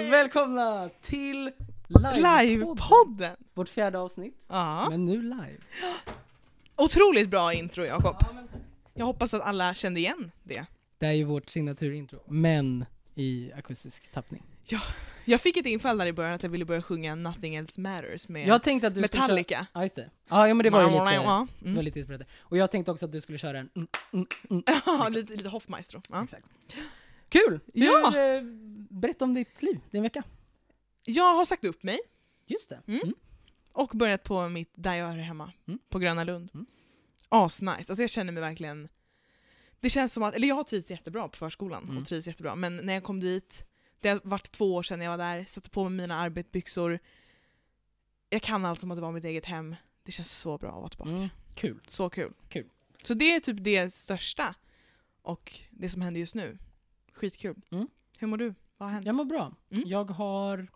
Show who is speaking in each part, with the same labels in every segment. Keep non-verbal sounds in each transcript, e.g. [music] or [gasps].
Speaker 1: välkomna till Livepodden!
Speaker 2: Livepodden!
Speaker 1: Vårt fjärde avsnitt,
Speaker 2: Ja.
Speaker 1: men nu live.
Speaker 2: Otroligt bra intro Jakob. Jag hoppas att alla kände igen det.
Speaker 1: Det är ju vårt signaturintro, men i akustisk tappning.
Speaker 2: Jag fick ett infall där i början att jag ville börja sjunga Nothing Else Matters med
Speaker 1: Jag tänkte att du skulle köra...
Speaker 2: Metallica.
Speaker 1: Ja, just det. Ja, ja, men det var ju lite,
Speaker 2: Ja,
Speaker 1: det var
Speaker 2: mm.
Speaker 1: lite inspirerat. Och jag tänkte också att du skulle köra en... Mm, mm, mm.
Speaker 2: [laughs] ja lite, lite Hoffmaestro. Ja.
Speaker 1: Exakt. Kul! Hur,
Speaker 2: Ja.
Speaker 1: eh, berätta om ditt liv, din vecka.
Speaker 2: Jag har sagt upp mig
Speaker 1: Just det.
Speaker 2: Mm. och börjat på mitt, där jag hör hemma,
Speaker 1: Mm.
Speaker 2: på Gröna Lund.
Speaker 1: Mm.
Speaker 2: Asnice, alltså jag känner mig verkligen... Det känns som att, eller jag har trivts jättebra på förskolan
Speaker 1: Mm.
Speaker 2: och trivs jättebra, men när jag kom dit, det har varit två år sedan jag var där, satte på mig mina arbetsbyxor. Jag kan allt som att det var mitt eget hem. Det känns så bra att vara tillbaka.
Speaker 1: Mm. Kul.
Speaker 2: Så kul.
Speaker 1: Kul.
Speaker 2: Så det är typ det största och det som händer just nu. Skitkul.
Speaker 1: Mm.
Speaker 2: Hur mår du? Vad har hänt?
Speaker 1: Jag mår bra.
Speaker 2: Mm.
Speaker 1: Jag har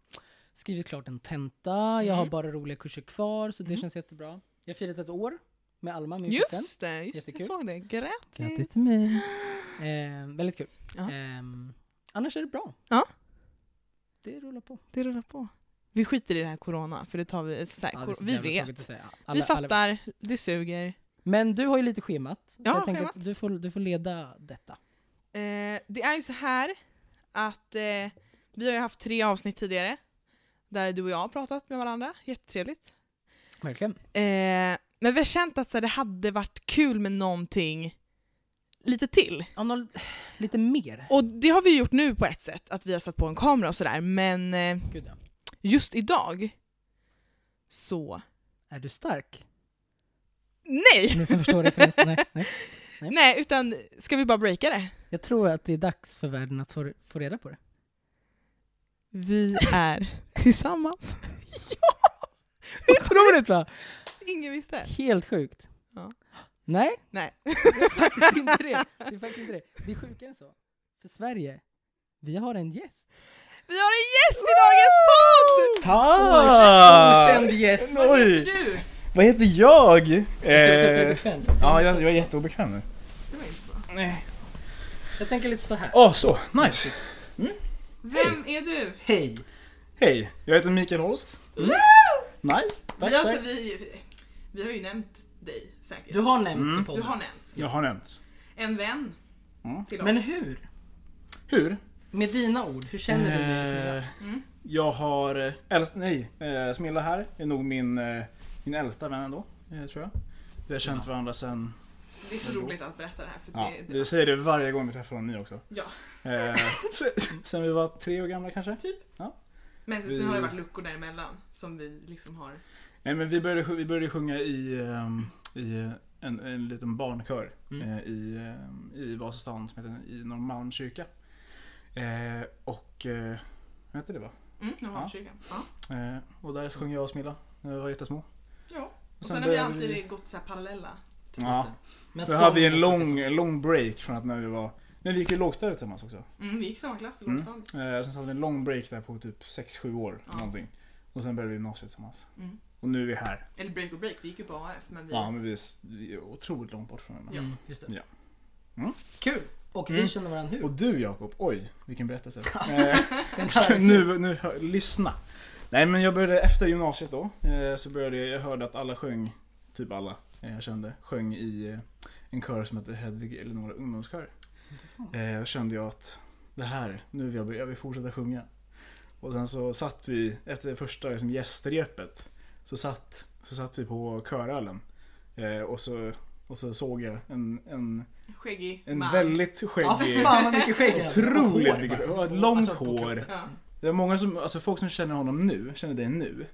Speaker 1: skrivit klart en tenta, jag har
Speaker 2: Mm.
Speaker 1: bara roliga kurser kvar, så det
Speaker 2: Mm.
Speaker 1: känns jättebra. Jag har firat ett år med Alma, min flickvän.
Speaker 2: Just det, just det, jag
Speaker 1: Jättekul.
Speaker 2: såg det. Grattis! [gasps]
Speaker 1: mig! [gasps] Eh, väldigt kul.
Speaker 2: Ja.
Speaker 1: Ehm, annars är det bra.
Speaker 2: Ja.
Speaker 1: Det rullar på.
Speaker 2: Det rullar på. Vi skiter i det här corona, för det tar vi... Så här,
Speaker 1: Ja, det är
Speaker 2: kor-
Speaker 1: så
Speaker 2: vi
Speaker 1: jävla tråkigt att
Speaker 2: vet.
Speaker 1: säga. Alla-
Speaker 2: vi fattar, det suger.
Speaker 1: Men du har ju lite schemat, så
Speaker 2: Ja,
Speaker 1: jag tänker
Speaker 2: schemat.
Speaker 1: att du får, du får leda detta.
Speaker 2: Eh, det är ju så här att eh, vi har ju haft tre avsnitt tidigare där du och jag har pratat med varandra, jättetrevligt.
Speaker 1: Verkligen.
Speaker 2: Eh, men vi har känt att så här, det hade varit kul med någonting lite till.
Speaker 1: Om någon, lite mer.
Speaker 2: Och det har vi gjort nu på ett sätt, att vi har satt på en kamera och sådär, men eh,
Speaker 1: Gud, ja.
Speaker 2: just idag så...
Speaker 1: Är du stark?
Speaker 2: Nej!
Speaker 1: Ni som
Speaker 2: [laughs]
Speaker 1: förstår referensen? Nej, nej.
Speaker 2: Nej, utan ska vi bara breaka det?
Speaker 1: Jag tror att det är dags för världen att få, få reda
Speaker 2: [laughs]
Speaker 1: på det. [laughs]
Speaker 2: Vi är tillsammans.
Speaker 1: Otroligt va?
Speaker 2: Ingen visste.
Speaker 1: Helt sjukt.
Speaker 2: Ja.
Speaker 1: Nej,
Speaker 2: Nej.
Speaker 1: det är faktiskt inte det. Det är faktiskt inte det. Det är sjukare än så. För Sverige, vi har en gäst.
Speaker 2: Vi har en gäst i dagens podd!
Speaker 3: Tack!
Speaker 1: Okänd gäst!
Speaker 2: Vad
Speaker 3: Ah! Oj.
Speaker 2: heter du?
Speaker 3: Vad heter jag? Eh,
Speaker 1: Ska vi sätta det bekvämt?
Speaker 3: ja, jag, jag är jätteobekväm nu.
Speaker 2: Det var inte bra.
Speaker 3: Nej.
Speaker 1: Jag tänker lite så här.
Speaker 3: Åh, så. Nice.
Speaker 2: Vem är du?
Speaker 1: Hej!
Speaker 3: Hej, jag heter Mikael Holst. Mm. Nice. Tack,
Speaker 2: Vi, alltså,
Speaker 3: tack.
Speaker 2: vi, vi har ju nämnt dig säkert.
Speaker 1: Du har nämnts i
Speaker 3: Mm.
Speaker 2: Du
Speaker 1: podden.
Speaker 2: har nämnts.
Speaker 3: Jag har nämnt.
Speaker 2: En vän
Speaker 3: Mm.
Speaker 2: till oss.
Speaker 1: Men hur?
Speaker 3: Hur?
Speaker 1: Med dina ord, hur känner du med Smilla?
Speaker 3: Eh, Jag har... eh, Äldst, nej, eh, Smilla här är nog min, eh, min äldsta vän ändå, eh, tror jag. Vi har känt varandra sen...
Speaker 2: det är så roligt att berätta det här för
Speaker 3: Ja,
Speaker 2: det,
Speaker 3: vi säger det varje gång vi träffar någon ny också.
Speaker 2: Ja.
Speaker 3: Eh, [laughs] se- sen vi var tre år gamla kanske.
Speaker 2: Men sen, sen har det varit luckor däremellan som vi liksom har...
Speaker 3: Nej men vi började, sj- vi började sjunga i, ehm, i eh, en, en liten barnkör
Speaker 1: Mm.
Speaker 3: eh, i, ehm, i Vasastan som heter i Norrmalmskyrka. Eh, och, eh, vad heter det va?
Speaker 2: Mm, nu har vi ja.
Speaker 3: Eh, och där sjöng jag och Smilla när vi var jättesmå.
Speaker 2: ja. Och
Speaker 3: Sen
Speaker 2: sen har vi
Speaker 3: började
Speaker 2: alltid
Speaker 3: vi-
Speaker 2: gått så här parallella.
Speaker 3: Ja.
Speaker 1: Men
Speaker 3: Vi hade ju en lång, en lång break från att när vi var, när vi gick i lågstadiet tillsammans också.
Speaker 2: Mm, vi gick i samma klass i
Speaker 3: Mm.
Speaker 2: lågstadiet.
Speaker 3: Eh, sen så hade vi en lång break där på typ 6-7 år
Speaker 2: Ja.
Speaker 3: någonting. Och sen började vi gymnasiet tillsammans.
Speaker 2: Mm.
Speaker 3: Och nu är vi här.
Speaker 2: Eller break och break, vi gick ju på AF men vi...
Speaker 3: Ja men vi är, s- vi är otroligt långt bort från varandra.
Speaker 1: Ja, just det.
Speaker 3: Ja. Mm.
Speaker 1: Kul! Och vi
Speaker 3: Mm.
Speaker 1: känner varandra
Speaker 3: [laughs]
Speaker 1: hur?
Speaker 3: Och du Jakob, oj vilken berättelse.
Speaker 1: [laughs]
Speaker 3: Eh,
Speaker 1: Den här-
Speaker 3: [laughs] nu, nu, hör- lyssna. Nej men jag började efter gymnasiet då. Eh, så började jag, jag hörde att alla sjöng, typ alla eh, jag kände, sjöng i eh, en kör som heter Hedvig Eleonora ungdomskör. Eh, och kände jag att det här, nu vill jag, börja- jag vill fortsätta sjunga. Och sen så satt vi, efter det första liksom, gästrepet, så satt, så satt vi på körölen. Eh, och, så, och så såg jag en, en,
Speaker 2: Skäggig
Speaker 3: en
Speaker 2: man.
Speaker 1: [laughs]
Speaker 3: väldigt
Speaker 1: Ja,
Speaker 3: skäggig
Speaker 1: fan vad mycket skägg han hade. Och
Speaker 3: Otroligt
Speaker 1: hår
Speaker 3: mycket
Speaker 1: bara.
Speaker 3: hår. Långt
Speaker 1: Alltså, på
Speaker 3: hår.
Speaker 1: kroppen.
Speaker 2: Ja.
Speaker 3: Det är många som, alltså folk som känner honom nu, känner dig nu.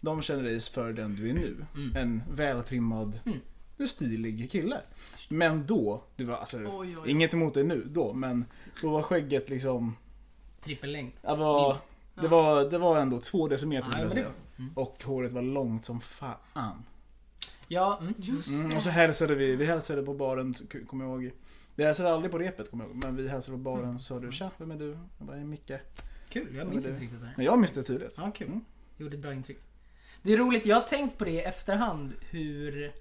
Speaker 3: De känner dig för den du är nu.
Speaker 1: Mm.
Speaker 3: En vältrimmad,
Speaker 1: Mm.
Speaker 3: du är stilig kille. Men då, du var alltså,
Speaker 2: Oj, oj, oj.
Speaker 3: inget emot dig nu då, men då var skägget liksom,
Speaker 1: Trippellängd.
Speaker 3: det var,
Speaker 1: Minst.
Speaker 3: det var, det var ändå två decimeter
Speaker 1: Ja,
Speaker 3: skulle jag
Speaker 1: men det
Speaker 3: säga. Och håret var långt som fan.
Speaker 1: Ja, mm.
Speaker 2: Just
Speaker 3: Mm,
Speaker 2: det.
Speaker 3: och så hälsade vi, vi hälsade på baren, k- kommer jag ihåg. Vi hälsade aldrig på repet kommer jag ihåg, men vi hälsade på baren
Speaker 1: Mm.
Speaker 3: och sa du tja, vem är du? Jag bara, "Jag är Micke.
Speaker 1: kul. Jag
Speaker 3: men
Speaker 1: minns
Speaker 3: det-
Speaker 1: inte riktigt det här.
Speaker 3: Men jag minns det tydligt.
Speaker 1: Ja, kul.
Speaker 3: Mm.
Speaker 1: Gjorde ett bra intryck. Det är roligt, jag har tänkt på det i efterhand hur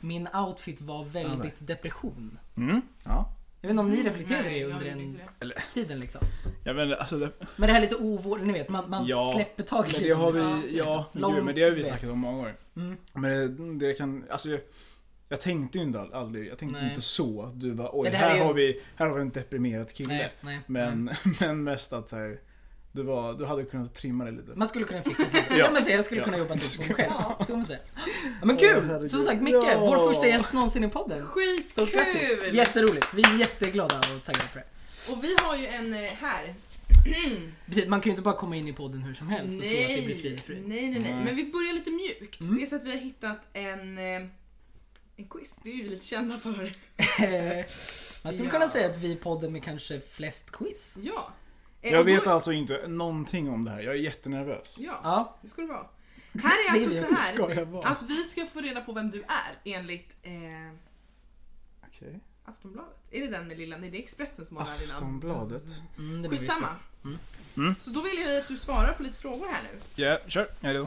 Speaker 1: min outfit var väldigt depression.
Speaker 3: Mm, ja.
Speaker 1: Jag vet inte om ni reflekterade
Speaker 2: Nej,
Speaker 1: det
Speaker 2: jag
Speaker 1: under
Speaker 2: gjorde inte
Speaker 1: den
Speaker 2: det.
Speaker 1: tiden liksom.
Speaker 3: Jag vet inte, alltså det,
Speaker 1: Men det här lite ovård, ni vet man, man
Speaker 3: Ja,
Speaker 1: släpper taget
Speaker 3: men det har
Speaker 1: liksom.
Speaker 3: vi, ja, men
Speaker 1: Långt
Speaker 3: gud, men det har vi
Speaker 1: vet.
Speaker 3: snackat om många gånger.
Speaker 1: Mm.
Speaker 3: Men eh, det, det kan, alltså jag, jag tänkte ju inte all- aldrig, jag tänkte
Speaker 1: Nej.
Speaker 3: inte så att du bara oj,
Speaker 1: Ja, det här
Speaker 3: här,
Speaker 1: är ju-
Speaker 3: har vi, här har vi en deprimerad kille.
Speaker 1: Nej, Mm. nej,
Speaker 3: Men,
Speaker 1: nej.
Speaker 3: [laughs] men mest att så här, du, var, du hade kunnat trimma det lite.
Speaker 1: Man skulle kunna fixa det.
Speaker 3: [laughs] Ja.
Speaker 1: ja. men, så, jag skulle
Speaker 3: Ja.
Speaker 1: kunna jobba lite på mig själv.
Speaker 2: Ja.
Speaker 1: Så kan man säga. Ja, men
Speaker 3: Åh,
Speaker 1: kul!
Speaker 3: herregud.
Speaker 1: Som sagt Micke, vår
Speaker 3: Ja.
Speaker 1: första gäst någonsin i podden. Stort grattis!
Speaker 2: Skitkul!
Speaker 1: Jätteroligt. Vi är jätteglada och taggade på det.
Speaker 2: Och vi har ju en eh, här.
Speaker 1: Precis, man kan ju inte bara komma in i podden hur som helst och tro att det blir fri
Speaker 2: nej,
Speaker 1: fri.
Speaker 2: nej, nej.
Speaker 3: Nej.
Speaker 2: Men vi börjar lite mjukt.
Speaker 1: Mm.
Speaker 2: Det är så att vi har hittat en, eh, en quiz. Det är ju vi lite kända för.
Speaker 1: man skulle
Speaker 2: Ja.
Speaker 1: kunna säga att vi är podden med kanske flest quiz.
Speaker 2: Ja. Eh,
Speaker 3: Jag
Speaker 2: och då-
Speaker 3: vet alltså inte någonting om det här, jag är jättenervös.
Speaker 2: Ja,
Speaker 1: Ja,
Speaker 2: det ska det vara. Här
Speaker 3: [laughs]
Speaker 2: är
Speaker 1: Det är
Speaker 2: alltså
Speaker 1: det.
Speaker 2: så här.
Speaker 3: Ska jag vara?
Speaker 2: Att vi ska få reda på vem du är enligt eh,
Speaker 3: Okej.
Speaker 2: Aftonbladet. Är det den med lilla? Nej, det är Expressen som har den här lilla.
Speaker 3: Aftonbladet.
Speaker 1: mm, det blir
Speaker 2: Skitsamma.
Speaker 1: visst. Mm.
Speaker 3: Mm.
Speaker 2: Så då vill jag att du svarar på lite frågor här nu.
Speaker 3: Ja, kör. Jag är redo.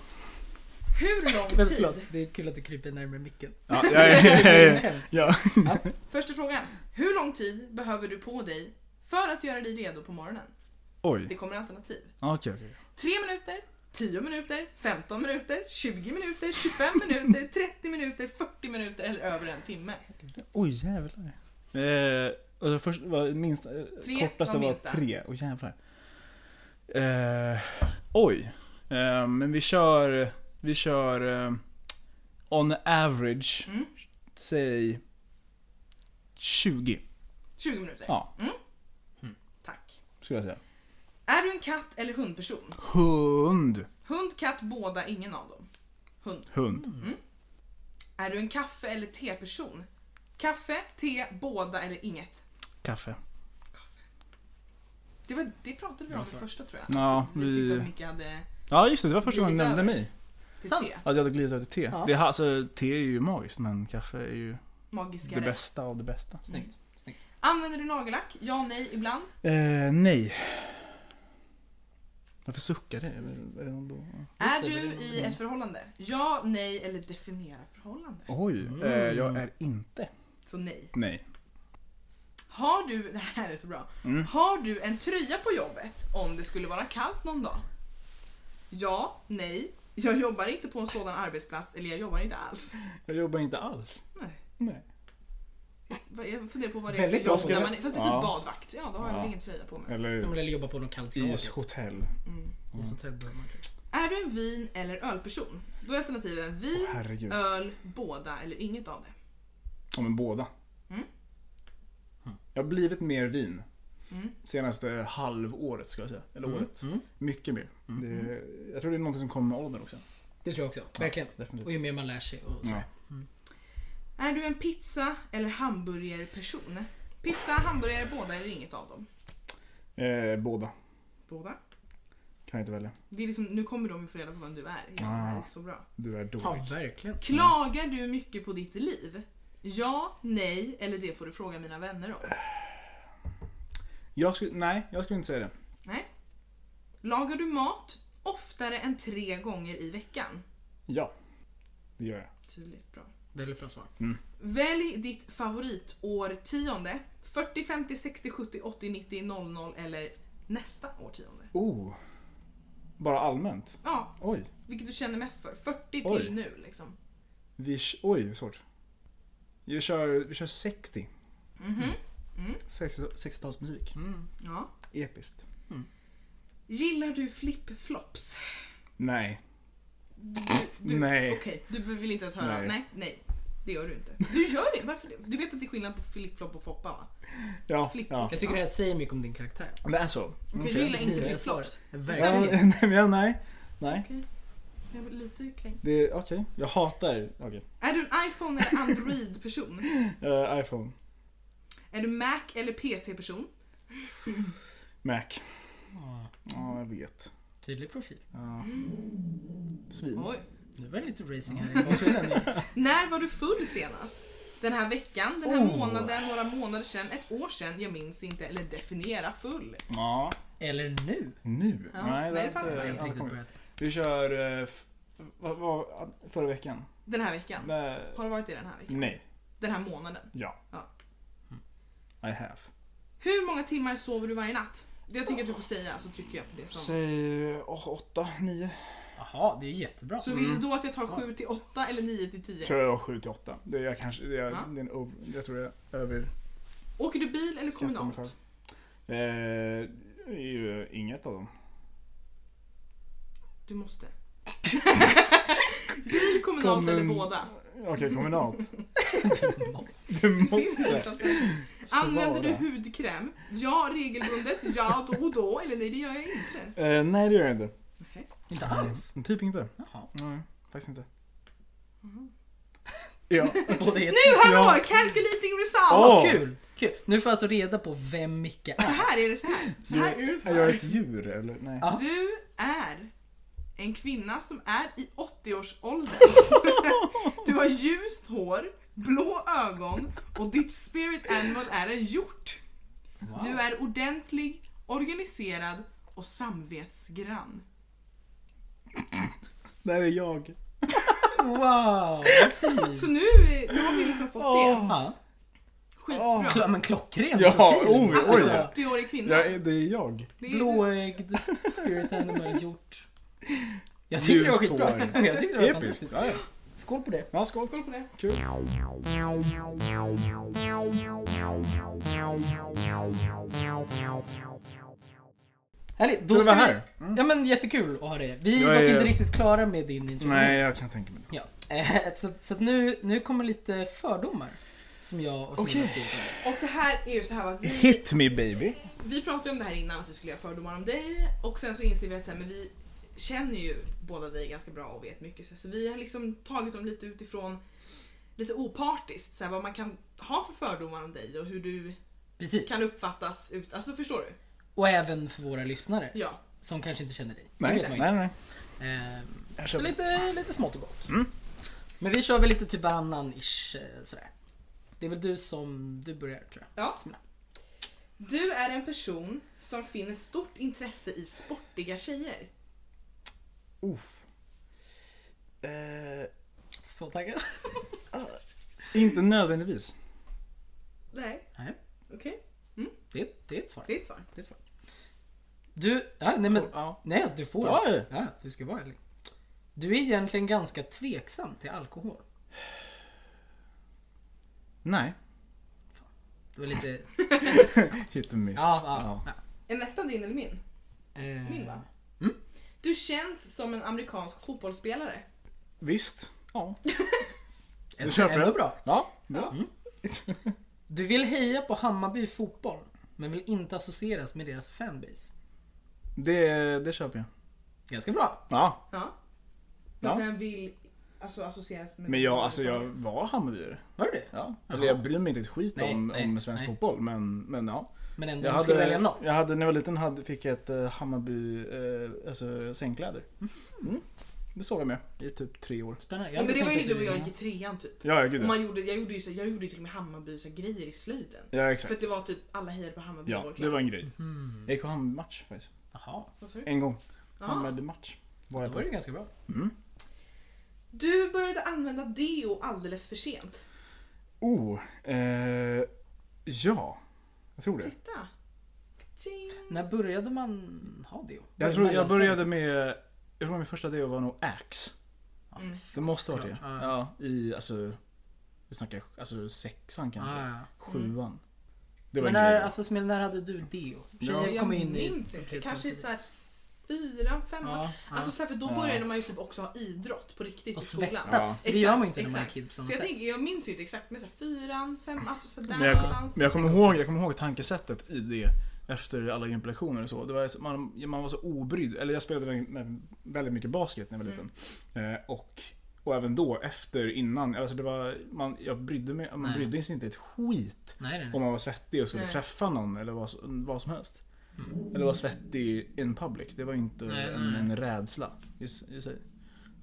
Speaker 2: Hur lång
Speaker 1: [laughs] Men
Speaker 2: tid?
Speaker 1: förlåt, det är kul att du kryper närmare micken.
Speaker 3: [laughs] Ja,
Speaker 1: [laughs]
Speaker 3: jag är... [laughs]
Speaker 1: Hemskt.
Speaker 3: ja.
Speaker 2: Första frågan. Hur lång tid behöver du på dig för att göra dig redo på morgonen? Det
Speaker 3: Oj.
Speaker 2: kommer alternativ.
Speaker 3: Okej, okej.
Speaker 2: 3 minuter, 10 minuter, 15 minuter, 20 minuter, 25 [laughs] minuter, 30 minuter, 40 minuter eller över en timme.
Speaker 3: Oj, jävlar. Eh, alltså först var minst, eh,
Speaker 2: Tre
Speaker 3: kortaste
Speaker 2: var
Speaker 3: var
Speaker 2: minsta.
Speaker 3: tre. Oj, jävlar. Eh, oj. Eh, men vi kör... Vi kör... Eh, on average,
Speaker 2: Mm.
Speaker 3: säg... 20,
Speaker 2: 20 minuter.
Speaker 3: Ja.
Speaker 2: Mm.
Speaker 1: Mm.
Speaker 2: Tack.
Speaker 3: skulle jag säga.
Speaker 2: Är du en katt eller hundperson?
Speaker 3: Hund.
Speaker 2: Hund, katt, båda, ingen av dem. Hund.
Speaker 3: Hund.
Speaker 2: Är du en kaffe eller teperson? Kaffe, te, båda eller inget?
Speaker 3: Kaffe.
Speaker 2: Mm. Det, var, det pratade vi om
Speaker 1: Bra
Speaker 2: i
Speaker 1: svar.
Speaker 2: första tror jag.
Speaker 3: Ja,
Speaker 2: Vi tyckte
Speaker 3: vi...
Speaker 2: att Micke hade
Speaker 3: Ja, just det. Det var första gången du
Speaker 2: Glidit
Speaker 3: nämnde
Speaker 2: över.
Speaker 3: mig.
Speaker 2: till
Speaker 1: Sant.
Speaker 2: te.
Speaker 3: Att jag hade glidit över till te.
Speaker 1: Ja.
Speaker 3: Det, här- alltså, te är ju magiskt, men kaffe är ju
Speaker 2: Magiskare.
Speaker 3: det bästa av det bästa.
Speaker 1: Snyggt. Snyggt.
Speaker 2: Använder du nagellack? Ja, nej, ibland.
Speaker 3: Eh, nej. Varför suckar det? Är det- är det någon då?
Speaker 1: Just
Speaker 2: är
Speaker 1: det,
Speaker 2: du
Speaker 1: det är
Speaker 2: i
Speaker 1: ibland.
Speaker 2: ett förhållande? Ja, nej eller definiera förhållande?
Speaker 3: Oj,
Speaker 1: Mm.
Speaker 3: eh, jag är inte.
Speaker 2: Så nej.
Speaker 3: Nej.
Speaker 2: Har du, [laughs] det här är så bra.
Speaker 3: Mm.
Speaker 2: Har du en tröja på jobbet om det skulle vara kallt någon dag? Ja, nej. Jag jobbar inte på en sådan arbetsplats eller jag jobbar inte alls.
Speaker 3: Jag jobbar inte alls.
Speaker 2: Nej.
Speaker 3: Nej.
Speaker 2: Vad- Jag funderar på vad det är
Speaker 1: Väldigt
Speaker 2: för
Speaker 1: bra
Speaker 2: jobb.
Speaker 3: fråga.
Speaker 2: När man, fast det är typ
Speaker 3: Ja.
Speaker 2: badvakt. Ja, då har jag
Speaker 3: Ja.
Speaker 2: väl ingen tröja på mig.
Speaker 1: Om
Speaker 3: Eller
Speaker 1: man vill jobba på något kallt lager.
Speaker 3: ishotell.
Speaker 2: Mm.
Speaker 1: Ishotell behöver man
Speaker 3: Mm.
Speaker 1: kanske.
Speaker 2: Är du en vin eller ölperson? Då är alternativen
Speaker 3: Åh,
Speaker 2: vin,
Speaker 3: herregud.
Speaker 2: öl, båda eller inget av det.
Speaker 3: Ja, men båda.
Speaker 2: Mm.
Speaker 3: Jag har blivit mer vin.
Speaker 2: Mm.
Speaker 3: Senaste halvåret skulle jag säga. Eller året.
Speaker 1: Mm.
Speaker 3: Mycket mer. Det är, jag tror det är något som kommer med åldern också.
Speaker 1: Det tror jag också. Verkligen.
Speaker 3: Definitivt.
Speaker 1: Och ju mer man lär sig och så.
Speaker 3: Ja.
Speaker 2: Är du en pizza eller hamburgerperson? Pizza, hamburgare, båda eller inget av dem?
Speaker 3: Eh, båda.
Speaker 2: Båda.
Speaker 3: Kan jag inte välja.
Speaker 2: Det är liksom, nu kommer de ju få reda på vem du är. Ja, det här är så bra.
Speaker 3: Du är dålig.
Speaker 1: Ja, verkligen.
Speaker 2: Klagar du mycket på ditt liv? Ja, nej eller det får du fråga mina vänner om.
Speaker 3: Jag skulle, nej, jag skulle inte säga det.
Speaker 2: Nej. Lagar du mat oftare än tre gånger i veckan?
Speaker 3: Ja. Det gör jag.
Speaker 2: Tydligt bra.
Speaker 1: Väldigt bra svar.
Speaker 2: Välj ditt favoritårtionde. 40, 50, 60, 70, 80, 90, 00 eller nästa årtionde.
Speaker 3: Oh. Bara allmänt?
Speaker 2: Ja,
Speaker 3: Oj.
Speaker 2: Vilket du känner mest för? 40 till
Speaker 3: Oj.
Speaker 2: nu liksom.
Speaker 3: Vi, k- oj, vad svårt. Vi kör, vi kör 60.
Speaker 2: Mhm.
Speaker 3: 60 60-talsmusik.
Speaker 1: Mm.
Speaker 2: Ja.
Speaker 3: Episkt.
Speaker 2: Gillar du flip-flops?
Speaker 3: Nej.
Speaker 2: Du, du,
Speaker 3: Nej.
Speaker 2: Okej, du vill inte ens höra. Nej.
Speaker 3: Nej.
Speaker 2: nej, Det gör du inte. Du gör det? Varför det? Du vet att det är skillnad på flip-flop och foppa va?
Speaker 3: Ja.
Speaker 2: Flipp.
Speaker 3: ja.
Speaker 1: Jag tycker det här säger mycket om din karaktär.
Speaker 3: Det är så.
Speaker 2: Okej,
Speaker 3: Okej.
Speaker 2: du gillar inte
Speaker 1: Tidigare
Speaker 2: flip-flops?
Speaker 1: svaret.
Speaker 3: Ja,
Speaker 1: Verkligen.
Speaker 3: [laughs] nej, men jag- nej. Nej.
Speaker 2: Jag blir lite kränkt.
Speaker 3: Det är okej. Jag hatar okej.
Speaker 2: Är du en iPhone eller Android-person?
Speaker 3: Eh, iPhone.
Speaker 2: är du Mac eller PC-person?
Speaker 3: Mac.
Speaker 1: Ja,
Speaker 3: Ja, jag vet.
Speaker 1: Tydlig profil.
Speaker 3: Ja. Svin.
Speaker 2: Oj.
Speaker 1: Nu var det lite racing här i bakgrunden.
Speaker 2: När var du full senast? Den här veckan, den här
Speaker 3: Oh.
Speaker 2: månaden, några månader sedan, ett år sedan, jag minns inte. Eller definiera full.
Speaker 3: Ja.
Speaker 1: Eller nu.
Speaker 3: Nu?
Speaker 2: Ja, nej,
Speaker 3: nej, det har
Speaker 2: det fanns
Speaker 1: Jag
Speaker 3: inte-
Speaker 1: har
Speaker 3: inte
Speaker 1: inte riktigt
Speaker 3: kommit.
Speaker 1: börjat.
Speaker 3: Vi kör... eh, f- Vad var förra veckan?
Speaker 2: Den här veckan.
Speaker 3: Nej.
Speaker 2: Har det varit det den här veckan?
Speaker 3: Nej.
Speaker 2: Den här månaden?
Speaker 3: Ja.
Speaker 2: Ja.
Speaker 3: Mm. I have.
Speaker 2: Hur många timmar sover du varje natt? Det jag tänker att du får säga så trycker jag på det som...
Speaker 3: Säg åh, åtta, nio.
Speaker 1: Jaha, det är jättebra.
Speaker 2: Så vill du då att jag tar 7 till 8 eller 9 till 10?
Speaker 3: mm. tror jag var sju till åtta. Det är jag kanske, det är,
Speaker 2: Ja.
Speaker 3: det är en over, jag tror jag över
Speaker 2: Åker du bil eller kommunalt?
Speaker 3: skatteomtag. Eh, det är ju inget av dem.
Speaker 2: Du måste. [laughs] bil, kommunalt eller
Speaker 3: Kommun-
Speaker 2: båda?
Speaker 1: [laughs]
Speaker 3: Okej, kommunalt. Du måste.
Speaker 2: Använder du
Speaker 3: svara.
Speaker 2: hudkräm? Ja, regelbundet. Ja, då och då. Eller nej, det gör jag inte.
Speaker 3: Eh, nej, det gör jag inte.
Speaker 1: Inte alls.
Speaker 3: Nej, Typ inte. [laughs]
Speaker 1: Jaha.
Speaker 3: Nej, faktiskt inte.
Speaker 2: Mm-hmm.
Speaker 3: Ja.
Speaker 1: Och det är
Speaker 2: Nu hallå!
Speaker 3: Ja.
Speaker 2: Calculating
Speaker 3: Åh.
Speaker 2: results!
Speaker 1: kul, kul! Nu får jag alltså reda på vem Micke
Speaker 2: Så
Speaker 1: är.
Speaker 2: här är det så här. Så
Speaker 3: Du-
Speaker 2: här är det så
Speaker 3: Är jag ett
Speaker 2: här.
Speaker 3: djur eller? Nej.
Speaker 1: Ja.
Speaker 2: Du är en kvinna som är i
Speaker 3: [laughs]
Speaker 2: 80-årsåldern. Du har ljust hår, blå ögon och ditt spirit animal är en hjort.
Speaker 1: Wow.
Speaker 2: Du är ordentlig, organiserad och samvetsgrann.
Speaker 3: Där är jag.
Speaker 1: Wow, vad
Speaker 2: Så
Speaker 1: fint!
Speaker 2: nu, nu har vi liksom fått det.
Speaker 1: Ja,
Speaker 3: Åh.
Speaker 2: Skitbra.
Speaker 1: kl- men klockren
Speaker 3: Ja,
Speaker 1: profil.
Speaker 3: oj,
Speaker 2: Alltså
Speaker 3: oj.
Speaker 1: så-
Speaker 3: ja.
Speaker 2: 80-årig kvinna.
Speaker 3: Ah, jag är, det är jag.
Speaker 2: Det är-
Speaker 1: Blåögd, spirit animal, hjort. Jag tyckte det var
Speaker 3: Ljust
Speaker 1: skitbra. [laughs]
Speaker 3: hår.
Speaker 1: Jag tyckte det var
Speaker 3: Episkt.
Speaker 1: fantastiskt.
Speaker 3: Ja, ja.
Speaker 1: Skål på det.
Speaker 3: ja, skål.
Speaker 2: Skål på det.
Speaker 3: Kul.
Speaker 1: Härligt. Då
Speaker 3: Kul att
Speaker 1: ska
Speaker 3: vara
Speaker 1: vi...
Speaker 3: här. Mm.
Speaker 1: Ja men jättekul att ha dig. Vi är
Speaker 3: Jag
Speaker 1: dock
Speaker 3: är-
Speaker 1: inte riktigt klara med din introduktion.
Speaker 3: Nej, jag kan tänka mig det.
Speaker 1: Ja. eh, [laughs] Så, så att nu, nu kommer lite fördomar. Som jag och Frida
Speaker 3: Okej.
Speaker 1: har skrivit om dig.
Speaker 2: Och det här är ju så här att vi,
Speaker 3: Hit me baby.
Speaker 2: vi pratade om det här innan att vi skulle göra fördomar om dig och sen så inser vi att så här, men vi känner ju båda dig ganska bra och vet mycket så, här, så vi har liksom tagit dem lite utifrån lite opartiskt så här, vad man kan ha för fördomar om dig och hur du
Speaker 1: Precis.
Speaker 2: kan uppfattas ut, alltså förstår du?
Speaker 1: Och även för våra lyssnare.
Speaker 2: Ja.
Speaker 1: Som kanske inte känner dig. Det
Speaker 3: Nej,
Speaker 1: vet man
Speaker 3: nej,
Speaker 1: ju inte.
Speaker 3: nej.
Speaker 1: Ehm,
Speaker 3: Jag
Speaker 1: Så
Speaker 3: köper.
Speaker 1: lite, lite smått och gott.
Speaker 3: Mm.
Speaker 1: Men vi kör väl lite typ annan-ish eh, sådär. Det är väl du som, du börjar tror jag.
Speaker 2: ja. Du är en person som finner stort intresse i sportiga tjejer.
Speaker 3: Uff. Eh,
Speaker 1: Så taggad.
Speaker 3: inte nödvändigtvis.
Speaker 2: Nej,
Speaker 1: Nej,
Speaker 2: okej.
Speaker 1: det, det är ett svar.
Speaker 2: Det är ett svar.
Speaker 1: Det är ett svar. Du, ja, nej men,
Speaker 3: Ja.
Speaker 1: nej alltså du får.
Speaker 3: Ja, ja.
Speaker 1: Ja, du ska vara ärlig. Du är egentligen ganska tveksam till alkohol.
Speaker 3: Nej. [laughs]
Speaker 1: Du är lite,
Speaker 3: Hit and miss.
Speaker 1: ja, ja. ja.
Speaker 2: Är nästan din eller min?
Speaker 1: Eh,
Speaker 2: Min va?
Speaker 1: Mm.
Speaker 2: Du känns som en amerikansk fotbollsspelare.
Speaker 3: Visst. Ja.
Speaker 1: ändå-
Speaker 3: köper jag.
Speaker 1: ändå bra.
Speaker 3: Ja. Mm.
Speaker 2: Ja.
Speaker 1: Du vill heja på Hammarby fotboll, men vill inte associeras med deras fanbase.
Speaker 3: Det, det köper jag.
Speaker 1: Ganska bra.
Speaker 3: Ja.
Speaker 2: Ja. Men
Speaker 3: Ja.
Speaker 2: vem vill alltså, associeras med...
Speaker 3: Men jag, alltså jag var Hammarbyare.
Speaker 1: Var det det?
Speaker 3: Ja.
Speaker 1: Jaha.
Speaker 3: Eller jag bryr mig inte ett skit
Speaker 1: Nej,
Speaker 3: om,
Speaker 1: nej,
Speaker 3: om svensk
Speaker 1: nej.
Speaker 3: fotboll, men, men ja.
Speaker 1: Men ändå,
Speaker 3: Jag
Speaker 1: om du skulle välja något.
Speaker 3: jag hade, när jag var liten hade, fick jag ett eh, Hammarby eh, alltså, sängkläder. Mm. Det såg jag med i typ tre år.
Speaker 1: Spännande. Jag
Speaker 2: Ja, men
Speaker 1: hade
Speaker 2: det var ju
Speaker 1: tänkt
Speaker 2: du
Speaker 1: att
Speaker 2: och jag
Speaker 1: du-
Speaker 2: gick i trean typ.
Speaker 3: Ja, ja gud
Speaker 2: Och
Speaker 3: ja.
Speaker 2: man gjorde, jag, gjorde ju så, jag gjorde ju till och med Hammarby så här, grejer i slöjden.
Speaker 3: Ja,
Speaker 2: För
Speaker 3: exakt.
Speaker 2: att det var typ alla hejade på Hammarby i
Speaker 3: Ja,
Speaker 2: vår klass.
Speaker 3: det var en grej. Eh,
Speaker 1: Hmm.
Speaker 3: Jag gick på Hammarby-match faktiskt.
Speaker 1: Jaha,
Speaker 2: Vad sa du?
Speaker 3: En gång.
Speaker 2: Ja.
Speaker 3: Hammarby-match var
Speaker 1: då
Speaker 3: jag
Speaker 1: var
Speaker 3: på.
Speaker 1: det ganska bra.
Speaker 3: Mm.
Speaker 2: Du började använda deo alldeles för sent.
Speaker 3: Oh, eh, ja. Jag tror det.
Speaker 2: Titta! Tjing.
Speaker 1: När började man ha det?
Speaker 3: Jag, tror, jag började med, jag tror min första deo var nog Axe.
Speaker 2: Mm.
Speaker 3: Det måste ha varit det.
Speaker 1: Klart, ja.
Speaker 3: Ja, i alltså, vi snackar alltså sexan kanske.
Speaker 1: Ah, ja.
Speaker 3: Sjuan. Det var
Speaker 1: Men
Speaker 3: en
Speaker 1: när,
Speaker 3: grej.
Speaker 1: alltså, Smil, när hade du deo? Tjejer
Speaker 2: Jag
Speaker 1: kom in i...
Speaker 2: minns inte. Kanske i så här fyran, femman.
Speaker 1: Ja,
Speaker 2: Alltså
Speaker 1: ja.
Speaker 2: så här, för då
Speaker 3: Ja.
Speaker 2: började man ju typ också ha idrott på riktigt
Speaker 1: Och
Speaker 2: i skolan.
Speaker 1: svettas.
Speaker 3: Ja.
Speaker 1: För det gör man ju
Speaker 2: Exakt,
Speaker 1: inte när man är
Speaker 2: exakt.
Speaker 1: kid på samma
Speaker 2: Så jag,
Speaker 1: sätt.
Speaker 2: tänker, jag minns ju inte exakt men så här, fyran, fem, alltså så där
Speaker 3: Men jag-
Speaker 2: någonstans.
Speaker 3: Men jag kommer, ihåg, jag kommer ihåg tankesättet i det efter alla gymplektioner och så. Det var, så- man, man var så obrydd. Eller jag spelade väl- med- väldigt mycket basket när jag var liten.
Speaker 1: Mm.
Speaker 3: Eh, och, och även då, efter, innan. Alltså det var, man, jag brydde mig, man
Speaker 1: Nej.
Speaker 3: brydde sig inte ett skit
Speaker 1: Nej, nej,
Speaker 3: om
Speaker 1: nej.
Speaker 3: man var svettig och skulle
Speaker 2: Nej.
Speaker 3: träffa någon eller vad, vad som helst.
Speaker 1: Mm.
Speaker 3: Eller var svettig in public. Det var ju inte
Speaker 1: Nej,
Speaker 3: en,
Speaker 1: nej.
Speaker 3: en rädsla i, s- i sig.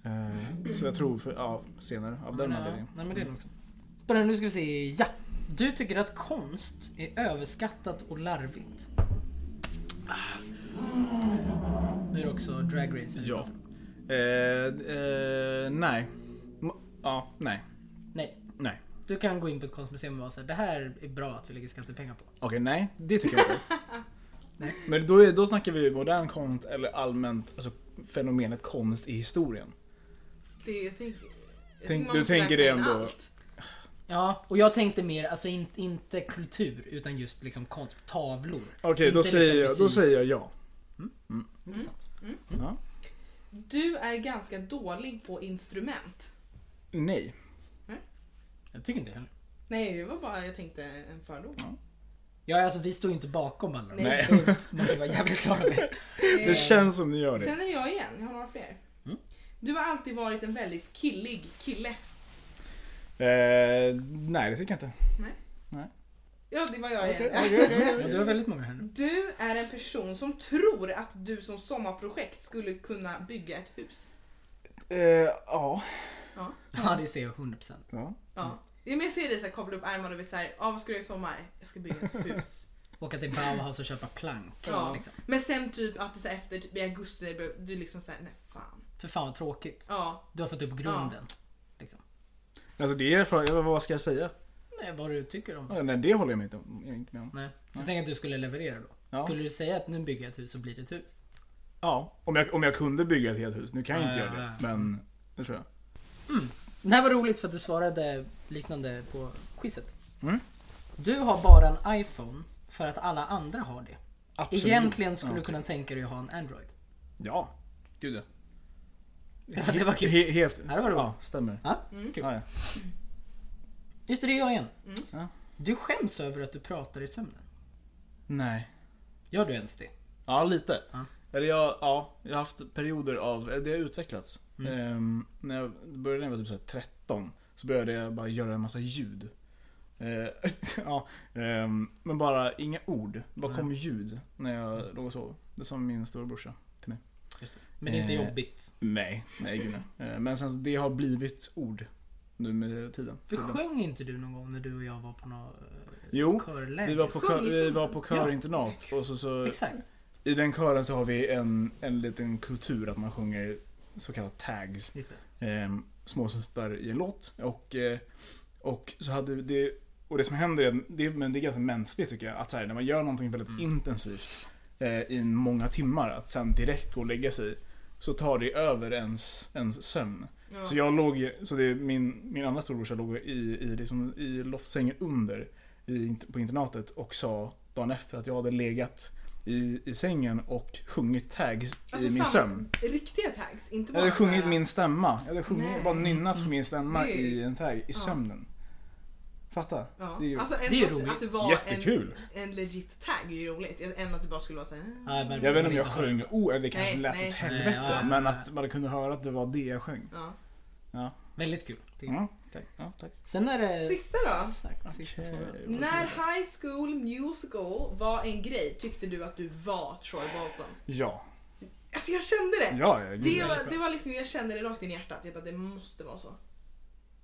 Speaker 3: Eh, så jag tror, för, ja, senare, av den
Speaker 1: Men, ja,
Speaker 3: anledningen.
Speaker 1: Nej, men det är nog så. Spännande, nu ska vi se. Ja! Du tycker att konst är överskattat och larvigt. Ah. Nu är det också Drag Race.
Speaker 3: Ja. Eh, eh, nej. M- Ja, nej.
Speaker 1: Nej,
Speaker 3: Nej.
Speaker 1: du Du kan gå in på ett konstmuseum och vara såhär, det här är bra att vi lägger skattepengar på.
Speaker 3: Okej, nej. Det tycker [laughs] jag inte. Nej. Men då, är, då snackar vi ju modern konst eller allmänt alltså, fenomenet konst i historien.
Speaker 2: Det, jag tänker, jag
Speaker 3: Tänk-
Speaker 2: man
Speaker 3: du
Speaker 2: måste
Speaker 3: tänker
Speaker 2: räkna
Speaker 3: det
Speaker 2: in
Speaker 3: ändå.
Speaker 2: allt.
Speaker 1: Ja, och jag tänkte mer, alltså in, inte kultur utan just liksom konst, tavlor.
Speaker 3: Okej, då,
Speaker 1: Inte
Speaker 3: säger
Speaker 1: liksom
Speaker 3: jag, då
Speaker 1: musik.
Speaker 3: säger jag ja.
Speaker 1: Intressant.
Speaker 3: ja.
Speaker 2: Du är ganska dålig på instrument.
Speaker 3: Nej.
Speaker 1: Jag tycker inte det heller.
Speaker 2: Nej, det var bara jag tänkte en fördom.
Speaker 1: Ja, alltså vi står ju inte bakom alla de här.
Speaker 3: Nej.
Speaker 1: Måste vi vara jävligt klara med.
Speaker 3: [laughs] Det känns som ni gör det.
Speaker 2: Eh, Sen är det jag igen, jag har några fler.
Speaker 1: Mm.
Speaker 2: Du har alltid varit en väldigt killig kille.
Speaker 3: Eh, nej, det tycker jag inte.
Speaker 2: Ja, det var jag igen.
Speaker 1: Ja, du har väldigt många här nu.
Speaker 2: Du är en person som tror att du som sommarprojekt skulle kunna bygga ett hus.
Speaker 3: Eh, ja.
Speaker 1: Ja, det ser jag 100%.
Speaker 3: ja.
Speaker 2: Ja. Mm. Men jag ser dig så här, kavla upp ärmarna och vet så här, ja vad ska du göra i sommar? Jag ska bygga ett hus.
Speaker 1: Åka till Bauhaus och köpa plank.
Speaker 2: Ja.
Speaker 1: Liksom.
Speaker 2: Men sen typ att det så här, efter typ, i augusti, bör- du liksom såhär, nej fan.
Speaker 1: För fan vad tråkigt.
Speaker 2: Ja,
Speaker 1: Du har fått upp grunden. Liksom.
Speaker 3: Alltså det är för, jag- vad ska jag säga?
Speaker 1: Nej, vad du tycker om det.
Speaker 3: Ja, Nej, det håller jag mig inte om- inte med om.
Speaker 1: Nej. Du tänker att du skulle leverera då?
Speaker 3: Ja.
Speaker 1: Skulle du säga att nu bygger jag ett hus så blir det ett hus?
Speaker 3: Ja, om jag, om jag kunde bygga ett helt hus. Nu kan jag inte
Speaker 1: Ja, ja,
Speaker 3: göra det, men det tror jag.
Speaker 1: Det här var roligt för att du svarade liknande på quizet.
Speaker 3: Mm.
Speaker 1: Du har bara en iPhone för att alla andra har det.
Speaker 3: Absolut.
Speaker 1: Egentligen skulle
Speaker 3: Ja,
Speaker 1: du
Speaker 3: okej.
Speaker 1: kunna tänka dig att ha en Android.
Speaker 3: Ja, gud ja.
Speaker 1: Ja, det var kul.
Speaker 3: He- helt...
Speaker 1: Ja, det var det
Speaker 3: ja, stämmer. Mm,
Speaker 1: Ja? Kul.
Speaker 3: Ja, ja.
Speaker 1: Just det, det är jag igen.
Speaker 3: Ja.
Speaker 1: Du skäms över att du pratar i sömnen.
Speaker 3: Nej.
Speaker 1: Gör du ens det?
Speaker 3: Ja, lite.
Speaker 1: Ja.
Speaker 3: Eller jag, ja, jag har haft perioder av, eller det har utvecklats.
Speaker 1: Mm.
Speaker 3: Ehm, när jag började när jag var typ så här 13 så började jag bara göra en massa ljud. Eh, [laughs] ja, ehm, men bara inga ord. Det bara kom ljud när jag låg och sov. Det sa min storebrorsa.
Speaker 1: Men det är inte
Speaker 3: Eh.
Speaker 1: jobbigt.
Speaker 3: Nej, nej gud nej. Eh, Men sen så, det har blivit ord nu med tiden.
Speaker 1: Du
Speaker 3: Tiden.
Speaker 1: sjöng inte du någon gång när du och jag var på något
Speaker 3: Jo,
Speaker 1: körläger?
Speaker 3: vi var på,
Speaker 2: Sjung
Speaker 3: kör,
Speaker 2: i
Speaker 3: vi
Speaker 2: sömnen.
Speaker 3: var på körinternat och så, så
Speaker 1: Exakt.
Speaker 3: i den kören så har vi en, en liten kultur att man sjunger så kallade tags.
Speaker 1: Just det.
Speaker 3: eh, småsnuttar i en låt. Och, eh, och så hade det och det som händer, är, det, är- men det är ganska mänskligt tycker jag, att så här, när man gör någonting väldigt
Speaker 1: Mm.
Speaker 3: intensivt eh, i många timmar, att sen direkt gå och lägga sig, så tar det över ens, ens sömn.
Speaker 2: ja.
Speaker 3: Så jag låg, ju- så det är min, min andra storbrorsa låg i, i, liksom, i loftsängen under i, på internatet och sa dagen efter att jag hade legat i, i sängen och sjungit tags
Speaker 2: Alltså,
Speaker 3: i min
Speaker 2: sam-
Speaker 3: sömn.
Speaker 2: Riktiga tags, inte bara
Speaker 3: Jag hade
Speaker 2: så här-
Speaker 3: sjungit min stämma. Jag hade sjungit,
Speaker 2: Nej. Mm.
Speaker 3: bara nynnat på min stämma
Speaker 2: Det är-
Speaker 3: i en tag, i
Speaker 2: Ja.
Speaker 3: sömnen. Fatta?
Speaker 2: Ja.
Speaker 3: Det är ju-
Speaker 2: alltså, en,
Speaker 1: Det är ju
Speaker 2: att-
Speaker 1: roligt.
Speaker 2: Att det var
Speaker 3: Jättekul!
Speaker 2: En, en legit tag är ju roligt, än att du bara skulle vara såhär...
Speaker 1: Ja, jag bara-
Speaker 3: Jag vet inte om jag
Speaker 1: Precis, man
Speaker 3: sjöng oh, eller det kanske
Speaker 2: Nej,
Speaker 3: lät
Speaker 2: nej.
Speaker 3: åt helvete.
Speaker 1: Nej, ja.
Speaker 3: Men att man kunde höra att det var det jag sjöng.
Speaker 2: Ja.
Speaker 1: Väldigt kul. tycker jag.
Speaker 3: Ja, tack. Ja, tack.
Speaker 1: Sen är det...
Speaker 2: Sista då.
Speaker 1: Exakt, sista
Speaker 3: Okej.
Speaker 1: frågan.
Speaker 2: När High School Musical var en grej tyckte du att du var Troy Bolton.
Speaker 3: Ja.
Speaker 2: Alltså jag kände det.
Speaker 3: Ja, ja.
Speaker 2: Det
Speaker 3: gud.
Speaker 1: väldigt
Speaker 2: var,
Speaker 1: bra.
Speaker 2: det var liksom, jag kände det rakt in i hjärtat. Jag bara, det måste vara så.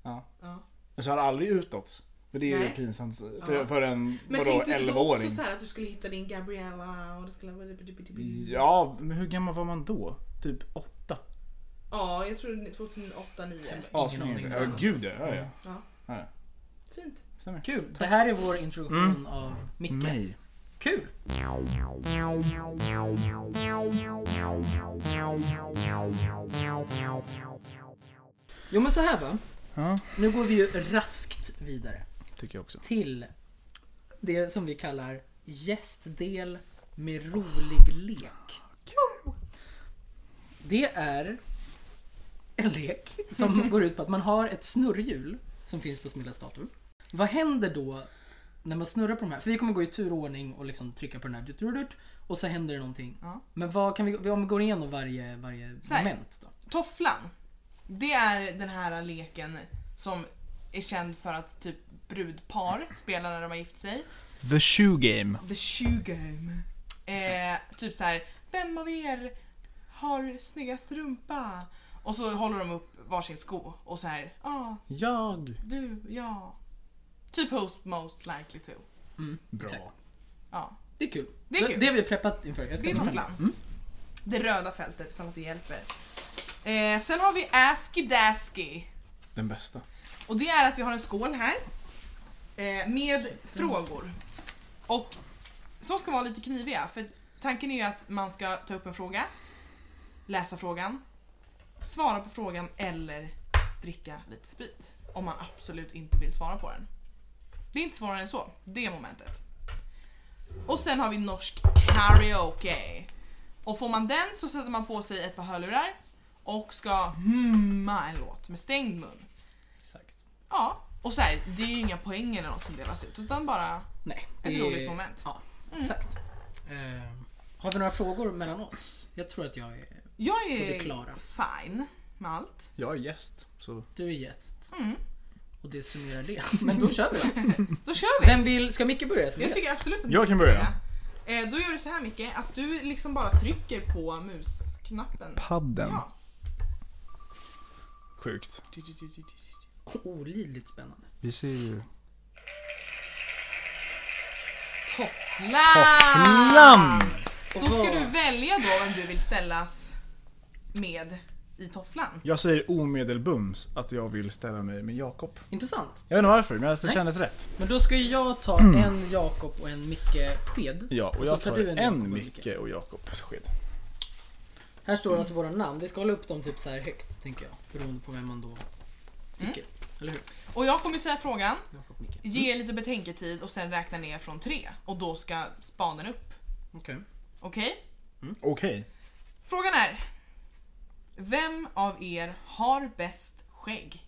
Speaker 3: Ja.
Speaker 2: Ja.
Speaker 3: Men så har det aldrig utåt. För det är ju
Speaker 2: Nej.
Speaker 3: pinsamt för,
Speaker 2: Ja.
Speaker 3: för en
Speaker 2: Men
Speaker 3: vadå,
Speaker 2: tänkte du då också
Speaker 3: 11-åring.
Speaker 2: så här att du skulle hitta din Gabriella och det skulle vara...
Speaker 3: Mm. Ja, men hur gammal var man då? Typ åtta?
Speaker 2: Ja, jag tror 2008-2009.
Speaker 1: Ingen
Speaker 3: Aslänge.
Speaker 1: aning.
Speaker 3: Ja, gud ja. ja, ja.
Speaker 2: Fint.
Speaker 3: Stämmer.
Speaker 1: Kul. Det här är vår introduktion av Micke.
Speaker 3: Mm. Mig.
Speaker 1: Kul! Jo men så här va.
Speaker 3: Ja,
Speaker 1: Nu går vi ju raskt vidare
Speaker 3: tycker jag också.
Speaker 1: till det som vi kallar gästdel med rolig lek.
Speaker 2: Ah,
Speaker 1: Det är en lek
Speaker 2: [laughs]
Speaker 1: som går ut på att man har ett snurrhjul som finns på Smillas dator. Vad händer då när man snurrar på de här? För vi kommer gå i turordning och liksom trycka på den här dut-dut-dut, och så händer det någonting.
Speaker 2: Ja.
Speaker 1: Men vad kan vi, om vi går igenom varje, varje
Speaker 2: Så här.
Speaker 1: moment då?
Speaker 2: Tofflan. Det är den här leken som är känd för att typ brudpar spelar när de har gift sig.
Speaker 3: The shoe game.
Speaker 2: The shoe game. Eh, typ så här, vem av er har snyggast rumpa? Och så håller de upp varsin sko och så här, ja, ah,
Speaker 3: Jag.
Speaker 2: du, ja. Typ host most likely to.
Speaker 1: Mm,
Speaker 3: Bra.
Speaker 1: exakt.
Speaker 2: Ja,
Speaker 1: Det är kul.
Speaker 2: Det är kul.
Speaker 1: Det har vi preppat inför. Jag
Speaker 2: det är
Speaker 1: ta med. Mm.
Speaker 2: tofflan. Det röda fältet för att det hjälper. Eh, sen har vi Asky Dasky.
Speaker 3: Den bästa.
Speaker 2: Och det är att vi har en skål här eh, med frågor. Och som ska vara lite kniviga. För tanken är ju att man ska ta upp en fråga, läsa frågan, svara på frågan eller dricka lite sprit. Om man absolut inte vill svara på den. Det är inte svårare än så, det momentet. Och sen har vi norsk karaoke. Och får man den så sätter man på sig ett par hörlurar och ska humma en låt med stängd mun.
Speaker 1: Exakt.
Speaker 2: Ja, och så här, det är ju inga poäng eller något som delas ut utan bara
Speaker 1: Nej,
Speaker 2: ett roligt moment. Mm.
Speaker 1: Ja, exakt. Eh, har vi några frågor mellan oss? Jag tror att jag är...
Speaker 2: Jag
Speaker 1: Och det är
Speaker 2: är
Speaker 1: Klara.
Speaker 2: fine med allt.
Speaker 3: Jag är gäst, så...
Speaker 1: Du är gäst.
Speaker 2: Mm.
Speaker 1: Och det summerar [laughs] det. Men då kör vi då.
Speaker 2: Då kör vi!
Speaker 1: Vem vill... Ska Micke börja? Ska vi
Speaker 2: Jag tycker
Speaker 1: gäst?
Speaker 2: absolut att
Speaker 3: Jag
Speaker 2: du
Speaker 3: kan
Speaker 2: ska
Speaker 3: börja.
Speaker 2: Eh, Då gör du så här Micke, att du liksom bara trycker på musknappen.
Speaker 3: Padden.
Speaker 2: Ja.
Speaker 3: Sjukt.
Speaker 1: Olidligt spännande.
Speaker 3: Vi ser ju...
Speaker 2: Ah! Tofflan!
Speaker 3: Tofflan!
Speaker 2: Då ska du välja då vem du vill ställas med i tofflan.
Speaker 3: Jag säger omedelbums att jag vill ställa mig med Jakob.
Speaker 1: Intressant.
Speaker 3: Jag vet inte varför, men det
Speaker 1: Nej.
Speaker 3: kändes rätt.
Speaker 1: Men då ska ju jag ta en Jakob och en Micke sked.
Speaker 3: Ja, och
Speaker 1: Så
Speaker 3: jag
Speaker 1: tar
Speaker 3: tar,
Speaker 1: du en
Speaker 3: en,
Speaker 1: Jakob och
Speaker 3: Micke och Jakob. Sked.
Speaker 1: Här står alltså våra namn. Vi ska hålla upp dem typ så här högt, tänker jag. Beroende på vem man då tycker.
Speaker 2: Mm.
Speaker 1: Eller hur?
Speaker 2: Och jag kommer säga frågan,
Speaker 1: Jakob, Micke.
Speaker 2: ge lite betänketid och sen räkna ner från tre. Och då ska spaden upp.
Speaker 1: Okej.
Speaker 2: Okej?
Speaker 3: Okej.
Speaker 2: Frågan är, vem av er har bäst skägg?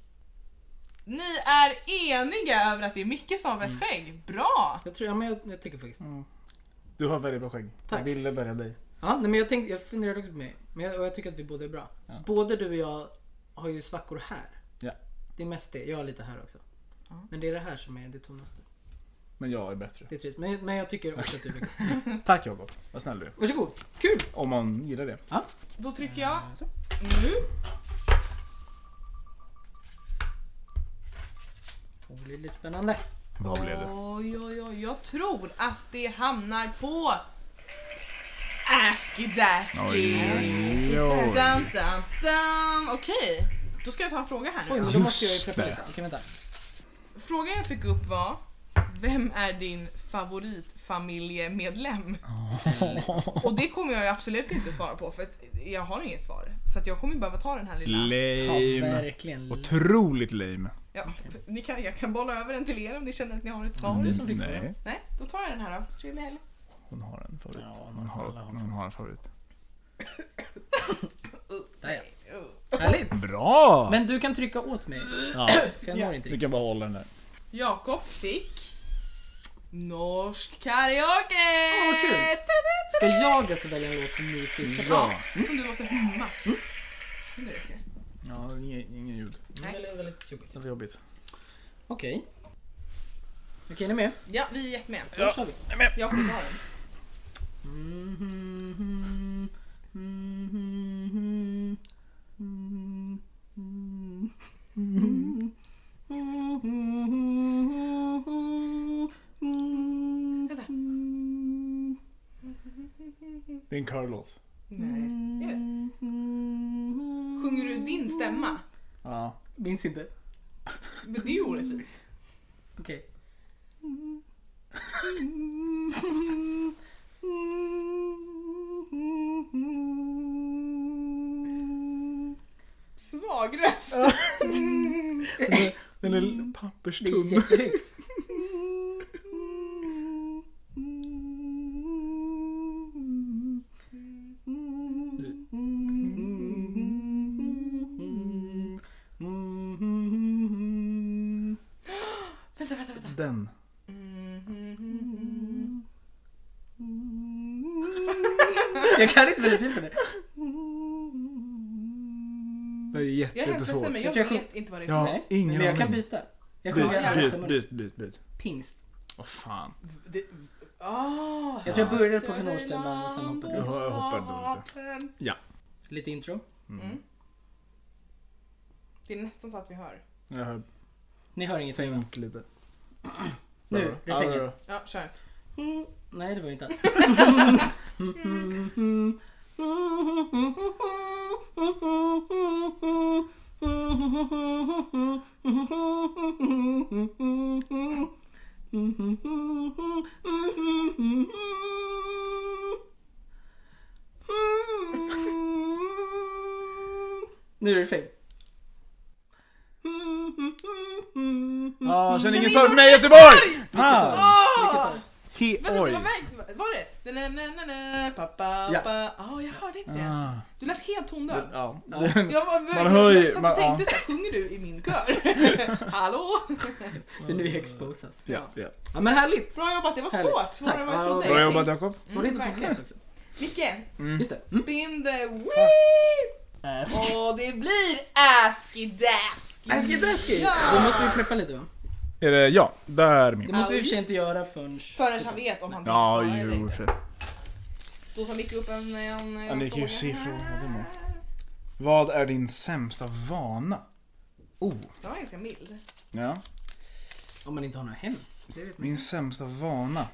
Speaker 2: Ni är eniga över att det är Micke som har bäst
Speaker 1: Mm.
Speaker 2: skägg. Bra!
Speaker 1: Jag tror... Ja, men jag, jag tycker faktiskt
Speaker 3: Du har väldigt bra skägg.
Speaker 1: Tack.
Speaker 3: Jag ville välja dig.
Speaker 1: Ja, nej, men jag, tänkte, jag funderade också på mig. Men jag, och jag tycker att vi båda är bra. Både du och jag har ju svackor här.
Speaker 3: Ja.
Speaker 1: Det är mest det. Jag har lite här också.
Speaker 2: Ja.
Speaker 1: Men det är det här som är det tunnaste.
Speaker 3: Men jag är bättre.
Speaker 1: Det är trist. Men, men jag tycker också att du
Speaker 3: [laughs]
Speaker 1: är bra.
Speaker 3: Tack Jakob. Vad snäll du är.
Speaker 1: Varsågod. Kul!
Speaker 3: Om man gillar det.
Speaker 2: Då trycker jag
Speaker 1: Mm, Så.
Speaker 2: nu.
Speaker 1: Och det är lite spännande.
Speaker 3: Vad blev det?
Speaker 2: Oj, oj, oj. Jag tror att det hamnar på Asky Dasky. Dun, dun, dun. Okej, då ska jag ta en fråga här
Speaker 1: Oj,
Speaker 2: nu.
Speaker 1: men
Speaker 2: då.
Speaker 1: då måste jag ju
Speaker 3: Just
Speaker 1: peppa
Speaker 3: det.
Speaker 1: lite. Okej, vänta.
Speaker 2: Frågan jag fick upp var Vem är din favoritfamiljemedlem? Och det kommer jag ju absolut inte svara på för att jag har inget svar. Så att jag kommer behöva ta den här lilla...
Speaker 1: Ja,
Speaker 3: Lame.
Speaker 1: verkligen.
Speaker 3: Otroligt lame.
Speaker 2: Ja, ni kan, jag kan bolla över den till er om ni känner att ni har ett svar.
Speaker 1: som fick frågan.
Speaker 3: Nej,
Speaker 2: Nej, då tar jag den här då. Trevlig helg.
Speaker 3: hon har en favorit.
Speaker 1: Ja,
Speaker 3: hon, har,
Speaker 1: alla har
Speaker 3: hon har en favorit.
Speaker 1: Där
Speaker 2: Uh.
Speaker 1: ja. Härligt!
Speaker 3: Bra!
Speaker 1: Men du kan trycka åt mig. [clears throat]
Speaker 3: Ja,
Speaker 1: För jag
Speaker 2: Ja.
Speaker 1: når inte
Speaker 3: du
Speaker 1: riktigt.
Speaker 3: kan bara hålla den där.
Speaker 2: Jakob fick Norsk karaoke!
Speaker 1: Åh, vad kul. Ska jag alltså välja en låt som ni ska gissa?
Speaker 3: Ja.
Speaker 2: Som du måste humma. Men det räcker.
Speaker 3: Ja, inget, inget ljud.
Speaker 1: Det är väldigt- väldigt jobbigt.
Speaker 3: Det var jobbigt.
Speaker 1: Mm. Okej. Okej, ni är med?
Speaker 2: Ja, vi är jättemän.
Speaker 1: Då kör vi.
Speaker 2: Jag får ta den. Vänta.
Speaker 3: Det är en körlåt.
Speaker 2: Nej. Är det? Sjunger du din stämma?
Speaker 3: Ja.
Speaker 1: Minns inte.
Speaker 2: Men det är ju orättvist. [laughs]
Speaker 1: Okej.
Speaker 2: Svag röst.
Speaker 3: Den är
Speaker 1: Mm. Det är
Speaker 3: papperstunn.
Speaker 1: jättehögt.
Speaker 2: vänta, vänta, vänta.
Speaker 3: Den.
Speaker 1: Mm, Jag kan inte väldigt på det.
Speaker 3: Det är jätte-
Speaker 2: Jag är hemskt
Speaker 3: jättesvår.
Speaker 2: ledsen men jag
Speaker 1: Jag tror jag
Speaker 2: vet inte vad det är.
Speaker 3: Ja,
Speaker 1: Nej,
Speaker 3: ingen
Speaker 1: men jag kan
Speaker 3: aning.
Speaker 1: byta. Jag sjunger gärna
Speaker 3: Byt, byt,
Speaker 1: stämman.
Speaker 3: byt, byt, byt.
Speaker 1: Pingst.
Speaker 3: Åh fan.
Speaker 2: Det... Ah.
Speaker 1: Jag tror jag började på knorrstämman och sen hoppade
Speaker 3: Jag
Speaker 1: jag.
Speaker 3: ho- jag hoppade nog lite. Ja.
Speaker 1: Lite intro.
Speaker 2: Mm. Det är nästan så att vi hör.
Speaker 3: Jag har
Speaker 1: Ni hör inget nu va?
Speaker 3: sänkt lite.
Speaker 1: [clears throat] Nu,
Speaker 3: Ja,
Speaker 1: refrängen.
Speaker 3: ja,
Speaker 2: Ja, kör.
Speaker 1: Mm, Nej, det var det inte alls. Nu är det refräng.
Speaker 3: Ja, känn Ah, ingen
Speaker 2: ingen
Speaker 3: sorg
Speaker 2: sorg
Speaker 3: för mig Göteborg!
Speaker 1: Vilket
Speaker 3: Fan!
Speaker 2: Ah!
Speaker 3: He-
Speaker 2: Vänta, det var,
Speaker 3: Oj!
Speaker 2: väg- var det? Na, na, na, na, na, pa, pa,
Speaker 1: Ja.
Speaker 2: pa. Ah, jag hörde inte det.
Speaker 3: Ah.
Speaker 2: Du lät helt tondöv.
Speaker 3: Ja.
Speaker 2: Jag var verkligen...
Speaker 3: hör ju-
Speaker 2: jag satt
Speaker 3: man-
Speaker 2: och
Speaker 3: ja.
Speaker 2: tänkte så här, sjunger du i
Speaker 1: [laughs]
Speaker 2: min kör? Hallå?
Speaker 1: Det är nu jag exposas.
Speaker 3: Ja, ja.
Speaker 1: Ja men härligt!
Speaker 2: Bra jobbat, det var
Speaker 1: Härligt.
Speaker 2: svårare svårare än vad jag
Speaker 1: Tack.
Speaker 2: trodde.
Speaker 3: Bra jobbat Jakob.
Speaker 1: Svårigheter
Speaker 2: Mm,
Speaker 1: mm,
Speaker 2: verkligen.
Speaker 1: funktionellt också.
Speaker 2: Micke,
Speaker 1: Just det. Mm.
Speaker 2: spin the wheel! Och det blir asky dasky.
Speaker 1: Asky dasky!
Speaker 2: Ja.
Speaker 1: Då måste vi preppa lite va?
Speaker 3: Är det ja? Där
Speaker 1: Det
Speaker 3: min.
Speaker 1: måste vi i och för sig inte göra förrän...
Speaker 2: Förrän han vet om han tänker
Speaker 3: Ja,
Speaker 2: svara eller
Speaker 3: jo.
Speaker 2: inte.
Speaker 3: för-
Speaker 2: Då tar Micke upp en... en, en
Speaker 3: Ja, ni kan ju
Speaker 2: fråga
Speaker 3: se
Speaker 2: här.
Speaker 3: frågan, det må- Vad är din sämsta vana? Oh.
Speaker 2: Den var ganska mild.
Speaker 3: Ja.
Speaker 1: Om man inte har något hemskt. Det vet man
Speaker 3: Min sämsta vana?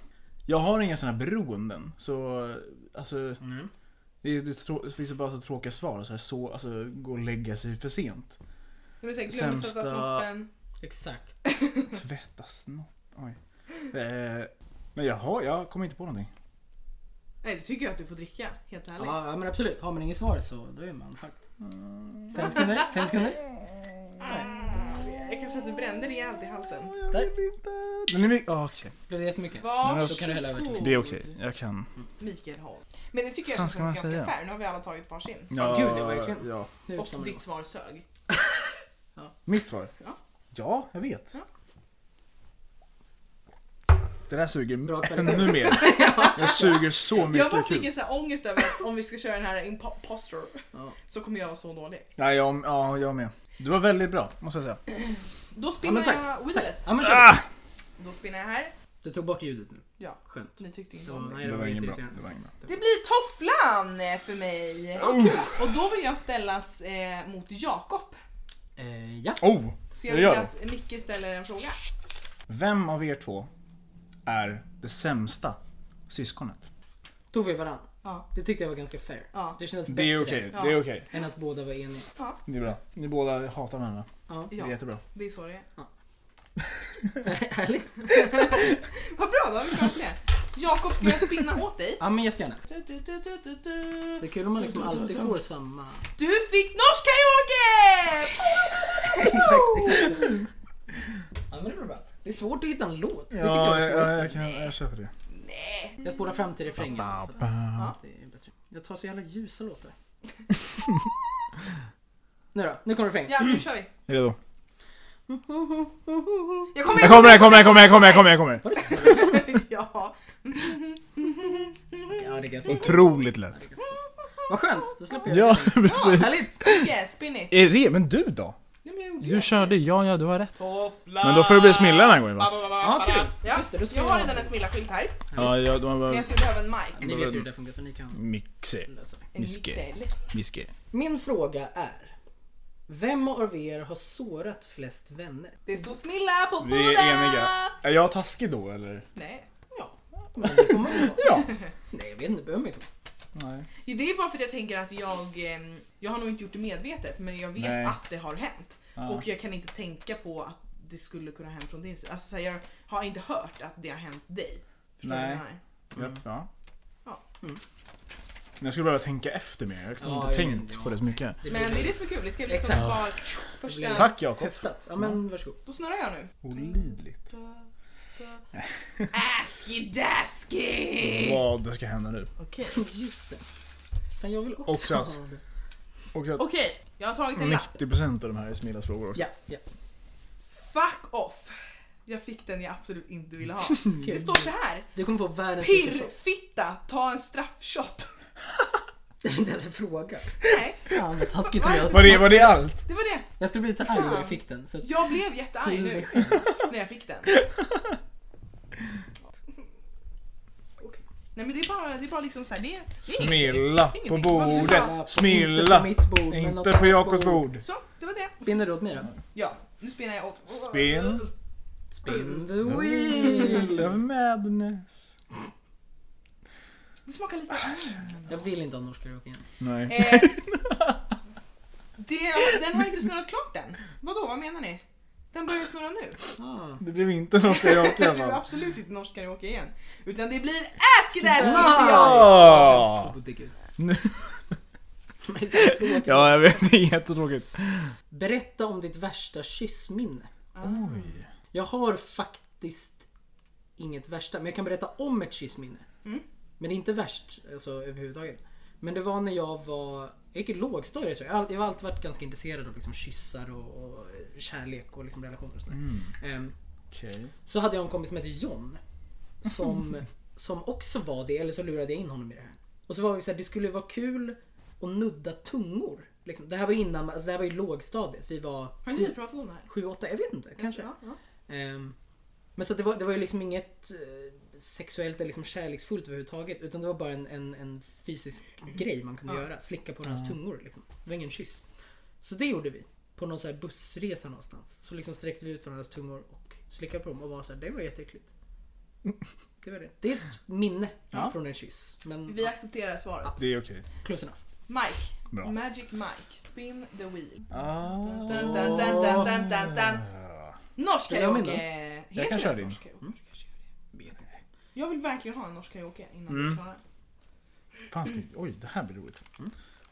Speaker 3: Jag har inga såna här beroenden. Så, alltså,
Speaker 1: inte. Mm.
Speaker 3: det, är- det, trå- det finns ju bara så tråkiga svar. Så här, så, alltså, gå och lägga sig för sent.
Speaker 2: Det vill säga glöm att tvätta
Speaker 3: Sämsta-
Speaker 2: snoppen.
Speaker 1: Exakt.
Speaker 3: Tvätta snopp. Oj. Eh, men jag har, jag kommer inte på någonting.
Speaker 2: Nej, du tycker jag att du får dricka. Helt ärligt.
Speaker 1: Ja, ja men absolut, har man inget svar så då är man fucked. Fem sekunder, fem
Speaker 3: [laughs]
Speaker 1: sekunder.
Speaker 2: Jag kan säga att du brände rejält i halsen.
Speaker 3: Jag
Speaker 1: Tack.
Speaker 3: vill inte. Den är mycket, ah, okej.
Speaker 1: Blev det jättemycket?
Speaker 3: Men
Speaker 2: Varsågod.
Speaker 1: då kan du hälla över till-
Speaker 3: Det är okej, jag kan.
Speaker 2: Mikael Holm. Men det tycker jag
Speaker 3: Fan,
Speaker 2: känns
Speaker 3: ska man
Speaker 2: ganska
Speaker 3: säga?
Speaker 2: fair. Nu har vi alla tagit varsin.
Speaker 3: Ja,
Speaker 1: gud, ja, verkligen.
Speaker 3: Ja.
Speaker 1: Nu
Speaker 2: Och
Speaker 1: samlar vi
Speaker 2: ditt svar sög.
Speaker 3: Mitt svar?
Speaker 2: Ja.
Speaker 3: Ja, jag vet.
Speaker 2: Ja.
Speaker 3: Det där suger [laughs]
Speaker 1: Bra kvalitet. [laughs]
Speaker 3: ännu mer. Jag suger så
Speaker 2: Jag
Speaker 3: mycket
Speaker 2: bara
Speaker 3: kul.
Speaker 2: fick en sån här ångest över att om vi ska köra den här imposter
Speaker 1: Ja.
Speaker 2: så kommer jag vara så dålig.
Speaker 3: Nej, jag, ja, jag med. Du var väldigt bra, måste jag säga.
Speaker 2: Då
Speaker 1: Ja,
Speaker 2: spinner
Speaker 1: men tack.
Speaker 2: jag
Speaker 1: tack.
Speaker 2: wheelet.
Speaker 1: Ja, men kör.
Speaker 3: Ah!
Speaker 2: Då spinner jag här.
Speaker 1: Du tog bort ljudet nu.
Speaker 2: Ja,
Speaker 1: Skönt.
Speaker 2: ni tyckte inte
Speaker 1: Ja,
Speaker 2: om det.
Speaker 1: nej,
Speaker 3: Det
Speaker 1: det
Speaker 3: var
Speaker 1: var
Speaker 3: ingen
Speaker 1: inte
Speaker 3: bra.
Speaker 1: riktigt
Speaker 3: Det var ingen bra.
Speaker 2: Det blir tofflan eh, för mig.
Speaker 3: Mm.
Speaker 2: Och då vill jag ställas eh, mot Jakob.
Speaker 1: Eh, ja.
Speaker 3: Oh!
Speaker 2: Så jag
Speaker 3: Jag
Speaker 2: vill
Speaker 3: gör
Speaker 2: att Micke ställer en fråga.
Speaker 3: Vem av er två är det sämsta syskonet?
Speaker 1: Tog vi varann.
Speaker 2: Ja.
Speaker 1: Det tyckte jag var ganska fair.
Speaker 2: Ja.
Speaker 1: Det kändes bättre
Speaker 3: Det är okej,
Speaker 2: Ja.
Speaker 3: det är okej.
Speaker 1: än att båda var eniga.
Speaker 2: ja,
Speaker 3: Det är bra. Ni båda hatar varandra.
Speaker 1: Ja. [laughs]
Speaker 3: Det är
Speaker 2: ja,
Speaker 3: jättebra.
Speaker 2: det är så det är.
Speaker 1: Härligt.
Speaker 2: Vad bra, då har vi klart det. Jakob, ska jag spinna
Speaker 1: [laughs]
Speaker 2: åt dig?
Speaker 1: Ja men jättegärna.
Speaker 2: Du, du, du, du, du, du.
Speaker 1: Det är kul om man liksom alltid får samma...
Speaker 2: Du fick norsk karaoke!
Speaker 1: exakt, exakt. så. Ja men det var bra. Det är svårt att hitta en låt. Det tycker jag är svårast.
Speaker 3: jag, kan, jag köper det.
Speaker 2: Nej.
Speaker 1: Jag spolar fram till refrängen.
Speaker 3: Ba,
Speaker 1: för att
Speaker 3: ba.
Speaker 1: Det är bättre. Jag tar så jävla ljusa låtar. [laughs] nu då, nu kommer refrängen.
Speaker 2: Ja, nu kör vi.
Speaker 3: Är du redo?
Speaker 2: Jag kommer!
Speaker 3: Jag kommer, jag kommer, jag kommer, jag kommer, jag kommer, jag kommer!
Speaker 1: Var det så?
Speaker 2: [laughs] Ja.
Speaker 1: Ja det är ganska
Speaker 3: Otroligt lätt.
Speaker 1: Vad skönt, då släpper jag
Speaker 3: Ja,
Speaker 1: det.
Speaker 3: [laughs] precis.
Speaker 1: Härligt!
Speaker 2: Yes, spinn it.
Speaker 3: Är det, men du då?
Speaker 2: Nu blir jag
Speaker 3: Du
Speaker 2: orolig.
Speaker 3: körde, ja, ja, du har rätt.
Speaker 2: Tofflan.
Speaker 3: Men då får det bli Smilla den här gången va?
Speaker 1: Ja, kul!
Speaker 2: Ja,
Speaker 1: Just det, då ska
Speaker 2: jag
Speaker 1: vi
Speaker 2: har
Speaker 1: ha-
Speaker 2: redan en Smilla-skylt här.
Speaker 3: Ja, ja, de har
Speaker 2: Men
Speaker 3: bara...
Speaker 2: jag skulle behöva en mic.
Speaker 1: Ni vet ju hur det funkar så ni kan
Speaker 3: Mixe.
Speaker 1: lösa det.
Speaker 2: En
Speaker 3: Miske.
Speaker 2: mixel.
Speaker 3: Miske.
Speaker 1: Min fråga är. Vem av er har sårat flest vänner?
Speaker 2: Det står Smilla på båda.
Speaker 3: Vi är eniga. Är jag taskig då eller?
Speaker 2: Nej.
Speaker 1: Ja, men det får man ju vara.
Speaker 3: Ja.
Speaker 1: Nej jag vet inte, det behöver man inte vara.
Speaker 3: Nej.
Speaker 2: Jo, Det är bara för att jag tänker att jag, ehm, jag har nog inte gjort det medvetet men jag vet
Speaker 3: Nej.
Speaker 2: att det har hänt.
Speaker 3: Ja.
Speaker 2: Och jag kan inte tänka på att det skulle kunna ha hänt från din sida. Alltså, så här, jag har inte hört att det har hänt dig. Förstår du vad
Speaker 3: Nej.
Speaker 2: jag menar?
Speaker 3: Japp, Mm. ja.
Speaker 2: Ja.
Speaker 1: Mm.
Speaker 3: Men Jag skulle behöva tänka efter mer. Jag har
Speaker 1: Ja,
Speaker 3: inte
Speaker 1: jag
Speaker 3: tänkt
Speaker 1: vet.
Speaker 3: på det så mycket.
Speaker 1: Det
Speaker 2: Men
Speaker 1: blir
Speaker 2: det är det som är kul. Det ska liksom
Speaker 1: Exakt.
Speaker 2: bara första...
Speaker 1: Ja.
Speaker 3: Tack Jakob.
Speaker 1: Häftat. Ja men varsågod.
Speaker 2: Då snurrar jag nu.
Speaker 3: Olidligt.
Speaker 2: Asky dasky!
Speaker 3: Vad ska hända nu?
Speaker 2: Okej.
Speaker 1: Just det. Fan jag vill också,
Speaker 3: Också att-
Speaker 1: ha det.
Speaker 3: Och att
Speaker 2: Okej, jag har tagit en lapp.
Speaker 3: 90% av de här är Smillas frågor också.
Speaker 1: Ja, ja.
Speaker 2: Fuck off! Jag fick den jag absolut inte
Speaker 3: [laughs]
Speaker 2: ville ha. Det
Speaker 1: Kul.
Speaker 2: står så här.
Speaker 1: Du kommer få världens största chock.
Speaker 2: Pirrfitta, ta en straffshot.
Speaker 1: [laughs] Det är alltså inte ens en fråga.
Speaker 2: Nej,
Speaker 1: Fan vad taskigt att göra.
Speaker 3: Var det, var det allt?
Speaker 2: det var det.
Speaker 1: Jag skulle blivit så arg om
Speaker 2: Fan.
Speaker 1: jag fick den. Så att...
Speaker 2: Jag blev jättearg
Speaker 1: Skyll
Speaker 2: nu
Speaker 1: dig själv.
Speaker 2: när jag fick den. [laughs] Okej. Nej men det är bara, det är bara liksom såhär, det, det är inget.
Speaker 3: Smilla på
Speaker 2: Ingenting.
Speaker 3: bordet.
Speaker 1: Inte på
Speaker 3: Smilla.
Speaker 1: mitt bord. men något
Speaker 3: Inte på
Speaker 1: annat
Speaker 3: Jakobs bord.
Speaker 2: Så, det var det.
Speaker 1: Spinner du åt mig då?
Speaker 2: Ja, nu spelar jag åt...
Speaker 3: Spinn.
Speaker 1: Spin the wheel.
Speaker 3: of madness.
Speaker 2: Det smakar lite... Mm.
Speaker 1: Jag vill inte ha norsk karaoke igen.
Speaker 3: Nej.
Speaker 2: Eh, det, den har inte snurrat klart än. Vadå, vad menar ni? Den börjar snurra nu.
Speaker 1: Ah.
Speaker 3: Det blev inte något karaoke
Speaker 2: Det
Speaker 3: i alla
Speaker 2: blir [laughs]
Speaker 3: fall.
Speaker 2: absolut inte norsk karaoke igen. Utan det blir Ask Dash!
Speaker 1: Ah. [laughs] Ja.
Speaker 3: Ja!
Speaker 1: Åh, gud. Det är så tråkigt.
Speaker 3: Ja, jag vet. Det är jättetråkigt.
Speaker 1: Berätta om ditt värsta kyssminne.
Speaker 2: Ah.
Speaker 1: Jag har faktiskt inget värsta, men jag kan berätta om ett kyssminne.
Speaker 2: Mm.
Speaker 1: Men det är inte värst alltså, överhuvudtaget. Men det var när jag var, jag gick i lågstadiet tror jag. Jag har all- Jag har alltid varit ganska intresserad av liksom, kyssar och, och kärlek och liksom, relationer och sådär. Ehm,
Speaker 3: Okej.
Speaker 1: så hade jag en kompis som hette John. Som, som också var det, eller så lurade jag in honom i det här. Och så var vi så här, det skulle vara kul att nudda tungor. Liksom. Det här var ju innan, alltså det här var ju lågstadiet. Vi var
Speaker 2: Har inte vi pratat om det här?
Speaker 1: sju, åtta, jag vet inte. Kanske.
Speaker 2: Ja, ja.
Speaker 1: Ehm, men så att det, var, det var ju liksom inget eh, sexuellt eller liksom kärleksfullt överhuvudtaget. Utan det var bara en, en, en fysisk grej man kunde
Speaker 2: Ja.
Speaker 1: göra. Slicka på hans tungor liksom. Det var ingen kyss. Så det gjorde vi. På någon så här bussresa någonstans. Så liksom sträckte vi ut varandras tungor och slickade på dem och var så här, det var jätteäckligt. Det var det. Det är ett minne
Speaker 3: Ja.
Speaker 1: från en kyss. Men
Speaker 2: Vi
Speaker 1: ja,
Speaker 2: accepterar svaret.
Speaker 3: Det är okej.
Speaker 1: close enough.
Speaker 2: Mike.
Speaker 3: Bra.
Speaker 2: Magic Mike. Spin the wheel.
Speaker 3: Ah.
Speaker 2: Dun, dun, dun, dun, dun, dun, dun. Norsk
Speaker 1: Vill jag ha
Speaker 2: karaoke.
Speaker 1: min
Speaker 2: Heter
Speaker 3: Jag kan köra
Speaker 2: det
Speaker 3: din. Mm.
Speaker 2: norsk karaoke? Jag vill verkligen ha en norsk karaoke innan
Speaker 3: Mm.
Speaker 2: vi är klara.
Speaker 3: Fan, ska... Oj, det här blir roligt.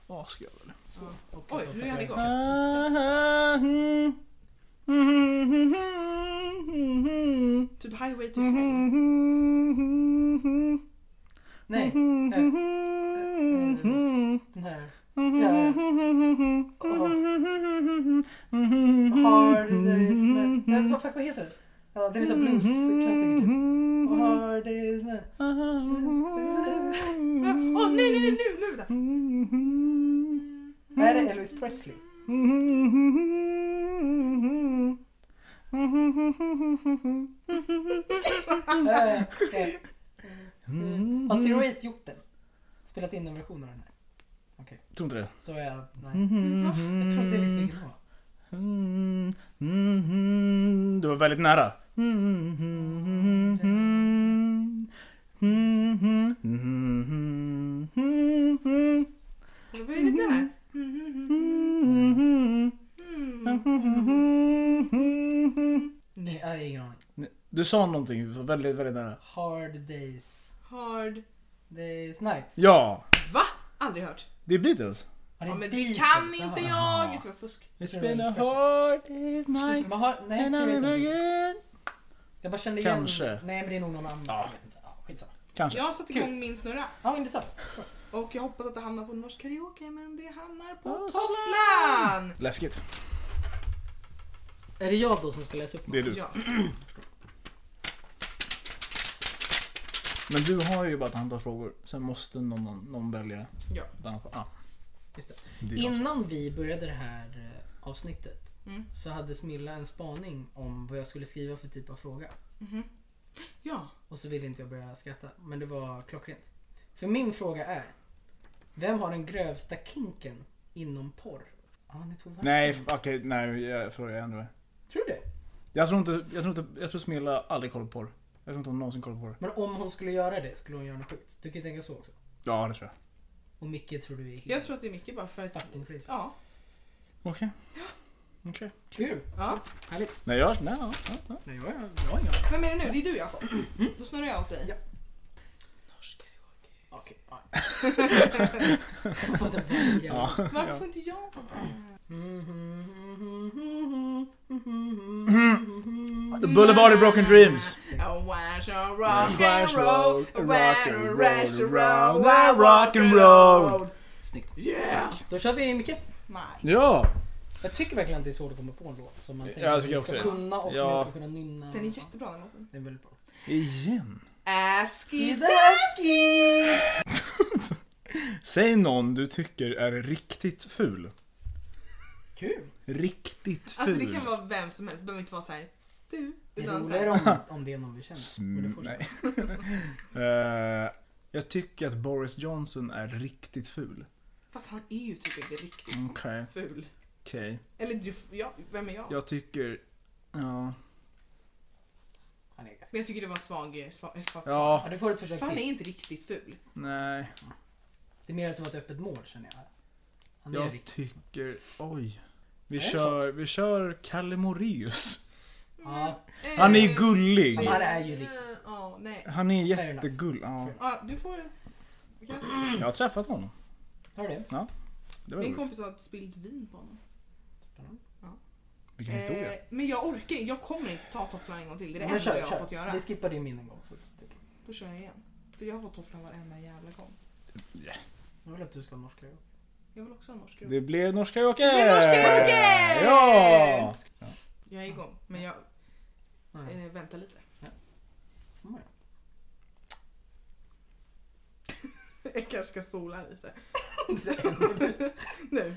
Speaker 3: Ah, ska jag väl?
Speaker 1: Och
Speaker 2: Oj,
Speaker 1: så
Speaker 2: nu
Speaker 1: fattar
Speaker 2: är han
Speaker 1: jag-
Speaker 2: igång. Typ Highway to
Speaker 3: Mm-hmm.
Speaker 2: Hell.
Speaker 1: Nej. eh, Den här. Ja. Hardest man. Vad fuck vad heter den? Ja, det är sån bluesklassiker typ.
Speaker 3: Mm-hmm.
Speaker 1: Hardest man.
Speaker 2: Åh nej, nej, nej, nu, nu! Där.
Speaker 1: Är det Elvis Presley? Eh, eh.
Speaker 3: Mm-hmm.
Speaker 1: Har Zero Eight gjort den? Spelat in en version av den här?
Speaker 3: Tror inte det.
Speaker 1: Då är jag... Nej.
Speaker 3: Mm-hmm.
Speaker 1: Jag tror inte det visste vilken det var.
Speaker 3: Du var väldigt nära.
Speaker 2: Vad är det där? Mm.
Speaker 1: Nej, jag har ingen aning.
Speaker 3: Du sa någonting, du var väldigt, väldigt nära.
Speaker 1: Hard Days.
Speaker 2: Hard...
Speaker 1: Days Night.
Speaker 3: Ja,
Speaker 2: Va? Aldrig hört.
Speaker 3: det är Beatles.
Speaker 1: Har
Speaker 2: Ja, men det
Speaker 1: Beatles?
Speaker 2: kan
Speaker 1: Jaha.
Speaker 2: inte jag! Det var fusk.
Speaker 1: It's been a
Speaker 3: hard day's night
Speaker 1: Man har, nej, Zero Eight har inte gjort. Jag bara kände igen...
Speaker 3: Kanske.
Speaker 1: Nej, men det är nog någon annan.
Speaker 3: Ja.
Speaker 1: Jag vet inte. Ja, skitsamma.
Speaker 3: Kanske.
Speaker 2: Jag satte
Speaker 1: Kul.
Speaker 2: igång min snurra.
Speaker 1: Ja, intressant.
Speaker 2: Och jag hoppas att det hamnar på norsk karaoke, men det hamnar på
Speaker 3: Åh,
Speaker 2: tofflan!
Speaker 3: Läskigt.
Speaker 1: Är det jag då som ska läsa upp något?
Speaker 3: Det är du.
Speaker 2: Ja.
Speaker 3: Men du har ju bara ett antal frågor. Sen måste någon, någon, någon välja
Speaker 2: Ja.
Speaker 3: ett annat. Ah,
Speaker 1: Just det.
Speaker 3: det är jag som-
Speaker 1: Innan vi började det här eh, avsnittet
Speaker 2: Mm.
Speaker 1: så hade Smilla en spaning om vad jag skulle skriva för typ av fråga.
Speaker 2: Mhm. Ja.
Speaker 1: Och så ville inte jag börja skratta, men det var klockrent. För min fråga är, vem har den grövsta kinken inom porr? Ja, ni tog varandra.
Speaker 3: Nej, f- okej, nej, jag frågar ändå.
Speaker 1: Tror du det?
Speaker 3: Jag tror inte, jag tror inte, jag tror Smilla aldrig kollar på porr. Jag tror inte hon någonsin kollar på porr.
Speaker 1: Men om hon skulle göra det skulle hon göra något sjukt. Du kan ju tänka så också.
Speaker 3: Ja, det tror jag.
Speaker 1: Och Micke tror du är helt
Speaker 2: Jag tror att det är mycket bara för att...
Speaker 1: fucking crazy.
Speaker 2: Ja.
Speaker 3: Okej. Okej.
Speaker 1: Kul!
Speaker 2: ja.
Speaker 1: Härligt.
Speaker 3: Nej, jag, nej, ja, ja, ja.
Speaker 1: Nej, jag, jag, jag har inga.
Speaker 2: Vem är det nu? Det är du Jakob. Då snurrar jag åt dig.
Speaker 1: Ja. Okej. ja. [laughs] Vad det var igen.
Speaker 3: Ja.
Speaker 2: Varför får inte jag?
Speaker 1: Mm-hmm.
Speaker 3: The Boulevard of Broken Dreams.
Speaker 2: A wash of
Speaker 3: Rock
Speaker 2: rock
Speaker 3: and
Speaker 2: and
Speaker 3: roll,
Speaker 2: roll,
Speaker 3: a
Speaker 2: a
Speaker 3: rock
Speaker 2: wash
Speaker 3: and
Speaker 2: of
Speaker 3: roll,
Speaker 2: rash
Speaker 3: a
Speaker 2: of
Speaker 3: round
Speaker 2: roll,
Speaker 3: of
Speaker 2: a
Speaker 3: rock
Speaker 2: rock
Speaker 3: and
Speaker 2: and
Speaker 3: roll.
Speaker 2: roll.
Speaker 1: Snyggt.
Speaker 2: Yeah!
Speaker 1: Då kör vi Micke.
Speaker 2: Nej.
Speaker 3: Ja!
Speaker 1: Jag tycker verkligen att det är så du kommer på en låt som man
Speaker 3: Ja,
Speaker 1: tänker
Speaker 3: jag
Speaker 1: att
Speaker 3: tycker
Speaker 1: man
Speaker 3: också
Speaker 1: ska
Speaker 3: det.
Speaker 1: kunna och som
Speaker 3: Ja.
Speaker 1: man ska kunna nynna.
Speaker 2: Den är jättebra den låten.
Speaker 1: Den är väldigt bra.
Speaker 3: Igen.
Speaker 2: Asky dasky!
Speaker 3: Säg någon du tycker är riktigt ful.
Speaker 1: Kul!
Speaker 3: Riktigt ful.
Speaker 2: Alltså det kan vara vem som helst, det behöver inte vara såhär du.
Speaker 1: Det är
Speaker 2: Utan såhär,
Speaker 1: roligare
Speaker 3: [laughs]
Speaker 1: om, om det är någon vi känner. Men du
Speaker 3: Sm-
Speaker 1: får se.
Speaker 3: nej. Eh, jag tycker att Boris Johnson är riktigt ful.
Speaker 2: fast han är ju typ inte riktigt
Speaker 3: Okej.
Speaker 2: ful.
Speaker 3: Okej.
Speaker 2: Eller du, ja, vem är jag?
Speaker 3: Jag tycker... Ja.
Speaker 1: Han är ganska...
Speaker 2: Men jag tycker det var svag, eh, svag, svag
Speaker 1: Ja,
Speaker 3: Ja.
Speaker 1: du får ett försök
Speaker 2: För han är
Speaker 1: till.
Speaker 2: inte riktigt ful.
Speaker 3: Nej.
Speaker 1: Det är mer att det var ett öppet mål känner jag. Han är
Speaker 3: Jag
Speaker 1: riktigt...
Speaker 3: tycker... Oj. Vi
Speaker 1: Är det
Speaker 3: kör, vi kör Kalle Moraeus.
Speaker 1: Ja,
Speaker 2: Men,
Speaker 3: Mm. Han är
Speaker 2: eh,
Speaker 3: ju gullig.
Speaker 1: Han är ju riktigt.
Speaker 2: eh, Ja, nej.
Speaker 3: Han är
Speaker 1: Fair enough.
Speaker 3: jättegullig. Ja.
Speaker 2: Ja, du får...
Speaker 3: Jag har träffat honom.
Speaker 1: har du det?
Speaker 3: Ja. Det var
Speaker 2: Min
Speaker 3: roligt.
Speaker 2: kompis har spillt vin på honom.
Speaker 1: Spännande.
Speaker 3: Vilken historia.
Speaker 2: Eh, men jag orkar jag kommer inte ta tofflan en gång till. Det är det
Speaker 1: Men
Speaker 2: enda
Speaker 1: kör,
Speaker 2: jag har
Speaker 1: kör.
Speaker 2: fått göra.
Speaker 1: Vi skippar din min en gång. Så att,
Speaker 2: Då kör jag igen. För jag har fått tofflan varenda jävla gång.
Speaker 1: jag vill att du ska ha norsk karaoke.
Speaker 2: Jag vill också ha norsk
Speaker 3: Det blev norsk karaoke!
Speaker 2: Det blev norsk karaoke!
Speaker 3: Ja!
Speaker 2: Jag är igång, men jag [laughs]
Speaker 1: Nej,
Speaker 2: eh, väntar lite.
Speaker 1: får man göra.
Speaker 2: [laughs] Jag kanske ska spola lite.
Speaker 1: Det är en minut.
Speaker 2: Nu.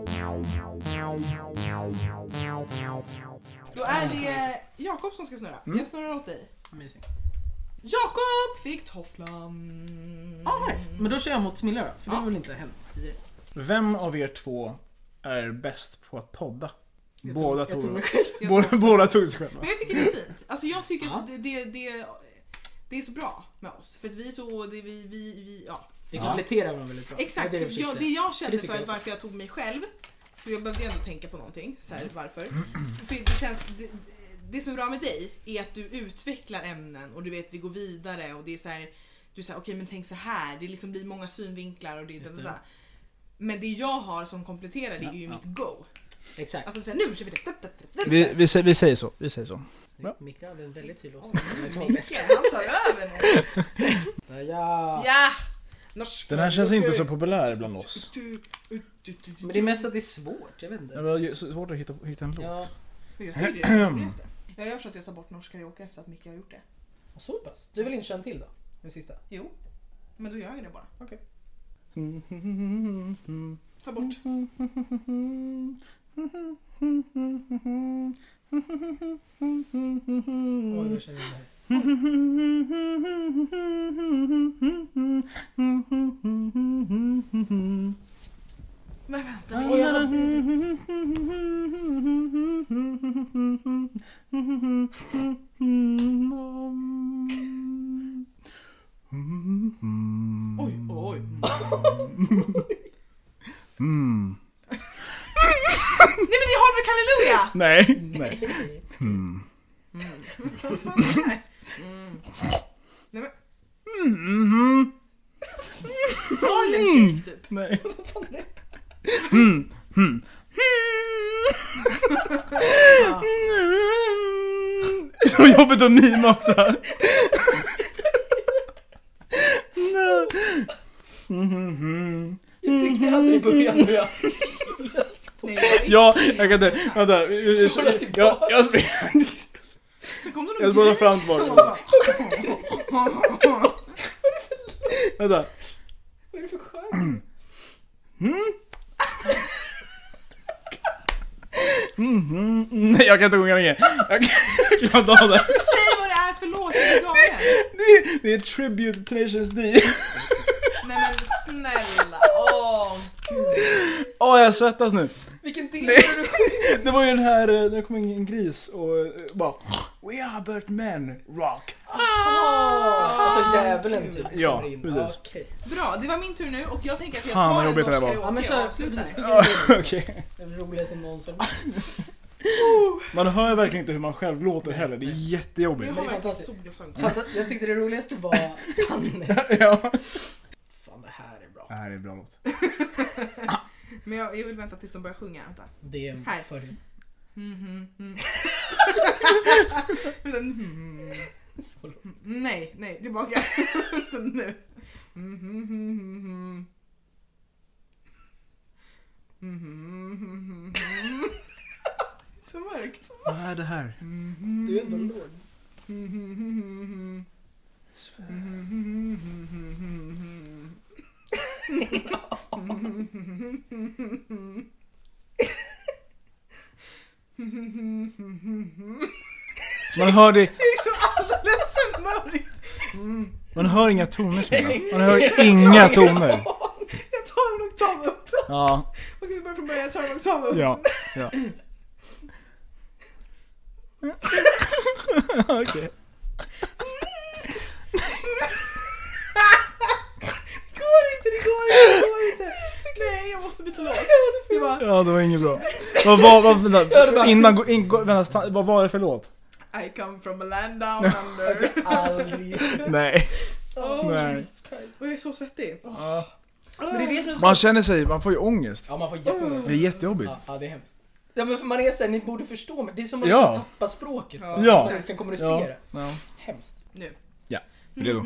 Speaker 2: Då är det eh, Jakob som ska snurra.
Speaker 1: Mm.
Speaker 2: Jag snurrar åt dig.
Speaker 1: Amazing. Mm.
Speaker 2: Jakob fick tofflan.
Speaker 1: Ah, nice. Men då kör jag mot Smilla då. För det
Speaker 2: Ja.
Speaker 1: har väl inte hänt tidigare.
Speaker 3: Vem av er två är bäst på att podda?
Speaker 1: Jag
Speaker 3: Båda
Speaker 1: tog- jag tog
Speaker 3: tog,
Speaker 1: mig själv.
Speaker 2: Jag
Speaker 3: båda, båda tog sig själva.
Speaker 2: Men jag tycker det är fint. Alltså jag tycker
Speaker 1: Ja.
Speaker 2: att det, det, det, det är så bra med oss. För att vi är så, det, vi, vi, vi, ja.
Speaker 1: Vi
Speaker 3: Ja.
Speaker 1: kompletterar varandra väldigt bra.
Speaker 2: Exakt,
Speaker 1: Det är
Speaker 2: för
Speaker 1: det
Speaker 2: jag, det
Speaker 1: försiktiga.
Speaker 2: jag
Speaker 1: Det
Speaker 2: kände
Speaker 1: tycker
Speaker 2: för
Speaker 1: jag
Speaker 2: att
Speaker 1: också.
Speaker 2: varför jag tog mig själv, för jag behövde ändå tänka på någonting, så
Speaker 1: Mm.
Speaker 2: här, varför. För det, känns, det, det som är bra med dig är att du utvecklar ämnen och du vet vi går vidare och det är så här, du säger okej men tänk så här, det liksom blir många synvinklar och det,
Speaker 1: Just
Speaker 2: det.
Speaker 1: det.
Speaker 2: det. Men det jag har som kompletterar det är ju
Speaker 3: Ja, ja.
Speaker 2: mitt go.
Speaker 1: Exakt.
Speaker 2: Alltså så här, nu kör vi det.
Speaker 3: Vi, vi, sä- vi säger så. Vi säger så.
Speaker 1: Snyggt. Micke hade en väldigt tydlig
Speaker 2: Oj,
Speaker 1: åsikt. som jag var bäst.
Speaker 2: Micke, han tar över nu.
Speaker 1: Ja.
Speaker 2: Ja! Norsk.
Speaker 3: Den här känns inte så populär bland oss.
Speaker 1: Men det är mest att det är svårt. Jag vet
Speaker 3: Det
Speaker 1: inte.
Speaker 3: var ju så svårt att hitta, hitta en
Speaker 1: Ja.
Speaker 3: låt.
Speaker 2: Jag tror det är det roligaste. [clears throat] Jag gör så att jag tar bort norsk karaoke efter att Micke har gjort det.
Speaker 1: Så pass. Du vill inte köra en till då? Den sista?
Speaker 2: Jo, men då gör jag det bara.
Speaker 1: Okej.
Speaker 2: Ta bort.
Speaker 1: Oj, vad känner jag här? [laughs]
Speaker 3: [laughs]
Speaker 2: Men vänta,
Speaker 1: Ja,
Speaker 2: men
Speaker 1: ja.
Speaker 2: jag... Oj, oj, oj.
Speaker 3: Mm.
Speaker 2: Nej men ni har väl Halleluja?
Speaker 3: Nej, nej. Mm.
Speaker 2: Vad fan är det här? Nej men,
Speaker 3: Mhm.
Speaker 2: Harlem Shake typ.
Speaker 3: Nej. Så jobbigt att mima också. Nej. Mhm.
Speaker 1: Jag tyckte jag hade det i [laughs] början. men jag-
Speaker 2: Nej, jag-
Speaker 3: Ja, jag kan inte. Vänta. Jag, jag, jag springer.
Speaker 2: Sen kom det någon
Speaker 3: Jag spolar fram
Speaker 2: gris
Speaker 3: tillbaka.
Speaker 2: som bara-
Speaker 3: Vänta.
Speaker 1: Vad är det för skärm?
Speaker 3: Mhm. Nej, jag kan inte sjunga längre. Jag jag klarar inte av det.
Speaker 2: Säg vad det är för låt, jag blir galen.
Speaker 3: Det- Det är tribute till Nations D.
Speaker 2: Nej men snälla, åh.
Speaker 3: Åh, jag svettas nu.
Speaker 1: Vilken del
Speaker 3: Nej.
Speaker 1: är du
Speaker 3: Det var ju den här, eh, det kom in en gris och eh, bara We are but men, rock.
Speaker 1: Alltså djävulen typ.
Speaker 3: Ja,
Speaker 1: kommer in.
Speaker 3: precis.
Speaker 1: Okej.
Speaker 2: Bra, det var min tur nu och jag tänker att jag
Speaker 3: Fan, vad
Speaker 2: tar en
Speaker 3: jobbigt
Speaker 2: norsk
Speaker 3: det där var.
Speaker 2: karaoke
Speaker 1: Ja men
Speaker 2: och
Speaker 1: kör.
Speaker 2: avslutar.
Speaker 3: [laughs] Okej.
Speaker 1: Det roligaste någonsin.
Speaker 3: Man hör verkligen inte hur man själv låter heller, det är
Speaker 2: Jag
Speaker 3: jättejobbigt.
Speaker 2: har
Speaker 1: Det är
Speaker 2: verkligen
Speaker 1: fantastiskt.
Speaker 2: solglasögon.
Speaker 1: Fast jag tyckte det roligaste var spannet.
Speaker 3: Ja.
Speaker 1: Fan det här är bra.
Speaker 3: Det här är en bra låt.
Speaker 2: Men jag, jag vill vänta tills de börjar sjunga. Vänta.
Speaker 1: Det är
Speaker 2: Här.
Speaker 1: för
Speaker 2: Mhm,
Speaker 1: [laughs]
Speaker 2: mm. Vänta,
Speaker 1: Mm.
Speaker 2: mhm.
Speaker 1: så långt.
Speaker 2: mm. nej, nej, tillbaka. [laughs] Vänta nu. Mhm, mhm, Mm, mhm. Så mörkt.
Speaker 3: Vad är det här?
Speaker 1: Du är ändå låg.
Speaker 3: Man hör, det,
Speaker 2: Det är så alldeles för mörkt.
Speaker 3: [laughs] man hör inga toner som Man hör inga toner.
Speaker 2: Jag tar en Oktav upp!
Speaker 3: Ja,
Speaker 2: Okej, vi börjar från början. Jag tar en oktav upp.
Speaker 3: ja, ja. [laughs] Okej.
Speaker 2: Det går inte, det går inte, det går inte! Nej, jag måste byta låt. Det var
Speaker 3: Ja, det var inget bra. Vad var, vad,
Speaker 1: Ja, det var-
Speaker 3: vänta, innan, gå- in, gå- vänta, ta- vad var det för låt?
Speaker 2: I come from a land down under.
Speaker 1: Aldrig.
Speaker 3: Nej.
Speaker 2: Åh,
Speaker 3: Nej.
Speaker 2: Oh, Jesus Christ. Och jag är så svettig.
Speaker 1: Men det är det som är så
Speaker 3: Man känner sig, man får ju ångest.
Speaker 1: Ja, man får
Speaker 3: Det
Speaker 2: Mm.
Speaker 1: jätteont.
Speaker 3: är jättejobbigt.
Speaker 1: Ja, ja, det är hemskt. Ja, men man är såhär, ni borde förstå mig. Det är som att
Speaker 3: Ja.
Speaker 1: liksom tappa språket.
Speaker 2: Ja.
Speaker 1: Man
Speaker 3: Ja.
Speaker 1: liksom inte kan kommunicera.
Speaker 3: Ja.
Speaker 1: Hemskt.
Speaker 2: Nu.
Speaker 3: Redo?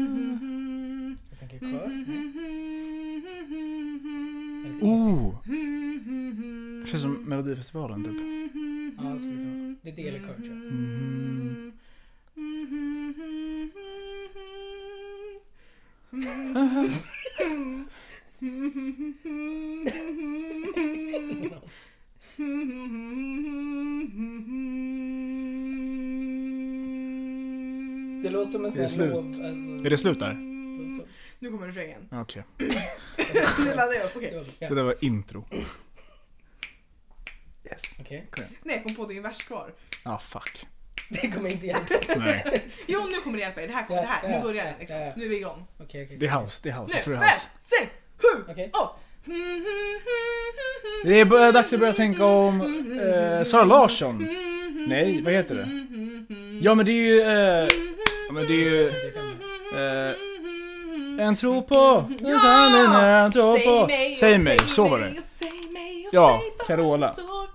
Speaker 1: Jag tänker kör.
Speaker 2: Mm,
Speaker 1: Nej.
Speaker 3: Oh! Det känns som Melodifestivalen typ.
Speaker 1: Ja, det skulle kunna vara. Det är det eller kör, tror jag.
Speaker 2: Mm.
Speaker 1: [laughs] Det låter som en sån
Speaker 3: Det är
Speaker 1: här
Speaker 3: slut.
Speaker 1: lov, alltså,
Speaker 3: [laughs]
Speaker 2: [laughs]
Speaker 3: Är det slut där?
Speaker 1: låt
Speaker 2: Nu kommer refrängen.
Speaker 3: Okej.
Speaker 2: Nu laddar jag upp, okej.
Speaker 1: så. Ja,
Speaker 3: Det där var intro. Yes.
Speaker 1: Okej. [laughs]
Speaker 2: Nej, jag kom på att det är en vers kvar.
Speaker 3: Ah fuck.
Speaker 1: Det kommer inte hjälpa.
Speaker 3: Nej.
Speaker 2: Jo, nu kommer det hjälpa er. Det här kommer, det här. Nu börjar det liksom. Nu är vi igång.
Speaker 1: Okej, okej.
Speaker 3: Det är house, det är house.
Speaker 2: Nu,
Speaker 3: Jag tror det
Speaker 2: fem,
Speaker 3: är house.
Speaker 2: sex, sju,
Speaker 1: Okej.
Speaker 2: åtta.
Speaker 3: Det är bör- dags att börja tänka om eh, Sara Larsson. Nej, vad heter det? Ja men det är ju... Eh, ja, men det är ju...
Speaker 1: Det kan du.
Speaker 3: Eh, en tro på... En sanning är en tro på...
Speaker 2: och
Speaker 3: Säg mig, så var det.
Speaker 2: och Säg mig och
Speaker 3: Ja,
Speaker 2: säg vad
Speaker 3: Carola.
Speaker 2: det står.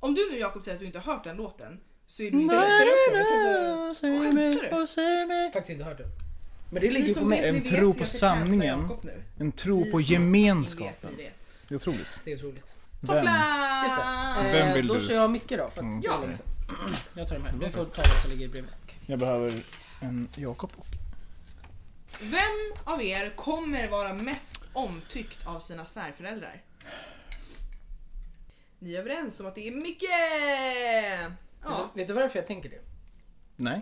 Speaker 2: Om du nu Jakob säger att du inte har hört den låten så är du inte
Speaker 1: Nej.
Speaker 2: rätt.
Speaker 3: Säg mig och säg mig.
Speaker 1: Jag har faktiskt inte hört det. Men det ligger
Speaker 2: Ni
Speaker 1: ju på
Speaker 2: som
Speaker 1: mig.
Speaker 2: vet, ni
Speaker 3: En
Speaker 2: vet,
Speaker 3: tro
Speaker 2: jag
Speaker 3: på
Speaker 2: fick chansa
Speaker 3: sanningen.
Speaker 2: Jakob nu.
Speaker 3: En tro på
Speaker 2: Ni-
Speaker 3: gemenskapen.
Speaker 2: ni vet, Eh, ni vet.
Speaker 3: Det är otroligt.
Speaker 1: Det är otroligt.
Speaker 3: Vem?
Speaker 2: Tofflan!
Speaker 1: Just det. Eh,
Speaker 3: Vem vill
Speaker 1: då
Speaker 3: du?
Speaker 1: kör jag Micke då. För att
Speaker 3: Mm.
Speaker 1: det är
Speaker 2: Ah. Ja.
Speaker 1: länge sedan. Jag tar de här. Vi får ta den som ligger bredvid.
Speaker 3: Jag behöver en Jakob och...
Speaker 2: Vem av er kommer vara mest omtyckt av sina svärföräldrar? Ni är överens om att det är Micke!
Speaker 1: Vet,
Speaker 2: Ja.
Speaker 1: du, vet du varför jag tänker det?
Speaker 3: Nej.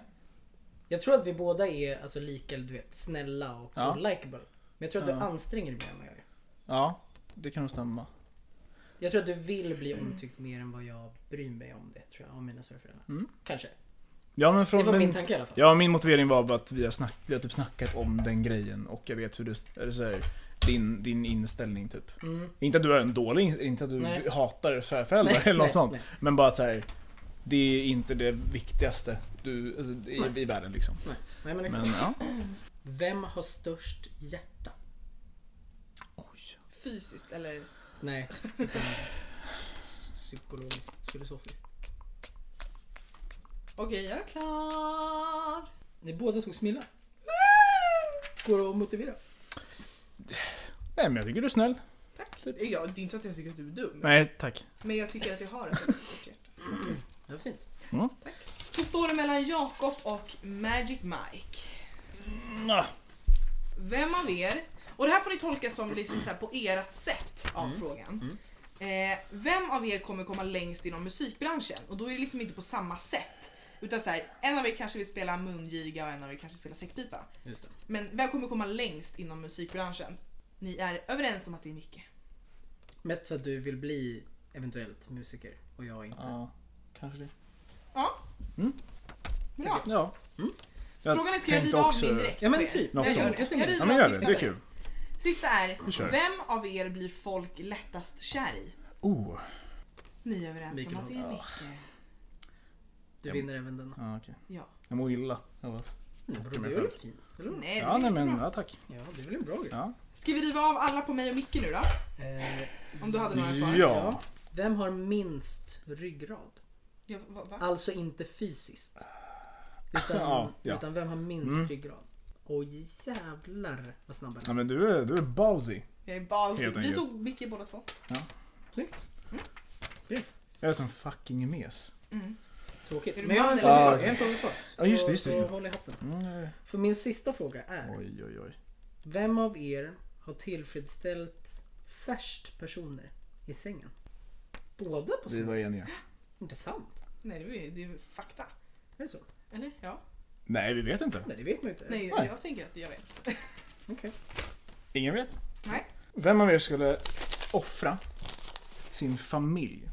Speaker 1: Jag tror att vi båda är alltså, lika, du vet, snälla och,
Speaker 3: Ja.
Speaker 1: och likable. Men jag tror att du
Speaker 3: Ja.
Speaker 1: anstränger dig mer än vad jag gör.
Speaker 3: Ja, det kan nog stämma.
Speaker 1: Jag tror att du vill bli omtyckt mer än vad jag bryr mig om det, tror jag, om mina svärföräldrar.
Speaker 3: Mm.
Speaker 1: Kanske.
Speaker 3: Ja men från...
Speaker 1: Det var
Speaker 3: men-
Speaker 1: min tanke i alla fall.
Speaker 3: Ja, min motivering var bara att vi har, snack, vi har typ snackat om den grejen och jag vet hur du, eller så här, din, din inställning typ.
Speaker 1: Mm.
Speaker 3: Inte att du är en dålig, ins- inte att du
Speaker 1: Nej.
Speaker 3: hatar svärföräldrar
Speaker 1: Nej,
Speaker 3: [laughs] eller något
Speaker 1: nej,
Speaker 3: sånt.
Speaker 1: nej.
Speaker 3: Men bara att så här, det är inte det viktigaste du, alltså, i, i världen liksom.
Speaker 1: Nej, men liksom.
Speaker 3: Men ja.
Speaker 1: Vem har störst hjärta?
Speaker 2: Fysiskt eller?
Speaker 1: Nej. utan Psykologiskt, filosofiskt.
Speaker 2: Okej, jag är klar.
Speaker 1: Ni båda tog Smilla. Går det att motivera?
Speaker 3: Nej men jag tycker du är snäll.
Speaker 2: Tack. Ja, det är inte så att jag tycker att du är dum.
Speaker 3: Nej tack.
Speaker 2: Men jag tycker att jag har ett väldigt stort hjärta.
Speaker 1: Det var fint.
Speaker 2: Så står det mellan Jakob och Magic Mike.
Speaker 3: ah.
Speaker 2: Vem av er, och det här får ni tolka som liksom så här på ert sätt av frågan. Eh, vem av er kommer komma längst inom musikbranschen? Och då är det liksom inte på samma sätt. Utan så här, en av er kanske vill spela mungiga och en av er kanske spelar säckpipa.
Speaker 1: Just det.
Speaker 2: Men vem kommer komma längst inom musikbranschen? Ni är överens om att det är Micke.
Speaker 1: Mest för att du vill bli eventuellt musiker och jag inte.
Speaker 3: Ja, kanske det.
Speaker 2: Ja.
Speaker 3: Mm.
Speaker 2: Bra.
Speaker 3: Ja.
Speaker 2: Så
Speaker 3: Jag
Speaker 2: frågan är, ska jag
Speaker 3: tänkte
Speaker 2: riva av
Speaker 3: också-
Speaker 2: min direkt?
Speaker 1: Ja men
Speaker 2: på er?
Speaker 1: typ.
Speaker 3: Något
Speaker 1: jag gör
Speaker 3: sånt.
Speaker 1: det. Jag tänker
Speaker 2: Jag
Speaker 1: det.
Speaker 2: river
Speaker 3: Ja men
Speaker 2: av
Speaker 3: gör det,
Speaker 2: sista
Speaker 3: det är
Speaker 2: sen.
Speaker 3: kul.
Speaker 2: Sista
Speaker 3: Vi kör.
Speaker 2: är, vem av er blir folk lättast kär i?
Speaker 3: Oh.
Speaker 2: Ni är överens
Speaker 1: Mikael
Speaker 2: om att det är
Speaker 1: Holmberg.
Speaker 2: Micke.
Speaker 1: Du vinner även denna.
Speaker 3: Ja, okej.
Speaker 2: Ja.
Speaker 3: Jag mår illa. Jag bara,
Speaker 1: Nej, vadå, det är väl fint? Eller? vadå?
Speaker 2: Nej, det
Speaker 3: ja
Speaker 2: är
Speaker 3: nej men
Speaker 2: jättebra.
Speaker 3: ja, tack.
Speaker 1: Ja, det är väl en bra grej.
Speaker 3: Ja.
Speaker 2: Ska vi riva av alla på mig och Micke nu då?
Speaker 1: Eh,
Speaker 2: Om du hade några kvar?
Speaker 3: Ja.
Speaker 1: Vem har minst ryggrad?
Speaker 2: Ja, va, va?
Speaker 1: Alltså inte fysiskt. Utan,
Speaker 3: Ja, ja.
Speaker 1: utan vem har minst
Speaker 3: Mm.
Speaker 1: ryggrad? Åh jävlar vad snabb
Speaker 3: ja
Speaker 1: han är.
Speaker 3: men du är, du är ballsy.
Speaker 2: Jag är balsig.
Speaker 3: Helt
Speaker 2: Vi
Speaker 3: enkelt.
Speaker 2: tog Micke båda två.
Speaker 1: Snyggt.
Speaker 3: Jag är som fucking mes.
Speaker 2: Mm.
Speaker 1: Tråkigt.
Speaker 2: Är det
Speaker 1: Men jag har en
Speaker 2: man
Speaker 1: fråga
Speaker 3: eller
Speaker 1: kvar.
Speaker 3: man?
Speaker 1: Jag har en fråga kvar.
Speaker 3: Ja, just det, just det,
Speaker 1: Så
Speaker 3: just det.
Speaker 1: håll i hatten.
Speaker 3: Mm.
Speaker 1: För min sista fråga är.
Speaker 3: Oj, oj, oj.
Speaker 1: Vem av er har tillfredsställt färst personer i sängen? Båda på
Speaker 3: Vi
Speaker 1: sängen?
Speaker 3: var eniga.
Speaker 1: Intressant.
Speaker 2: Nej, det är ju- det är ju fakta. Eh,
Speaker 1: Är det så?
Speaker 2: Eller? Ja.
Speaker 3: Nej, vi vet inte.
Speaker 1: Nej, det vet man ju inte.
Speaker 2: Nej,
Speaker 3: Nej.
Speaker 2: jag tänker att jag vet.
Speaker 1: Okej.
Speaker 3: Ingen vet.
Speaker 2: Nej.
Speaker 3: Vem av er skulle offra sin familj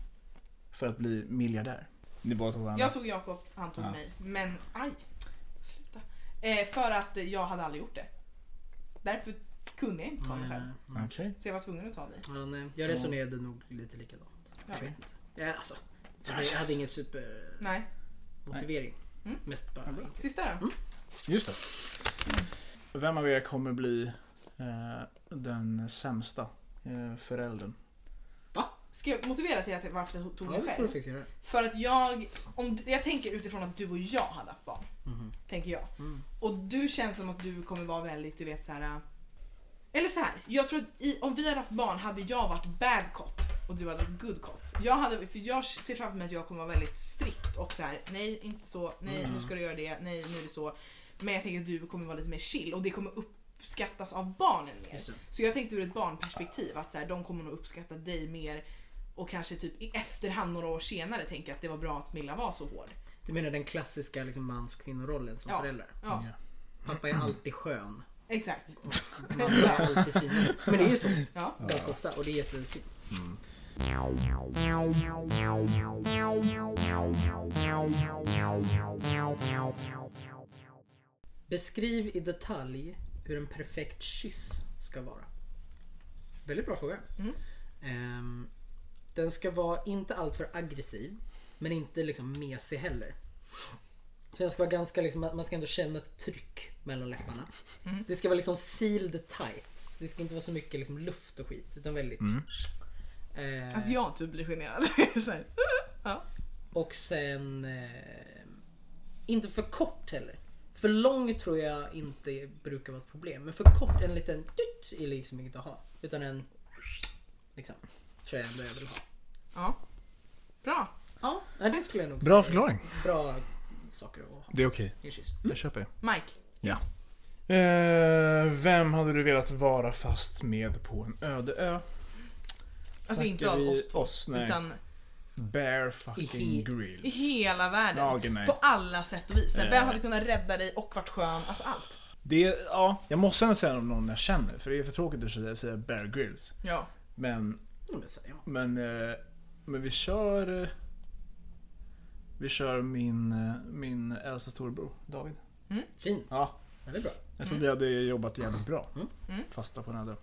Speaker 3: för att bli miljardär? Ni båda tog varandra.
Speaker 2: Jag tog Jakob, han tog
Speaker 3: Ja.
Speaker 2: mig. Men aj! Sluta. Eh, för att jag hade aldrig gjort det. Därför kunde jag inte ta mig
Speaker 1: Mm,
Speaker 2: själv.
Speaker 1: mm.
Speaker 3: Okej.
Speaker 2: Så jag var tvungen att ta dig.
Speaker 1: Ja, nej, eh, jag resonerade nog lite likadant.
Speaker 2: Ja.
Speaker 1: Jag vet inte. Ja, alltså, jag hade- jag hade ingen supermotivering.
Speaker 2: Nej. Mm.
Speaker 1: Mest bara...
Speaker 3: Ja, bra.
Speaker 2: Sista då?
Speaker 1: Mm.
Speaker 3: Just det. Vem av er kommer bli eh, den sämsta eh, föräldern?
Speaker 2: Ska jag motivera till att, varför jag tog
Speaker 1: Ja,
Speaker 2: mig
Speaker 1: det får du
Speaker 2: själv?
Speaker 1: fixa det.
Speaker 2: För att jag, om, jag tänker utifrån att du och jag hade haft barn.
Speaker 1: Mhm.
Speaker 2: Tänker jag.
Speaker 1: Mm.
Speaker 2: Och du känns som att du kommer vara väldigt, du vet så här. äh, Eller så här, jag tror att i, om vi hade haft barn hade jag varit bad cop och du hade varit good cop. Jag, hade, för jag ser framför mig att jag kommer vara väldigt strikt och så här, nej inte så, nej nu
Speaker 1: Mm.
Speaker 2: ska du göra det, nej nu är det så. Men jag tänker att du kommer vara lite mer chill och det kommer uppskattas av barnen mer.
Speaker 1: Just det.
Speaker 2: Så jag tänkte ur ett barnperspektiv att så här, de kommer nog uppskatta dig mer och kanske typ i efterhand några år senare tänka att det var bra att Smilla var så hård.
Speaker 1: Du menar den klassiska liksom, mans och kvinnorollen som
Speaker 2: Ja.
Speaker 1: förälder?
Speaker 2: Ja,
Speaker 3: Mm.
Speaker 1: Pappa är alltid
Speaker 2: [laughs]
Speaker 1: skön.
Speaker 2: exakt.
Speaker 1: Mamma är alltid svinig. Men det är ju så
Speaker 2: Ja.
Speaker 1: ganska ofta och det är jättesynd. Mm. Beskriv i detalj hur en perfekt kyss ska vara. Väldigt bra fråga.
Speaker 2: Mm.
Speaker 1: Ehm, den ska vara inte alltför aggressiv, men inte liksom mesig heller. Så den ska vara ganska liksom, man ska ändå känna ett tryck mellan läpparna. Det ska vara liksom sealed tight. Så det ska inte vara så mycket liksom luft och skit, utan väldigt... Eh,
Speaker 2: Att jag typ blir generad. [laughs] så här. Ja.
Speaker 1: Och sen... Eh, inte för kort heller. För lång tror jag inte brukar vara ett problem. Men för kort, en liten dytt är liksom inget att ha. Utan en... Liksom. Tror jag ändå jag vill ha.
Speaker 2: ja. Bra.
Speaker 1: Ja, nej, det skulle jag nog
Speaker 3: Bra
Speaker 1: säga.
Speaker 3: förklaring.
Speaker 1: Bra saker att ha
Speaker 3: Det är okej.
Speaker 1: i en kyss.
Speaker 3: Jag köper det.
Speaker 2: Mike.
Speaker 3: Ja. Eh, vem hade du velat vara fast med på en öde ö?
Speaker 2: Alltså inte
Speaker 3: Snackar
Speaker 2: av
Speaker 3: vi
Speaker 2: oss två.
Speaker 3: oss, nej.
Speaker 2: Utan
Speaker 3: Bare
Speaker 1: I-
Speaker 3: fucking
Speaker 2: i
Speaker 3: grills.
Speaker 2: hela världen.
Speaker 3: Nageln, nej.
Speaker 2: På alla sätt och vis. Så här, Vem
Speaker 3: Eh.
Speaker 2: hade kunnat rädda dig och varit skön? Alltså allt.
Speaker 3: Det är, ja, jag måste ändå säga om någon jag känner, för det är för tråkigt att säga- säga Bear Grylls.
Speaker 2: Ja.
Speaker 3: Men,
Speaker 1: Ja, men så, ja.
Speaker 3: men, eh, men vi kör... eh, Vi kör min, eh, min äldsta storebror, David.
Speaker 1: Fint.
Speaker 3: Ja. Mm.
Speaker 1: Väldigt bra.
Speaker 3: Jag tror vi hade jobbat jävligt bra.
Speaker 1: Mm.
Speaker 2: Mm.
Speaker 3: Fasta på den här dörren.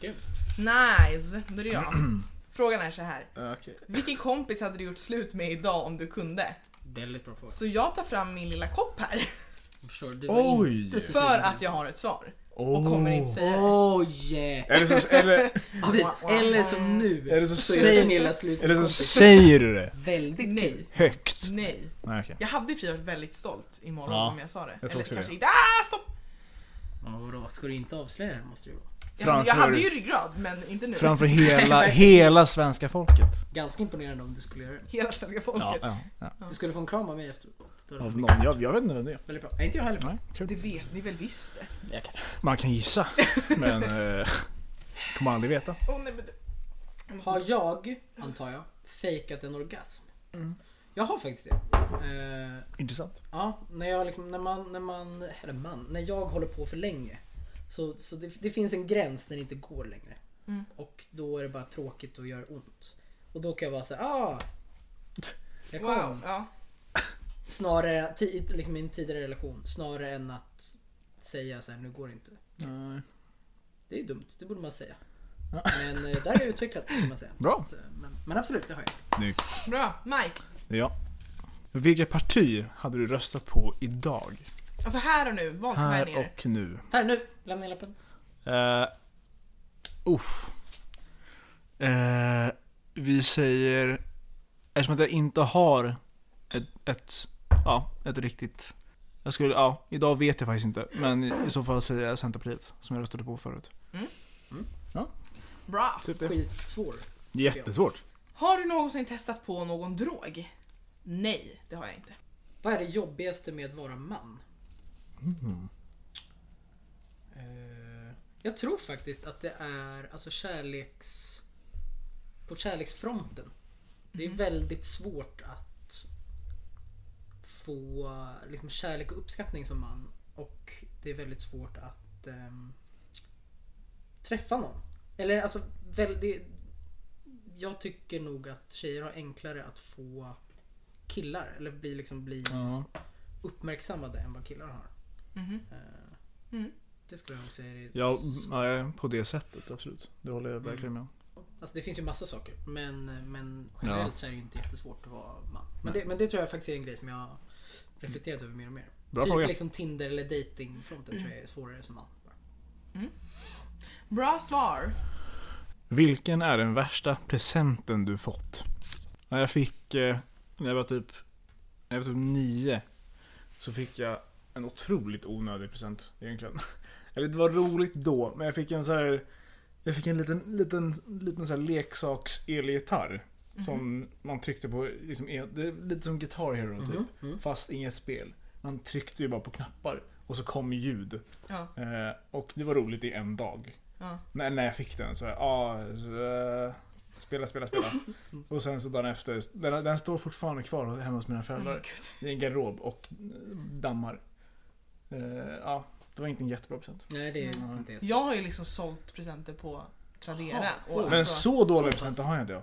Speaker 1: Grymt.
Speaker 2: Nice. Då är det
Speaker 3: Mm.
Speaker 2: jag.
Speaker 3: [clears throat]
Speaker 2: Frågan är så här.
Speaker 3: Ah. Okej.
Speaker 2: Vilken kompis hade du gjort slut med idag om du kunde?
Speaker 1: Väldigt bra fråga.
Speaker 2: Så jag tar fram min lilla kopp här.
Speaker 1: Jag förstår, du var
Speaker 3: Oj!
Speaker 1: inte så
Speaker 2: För
Speaker 1: sugen.
Speaker 2: att jag har ett svar. Och kommer inte säga det.
Speaker 1: Oj!
Speaker 3: Eller så, eller,
Speaker 1: Ja, precis. Eller som nu.
Speaker 3: Eller så
Speaker 1: är
Speaker 3: säger-
Speaker 1: Pernilla
Speaker 3: [laughs]
Speaker 1: slut
Speaker 3: eller så
Speaker 1: kompis.
Speaker 3: säger du det
Speaker 1: Väldigt kul.
Speaker 2: Nej.
Speaker 3: högt.
Speaker 2: typ- Nej.
Speaker 3: Nej,
Speaker 2: [laughs]
Speaker 3: okej.
Speaker 2: Jag hade i och för sig varit väldigt stolt imorgon
Speaker 3: Ja,
Speaker 2: om jag sa det.
Speaker 3: jag tror
Speaker 2: Eller
Speaker 3: också
Speaker 2: kanske
Speaker 3: det.
Speaker 2: inte. Ah, stopp!
Speaker 1: Ja, vadå? Ska du inte avslöja det här, måste det ju vara.
Speaker 2: Jag hade, jag
Speaker 3: Framför-
Speaker 2: hade ju ryggrad men inte nu.
Speaker 3: Framför hela, hela svenska folket.
Speaker 1: Ganska imponerande om du skulle göra det.
Speaker 2: [laughs] Hela svenska
Speaker 3: Ja,
Speaker 2: folket.
Speaker 3: ja, ja.
Speaker 1: Du skulle få en kram av mig efteråt. Det var
Speaker 3: Av
Speaker 1: väldigt
Speaker 3: någon. Jag, jag vet inte vem det är.
Speaker 1: Väldigt bra. Nej, inte jag heller
Speaker 3: Nej,
Speaker 1: faktiskt.
Speaker 3: kul.
Speaker 2: Det vet ni väl visst?
Speaker 3: Man kan gissa, men eh, kommer aldrig veta.
Speaker 2: Åh nej men... Jag måste...
Speaker 1: Har jag, antar jag, fejkat en orgasm? Jag har faktiskt det. Eh,
Speaker 3: Intressant.
Speaker 1: Ja, när jag liksom, när man, när man, eller man, när jag håller på för länge. Så, så det, det finns en gräns när det inte går längre.
Speaker 2: Mm.
Speaker 1: Och då är det bara tråkigt och gör ont. Och då kan jag vara så här, ah! Jag kom.
Speaker 2: Wow. Ja.
Speaker 1: Snarare, ti, liksom i en tidigare relation, snarare än att säga så här, nu går det inte.
Speaker 3: Nej.
Speaker 1: Det är ju dumt, det borde man säga.
Speaker 3: Ja.
Speaker 1: Men eh, där har jag utvecklat kan man säga.
Speaker 3: Bra.
Speaker 1: Så, men, men absolut, det har jag.
Speaker 3: Snyggt.
Speaker 2: Bra. Mike.
Speaker 3: Ja. Vilket parti hade du röstat på idag?
Speaker 2: Alltså här och nu. Vakna här
Speaker 3: Här
Speaker 2: nere.
Speaker 3: och nu.
Speaker 1: Här nu, lämna hela lappen.
Speaker 3: Uh, uff. Eh, vi säger... Eftersom att jag inte har ett, ett, ja, ett riktigt... Jag skulle, ja, idag vet jag faktiskt inte. Men i, i så fall säger jag Centerpartiet, som jag röstade på förut.
Speaker 2: Bra.
Speaker 3: Typ
Speaker 1: Skitsvår.
Speaker 3: Jättesvårt.
Speaker 2: Har du någonsin testat på någon drog? Nej, det har jag inte.
Speaker 1: Vad är det jobbigaste med att vara man? Eh, Jag tror faktiskt att det är alltså kärleks... På kärleksfronten. Det är väldigt svårt att få liksom, kärlek och uppskattning som man. Och det är väldigt svårt att ehm, träffa någon. Eller alltså, väl, det, jag tycker nog att tjejer har enklare att få killar. Eller bli, liksom, bli
Speaker 3: Ja.
Speaker 1: uppmärksammade än vad killar har.
Speaker 2: Mhm.
Speaker 1: Eh,
Speaker 2: Mm.
Speaker 1: Det skulle jag nog säga är
Speaker 3: Ja, ja, på det sättet absolut. Det håller jag verkligen med om.
Speaker 1: Alltså det finns ju massa saker. Men, men generellt
Speaker 3: Ja.
Speaker 1: så är det ju inte jättesvårt att vara man. Men
Speaker 3: Nej.
Speaker 1: det, men det tror jag faktiskt är en grej som jag har reflekterat över mer och mer.
Speaker 3: Bra
Speaker 1: typ
Speaker 3: fråga.
Speaker 1: liksom Tinder eller datingfronten tror jag är svårare som man.
Speaker 2: Bra svar.
Speaker 3: Vilken är den värsta presenten du fått? När jag fick, eh, när jag var typ, när jag var typ nio, så fick jag en otroligt onödig present egentligen. [laughs] Eller det var roligt då, men jag fick en så här, jag fick en liten, liten, liten så här leksaks elgitarr. Som man tryckte på, liksom, el- det är lite som Guitar Hero typ.
Speaker 1: Mhm, mm.
Speaker 3: Fast inget spel. Man tryckte ju bara på knappar och så kom ljud.
Speaker 2: Ja,
Speaker 3: Eh, och det var roligt i en dag.
Speaker 2: ja.
Speaker 3: När, när jag fick den så jag, ah, eh,
Speaker 2: [laughs]
Speaker 3: spela, spela, spela. Och sen så dagen efter, den, den står fortfarande kvar hemma hos mina föräldrar. I en garderob och eh, dammar. Eh, Ja, det var inte en jättebra present.
Speaker 1: Nej det är
Speaker 3: Mm.
Speaker 1: inte helt...
Speaker 2: Jag har ju liksom sålt presenter på Tradera.
Speaker 1: Jaha.
Speaker 2: och
Speaker 3: Men
Speaker 2: alltså-
Speaker 3: så dåliga
Speaker 1: pass.
Speaker 3: presenter har jag inte jag.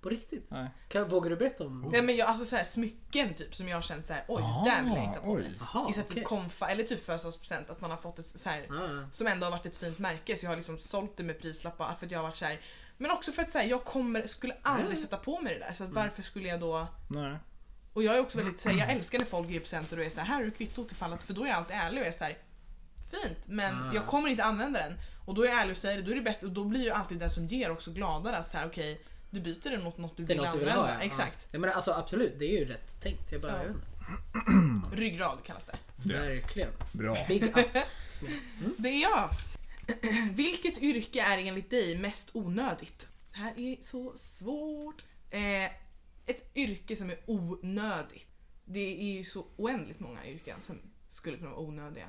Speaker 1: På riktigt?
Speaker 3: Nej.
Speaker 1: Kan, vågar du berätta om?
Speaker 2: Nej men jag, alltså så här, smycken typ som jag har känt så här, oj
Speaker 3: Ah,
Speaker 2: där vill jag inte ha på
Speaker 3: oj.
Speaker 2: mig.
Speaker 1: Jaha,
Speaker 2: I så här,
Speaker 1: okej.
Speaker 2: typ konfa eller typ födelsedagspresent att man har fått ett så här
Speaker 1: Ah,
Speaker 2: som ändå har varit ett fint märke så jag har liksom sålt det med prislappar för att jag har varit så här. Men också för att så här, jag kommer, skulle aldrig
Speaker 1: Mm.
Speaker 2: sätta på mig det där så att varför skulle jag då
Speaker 3: Nej.
Speaker 2: och jag är också väldigt så här, jag älskar när folk ger presenter och är så här, här är kvittot ifall att för då är jag alltid ärlig och är så här, fint men
Speaker 1: Ah.
Speaker 2: jag kommer inte använda den och då är jag ärlig och säger det, då är det bättre och då blir ju alltid den som ger också gladare att så här okej du byter den mot något du
Speaker 1: det är
Speaker 2: vill
Speaker 1: något du vill
Speaker 2: använda.
Speaker 1: ha ja.
Speaker 2: Exakt.
Speaker 1: Ja, men alltså absolut, det är ju rätt tänkt. Jag bara,
Speaker 2: Ja.
Speaker 1: jag vet inte. Ah. Mm.
Speaker 2: Ryggrad kallas det.
Speaker 3: Det.
Speaker 1: Verkligen.
Speaker 3: Bra.
Speaker 1: Big up.
Speaker 2: Det är jag. [clears throat] Vilket yrke är enligt dig mest onödigt? Det här är så svårt. Eh, ett yrke som är onödigt. Det är ju så oändligt många yrken som skulle kunna vara onödiga.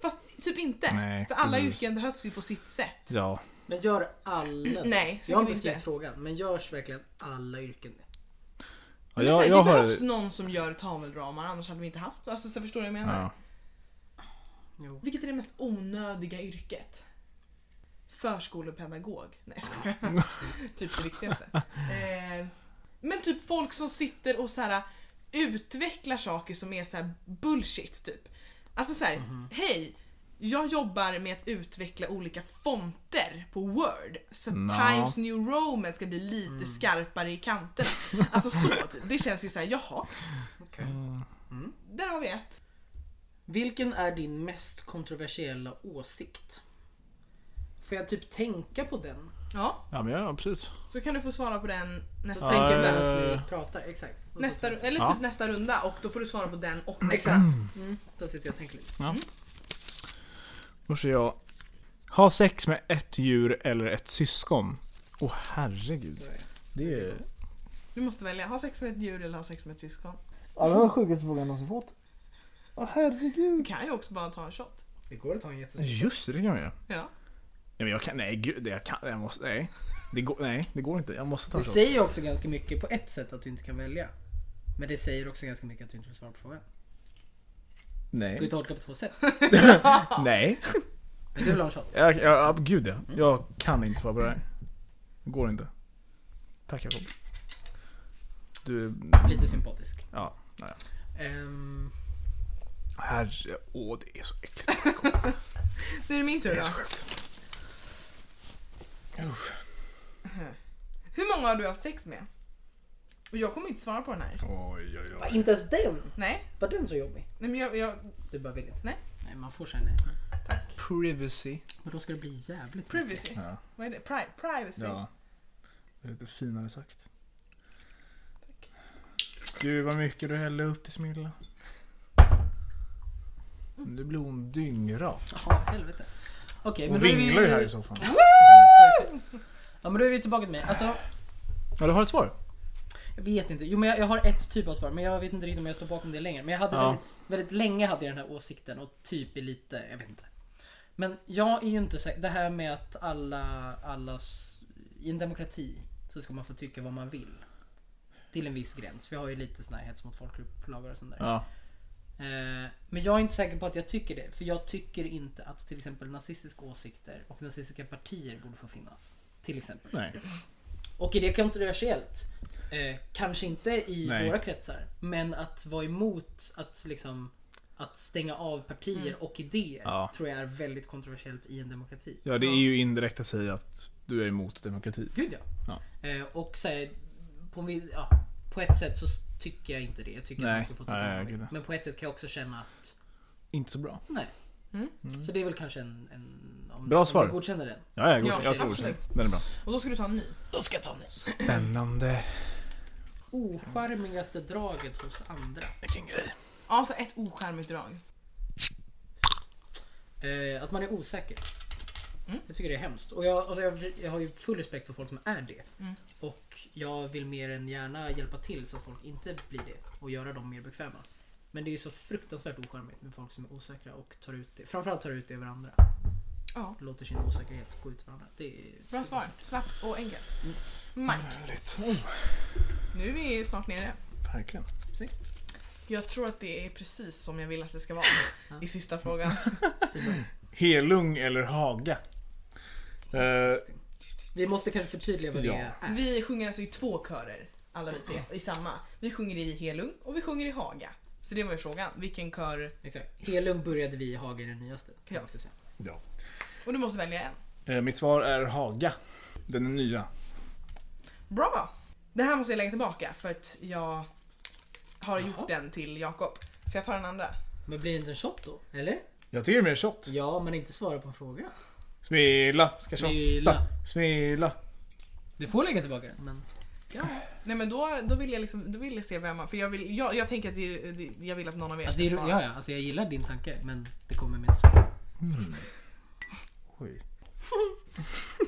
Speaker 2: Fast typ inte.
Speaker 3: Nej,
Speaker 2: för alla
Speaker 3: precis.
Speaker 2: yrken behövs ju på sitt sätt.
Speaker 3: Ja.
Speaker 1: Men gör alla det?
Speaker 2: [laughs] Nej,
Speaker 1: Jag har
Speaker 2: säkert
Speaker 1: inte skrivit
Speaker 2: inte.
Speaker 1: frågan, men görs verkligen alla yrken det?
Speaker 3: ja
Speaker 2: Men så här,
Speaker 3: jag,
Speaker 2: det
Speaker 3: jag har...
Speaker 2: behövs någon som gör tavelramar annars hade vi inte haft. Alltså så förstår du vad jag menar?
Speaker 3: Ja.
Speaker 1: Jo.
Speaker 2: Vilket är det mest onödiga yrket? Förskolepedagog. Nej jag skojar. Typ det viktigaste. Eh, men typ folk som sitter och så här äh, utvecklar saker som är så här bullshit typ. Alltså så här, hej! Jag jobbar med att utveckla olika fonter på Word så att
Speaker 3: Nå.
Speaker 2: Times New Roman ska bli lite skarpare i kanterna. Alltså så typ. Det känns ju så här, jaha,
Speaker 3: Mm.
Speaker 2: där har vi ett.
Speaker 1: Vilken är din mest kontroversiella åsikt? Får jag typ tänka på den?
Speaker 2: Ja,
Speaker 3: Ja, men ja, absolut.
Speaker 2: så kan du få svara på den nästa
Speaker 1: Så tänker jag
Speaker 3: ja,
Speaker 1: medan
Speaker 3: ja, ja.
Speaker 1: ni pratar. Exakt. Och så
Speaker 2: Nästa,
Speaker 1: tar jag-
Speaker 2: eller typ
Speaker 3: Ja.
Speaker 2: nästa runda och då får du svara på den och nästa.
Speaker 1: Exakt. Mm. Då sitter jag och tänker lite.
Speaker 3: Mm. Då ser jag. Ha sex med ett djur eller ett syskon. Åh herregud. Det är...
Speaker 2: Du måste välja, ha sex med ett djur eller ha sex med ett syskon.
Speaker 3: Ja, det var den sjukaste frågan jag någonsin fått. Åh herregud.
Speaker 2: Du kan ju också bara ta en shot.
Speaker 1: Det går att ta en jättestor.
Speaker 3: Just det, det kan man göra.
Speaker 2: Ja.
Speaker 3: Nej men jag kan, nej gud, det- jag kan, jag måste, nej. Det går, nej, det går inte. Jag måste ta
Speaker 1: Det
Speaker 3: en shot.
Speaker 1: säger ju också ganska mycket på ett sätt att du inte kan välja. Men det säger också ganska mycket att du inte vill svara på frågan. Det går ju
Speaker 3: Nej.
Speaker 1: att tolka på två sätt.
Speaker 3: Nej.
Speaker 1: Men du vill ha en shot?
Speaker 3: Jag, jag, ja, gud ja. Jag kan inte svara på det här. Det går inte. Tack Jakob. Du,
Speaker 1: Lite sympatisk.
Speaker 3: ja. Nej.
Speaker 1: Ehm,
Speaker 3: Herre, åh det är så äckligt.
Speaker 2: Nu är det min tur
Speaker 3: Det är
Speaker 2: då.
Speaker 3: så sjukt.
Speaker 2: Hur många har du haft sex med? Och jag kommer inte svara på den här.
Speaker 3: Oj, oj,
Speaker 1: va,
Speaker 3: oj.
Speaker 1: inte ens den?
Speaker 2: Nej,
Speaker 1: Var den så jobbig?
Speaker 2: nej men jag, jag
Speaker 1: Du bara vill inte?
Speaker 2: Nej.
Speaker 1: Nej, man får säga nej.
Speaker 3: Privacy.
Speaker 1: Men då ska det bli jävligt mycket.
Speaker 2: privacy.
Speaker 3: Ja.
Speaker 2: Vad är det? Pri privacy.
Speaker 3: Ja. Det är lite finare sagt. Gud vad mycket du hällde upp till Smilla. Nu blir hon dyngrak.
Speaker 1: Jaha, helvete. Okej,
Speaker 3: Hon
Speaker 1: men då är vi-
Speaker 3: vinglar ju här i soffan.
Speaker 1: Ja men då är vi tillbaka till mig. Alltså,
Speaker 3: Ja, du har ett svar?
Speaker 1: jag vet inte. Jo men jag, jag har ett typ av svar men jag vet inte riktigt om jag står bakom det längre. Men jag hade
Speaker 3: Ja.
Speaker 1: väldigt, väldigt länge hade jag den här åsikten och typ är lite, jag vet inte. Men jag är ju inte säker. Det här med att alla, alla s- i en demokrati så ska man få tycka vad man vill. till en viss gräns. Vi har ju lite sån här hets mot folkgrupp-lagar och sånt där.
Speaker 3: Ja.
Speaker 1: Eh, Men jag är inte säker på att jag tycker det. För jag tycker inte att till exempel nazistiska åsikter och nazistiska partier borde få finnas. Till exempel.
Speaker 3: Nej.
Speaker 1: Och är det kontroversiellt? Eh, kanske inte i
Speaker 3: Nej.
Speaker 1: våra kretsar. Men att vara emot att, liksom, att stänga av partier och idéer
Speaker 3: Ja.
Speaker 1: tror jag är väldigt kontroversiellt i en demokrati.
Speaker 3: Ja, det är ju indirekt att säga att du är emot demokrati.
Speaker 1: Gud ja.
Speaker 3: Ja.
Speaker 1: Eh, och så här, på, min- ja, på ett sätt så tycker jag inte det. Jag tycker att
Speaker 3: Nej.
Speaker 1: man ska få tycka
Speaker 3: Nej,
Speaker 1: vad man
Speaker 3: gud,
Speaker 1: vill.
Speaker 3: ja.
Speaker 1: Men på ett sätt kan jag också känna att
Speaker 3: Inte så bra.
Speaker 1: nej.
Speaker 2: Mm.
Speaker 1: Så det är väl kanske en... en om,
Speaker 3: Bra svar.
Speaker 1: Om du godkänner den.
Speaker 3: Ja, jag,
Speaker 2: Ja,
Speaker 3: jag, jag tror
Speaker 2: absolut.
Speaker 3: Den är bra.
Speaker 2: Och då ska du ta en ny.
Speaker 1: Då ska jag ta den.
Speaker 3: Spännande.
Speaker 1: Ocharmigaste draget hos andra.
Speaker 3: Vilken grej.
Speaker 2: Alltså ett ocharmigt drag.
Speaker 1: Eh, att man är osäker.
Speaker 2: Mm.
Speaker 1: Jag tycker det är hemskt. Och, jag, och jag, jag har ju full respekt för folk som är det.
Speaker 2: Mm.
Speaker 1: Och jag vill mer än gärna hjälpa till så att folk inte blir det och göra dem mer bekväma. Men det är ju så fruktansvärt ocharmigt med folk som är osäkra och tar ut det. Framförallt tar ut det över andra.
Speaker 2: Ja,
Speaker 1: Låter sin osäkerhet gå ut över andra. Det är
Speaker 2: bra svar. Slappt och enkelt. Mike,
Speaker 3: Härligt. Oh,
Speaker 2: nu är vi snart nere.
Speaker 3: verkligen.
Speaker 1: Precis.
Speaker 2: Jag tror att det är precis som jag vill att det ska vara
Speaker 1: Ja.
Speaker 2: i sista frågan.
Speaker 3: Helung eller Haga? Eh,
Speaker 1: Vi måste kanske förtydliga vad
Speaker 3: Ja.
Speaker 1: det är.
Speaker 2: Vi sjunger alltså i två körer, alla vi tre, i samma. Vi sjunger i Helung och vi sjunger i Haga. Så det var ju frågan, vilken kör?
Speaker 1: Exakt. Helung började vi i Haga i den nyaste. Kan jag
Speaker 2: Ja.
Speaker 1: också säga.
Speaker 3: ja.
Speaker 2: Och du måste välja en.
Speaker 3: Eh, mitt svar är Haga. Den är nya.
Speaker 2: Bra! Det här måste jag lägga tillbaka för att jag har
Speaker 1: Jaha.
Speaker 2: gjort den till Jakob. Så jag tar den andra.
Speaker 1: Men blir det inte en shot då? Eller?
Speaker 3: Jag tycker det är mer shot.
Speaker 1: Ja, men inte svara på en fråga.
Speaker 3: Smila, ska
Speaker 1: Smila.
Speaker 3: shotta. Smila.
Speaker 1: Du får lägga tillbaka den, men...
Speaker 2: Ja. Nej men då, då, vill jag liksom, då vill jag se vem man... För jag, vill, jag, jag tänker att det, det, jag vill att någon av er
Speaker 1: Alltså, det är,
Speaker 2: svara.
Speaker 1: ja, ja, alltså jag gillar din tanke, men det kommer med svar.
Speaker 3: Oj.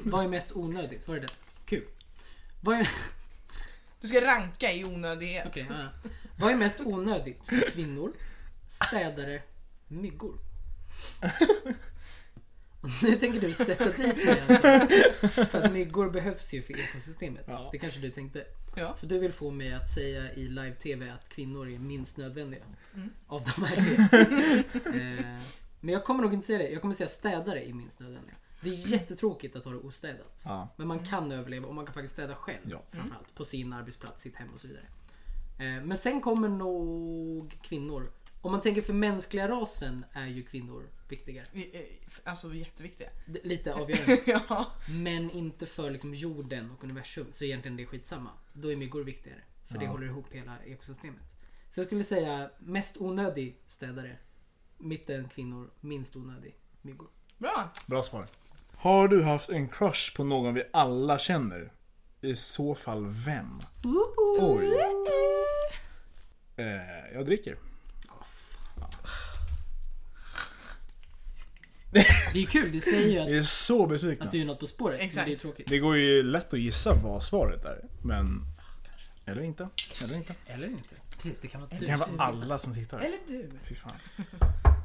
Speaker 1: Vad är mest onödigt? Var är det? Kul. Vad är,
Speaker 2: Du ska ranka i onödighet.
Speaker 1: okej, ja, ja. [laughs] Vad är mest onödigt? Kvinnor, städare, myggor. [laughs] Och Nu tänker du sätta dit mig alltså. För att myggor behövs ju för ekosystemet.
Speaker 3: Ja.
Speaker 1: Det kanske du tänkte.
Speaker 2: Ja.
Speaker 1: Så du vill få mig att säga i live-tv att kvinnor är minst nödvändiga av de här tre. [laughs] eh, men jag kommer nog inte säga det. Jag kommer säga städare är minst nödvändiga. Det är jättetråkigt att ha det ostädat.
Speaker 3: Ja.
Speaker 1: Men man kan överleva och man kan faktiskt städa själv.
Speaker 3: Mm. Ja. Mm.
Speaker 1: Framförallt på sin arbetsplats, sitt hem och så vidare. Eh, men sen kommer nog kvinnor. Om man tänker för mänskliga rasen är ju kvinnor viktigare.
Speaker 2: Vi- eh, Alltså vi är jätteviktiga. [laughs]
Speaker 1: D- Lite
Speaker 3: [laughs]
Speaker 1: avgörande.
Speaker 2: ja.
Speaker 1: men inte för liksom jorden och universum. Så egentligen det är skitsamma. Då är myggor viktigare. För det
Speaker 3: Ja.
Speaker 1: håller ihop hela ekosystemet. Så jag skulle säga mest onödig städare. Mitten kvinnor, minst onödig myggor.
Speaker 2: Bra!
Speaker 3: Bra svar. Har du haft en crush på någon vi alla känner? I så fall vem? Oj. Eh, jag dricker.
Speaker 1: Det är ju kul, det säger ju
Speaker 3: Jag
Speaker 1: att,
Speaker 3: är så besviken.
Speaker 1: att du är något på spåret. Men
Speaker 2: Exakt.
Speaker 1: det är ju tråkigt.
Speaker 3: Det går ju lätt att gissa vad svaret är. Men... Eller inte. Eller inte.
Speaker 1: Eller inte. Precis, det kan vara
Speaker 3: Det kan
Speaker 1: tusen
Speaker 3: vara alla som tittar.
Speaker 2: Eller du.
Speaker 3: Fy fan.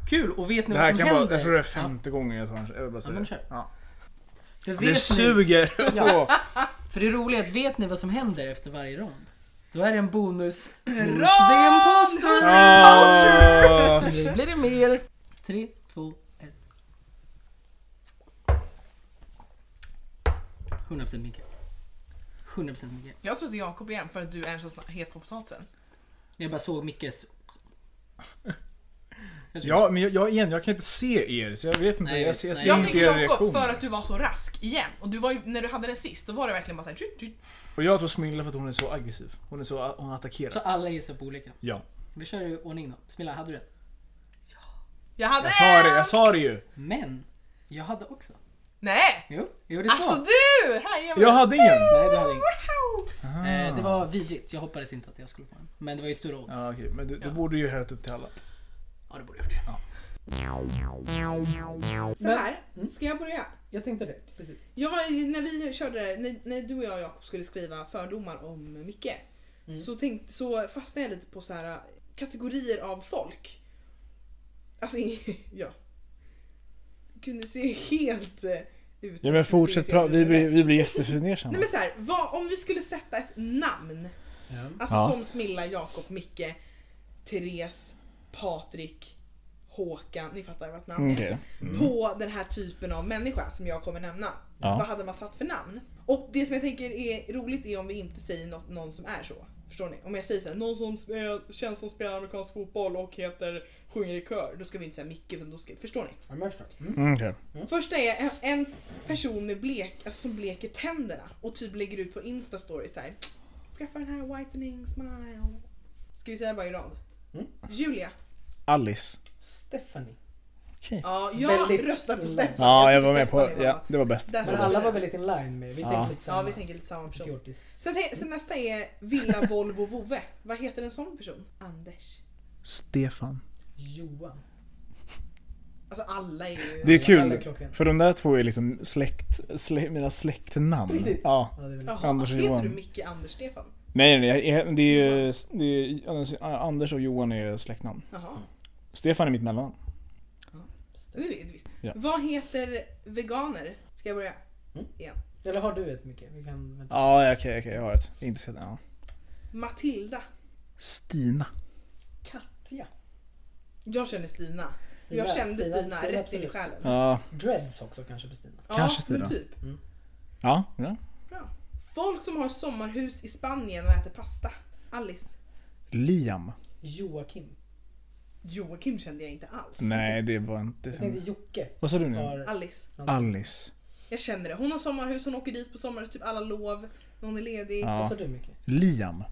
Speaker 1: Kul! Och vet ni
Speaker 3: Det
Speaker 1: vad
Speaker 3: här
Speaker 1: som
Speaker 3: kan
Speaker 1: händer?
Speaker 3: vara, jag tror det är femte gången jag tar en jag vill bara
Speaker 1: Ja, men
Speaker 3: säga.
Speaker 1: kör.
Speaker 3: Ja.
Speaker 1: Ja, för,
Speaker 3: Det
Speaker 1: vet ni,
Speaker 3: suger! [laughs]
Speaker 1: Ja. för det roliga är att vet ni vad som händer efter varje rond? Då är det en
Speaker 3: [clears throat]
Speaker 1: bonus. Bonus the imposter!
Speaker 3: Ah.
Speaker 1: Så nu blir det mer. Tre, två, ett. 100% Mikael. 100% Mikael.
Speaker 2: Jag trodde Jakob igen för att du är så sna- het på potatisen.
Speaker 1: Jag bara såg Mickes... Jag tror-
Speaker 3: Ja, men jag, jag, igen, jag kan inte se er så jag vet inte.
Speaker 1: Nej,
Speaker 3: jag
Speaker 1: visst,
Speaker 3: ser,
Speaker 1: nej.
Speaker 3: ser
Speaker 2: Jag
Speaker 3: inte
Speaker 2: tänkte
Speaker 3: er
Speaker 2: Jakob för
Speaker 3: reaktion.
Speaker 2: att du var så rask igen. Och du var ju, när du hade den sist då var det verkligen bara såhär... tjut, tjut.
Speaker 3: Och jag tog Smilla för att hon är så aggressiv. Hon är så hon attackerar.
Speaker 1: Så alla gissar på olika.
Speaker 3: Ja.
Speaker 1: Vi kör i ordning då. Smilla, hade du den?
Speaker 2: Jag hade
Speaker 3: Jag sa det,
Speaker 2: en!
Speaker 3: jag sa det ju!
Speaker 1: Men, jag hade också.
Speaker 2: Nej!
Speaker 1: Jo, jo det är
Speaker 2: Alltså
Speaker 1: så.
Speaker 2: du! Här är
Speaker 3: Jag hade ingen!
Speaker 1: Nej, du hade inget.
Speaker 2: Wow!
Speaker 1: Eh, det var vidrigt. Jag hoppades inte att jag skulle få en. Men det var ju större odds.
Speaker 3: Ah. Ja,
Speaker 1: Ja,
Speaker 3: okej. Men du, du borde ju hällt upp till alla.
Speaker 1: det borde jag gjort.
Speaker 2: Så här, ska jag börja?
Speaker 1: Jag tänkte det. Precis.
Speaker 2: Jag var, när vi körde, när, när du och jag och Jakob skulle skriva fördomar om Micke så, tänkt, så fastnade jag lite på så här kategorier av folk. Alltså, ja. Gud, ni ser helt eh, ut.
Speaker 3: Ja men fortsätt prata, vi, blir- vi blir jättefundersamma.
Speaker 2: Nej men så här, vad, om vi skulle sätta ett namn
Speaker 1: Ja.
Speaker 2: Alltså
Speaker 4: Ja.
Speaker 2: som Smilla, Jakob, Micke, Therese, Patrik, Håkan. Ni fattar vart
Speaker 4: Mm.
Speaker 2: namnet är.
Speaker 3: Okej.
Speaker 2: På den här typen av människa som jag kommer nämna.
Speaker 4: Ja.
Speaker 2: Vad hade man satt för namn? Och det som jag tänker är roligt är om vi inte säger något, någon som är så. Förstår ni? Om jag säger såhär, någon som sp- eh, känns som spelar amerikansk fotboll och heter, sjunger i kör. Då ska vi inte säga Micke utan då ska förstår ni?
Speaker 1: men jag förstår. Mm.
Speaker 3: Mm, okej.
Speaker 2: Första är en, en person med blek, alltså som bleker tänderna och typ lägger ut på Insta stories här. Skaffa den här whitening smile. Ska vi säga bara i rad?
Speaker 1: Mm.
Speaker 2: Julia.
Speaker 3: Alice.
Speaker 1: Stephanie.
Speaker 2: Ja, jag
Speaker 1: Väldigt
Speaker 2: röstar på
Speaker 1: stor.
Speaker 2: Stefan.
Speaker 3: Ja, jag
Speaker 2: tycker
Speaker 3: var med på,
Speaker 2: Stefan är
Speaker 3: ja,
Speaker 2: bra.
Speaker 3: det var bäst.
Speaker 2: Där
Speaker 1: Men
Speaker 2: står
Speaker 1: alla
Speaker 2: det.
Speaker 1: var väldigt in line med. Vi
Speaker 3: Ja.
Speaker 1: tänkte lite samma.
Speaker 2: Alltså, Ja, vi tänker lite samma person.
Speaker 1: Fjortis.
Speaker 2: Sen, te- sen nästa är
Speaker 3: [laughs]
Speaker 2: Villa Volvo Vove. Vad heter en sån person? Anders.
Speaker 3: Stefan.
Speaker 1: Johan.
Speaker 2: Alltså alla är ju...
Speaker 3: Det är
Speaker 1: Alla är
Speaker 3: kul,
Speaker 1: klockrena.
Speaker 3: för de där två är liksom släkt, slä, mina släktnamn.
Speaker 1: På riktigt?
Speaker 3: Ja.
Speaker 1: Ja, det är väl...
Speaker 2: Jaha,
Speaker 3: Anders och
Speaker 2: heter
Speaker 3: Johan.
Speaker 2: du Micke Anders Stefan?
Speaker 3: Nej, nej, jag- det är ju, det är, Anders och Johan är släktnamn.
Speaker 2: Jaha.
Speaker 3: Stefan är mitt mellannamn.
Speaker 2: Det
Speaker 1: Mm.
Speaker 2: är det visst.
Speaker 3: Ja.
Speaker 2: Vad heter veganer? Ska jag börja?
Speaker 1: Eller har du ett Micke? Vi kan vänta.
Speaker 3: Ja, ja, okej, okej, jag har ett. Inte sett, ja.
Speaker 2: Matilda.
Speaker 3: Stina.
Speaker 1: Katja.
Speaker 2: Jag känner Stina.
Speaker 1: Stina,
Speaker 2: jag kände
Speaker 1: Stina,
Speaker 2: Stina,
Speaker 1: Stina,
Speaker 2: rätt in i
Speaker 1: absolut.
Speaker 2: själen.
Speaker 3: Ja,
Speaker 1: Dreads också kanske på Stina.
Speaker 2: Ja,
Speaker 3: Kanske Stina.
Speaker 2: men typ.
Speaker 3: ja, ja.
Speaker 2: Folk som har sommarhus i Spanien och äter pasta. Alice.
Speaker 3: Liam.
Speaker 1: Joakim.
Speaker 2: Joakim kände jag inte alls.
Speaker 3: Nej, det var inte...
Speaker 1: Jag tänkte Jocke.
Speaker 3: Vad sa du nu?
Speaker 1: Har...
Speaker 2: Alice.
Speaker 3: Alice.
Speaker 2: Jag känner det. Hon har sommarhus, hon åker dit på sommaren typ alla lov. När hon är ledig.
Speaker 1: Vad
Speaker 3: Ja.
Speaker 1: sa du Micke?
Speaker 3: Liam.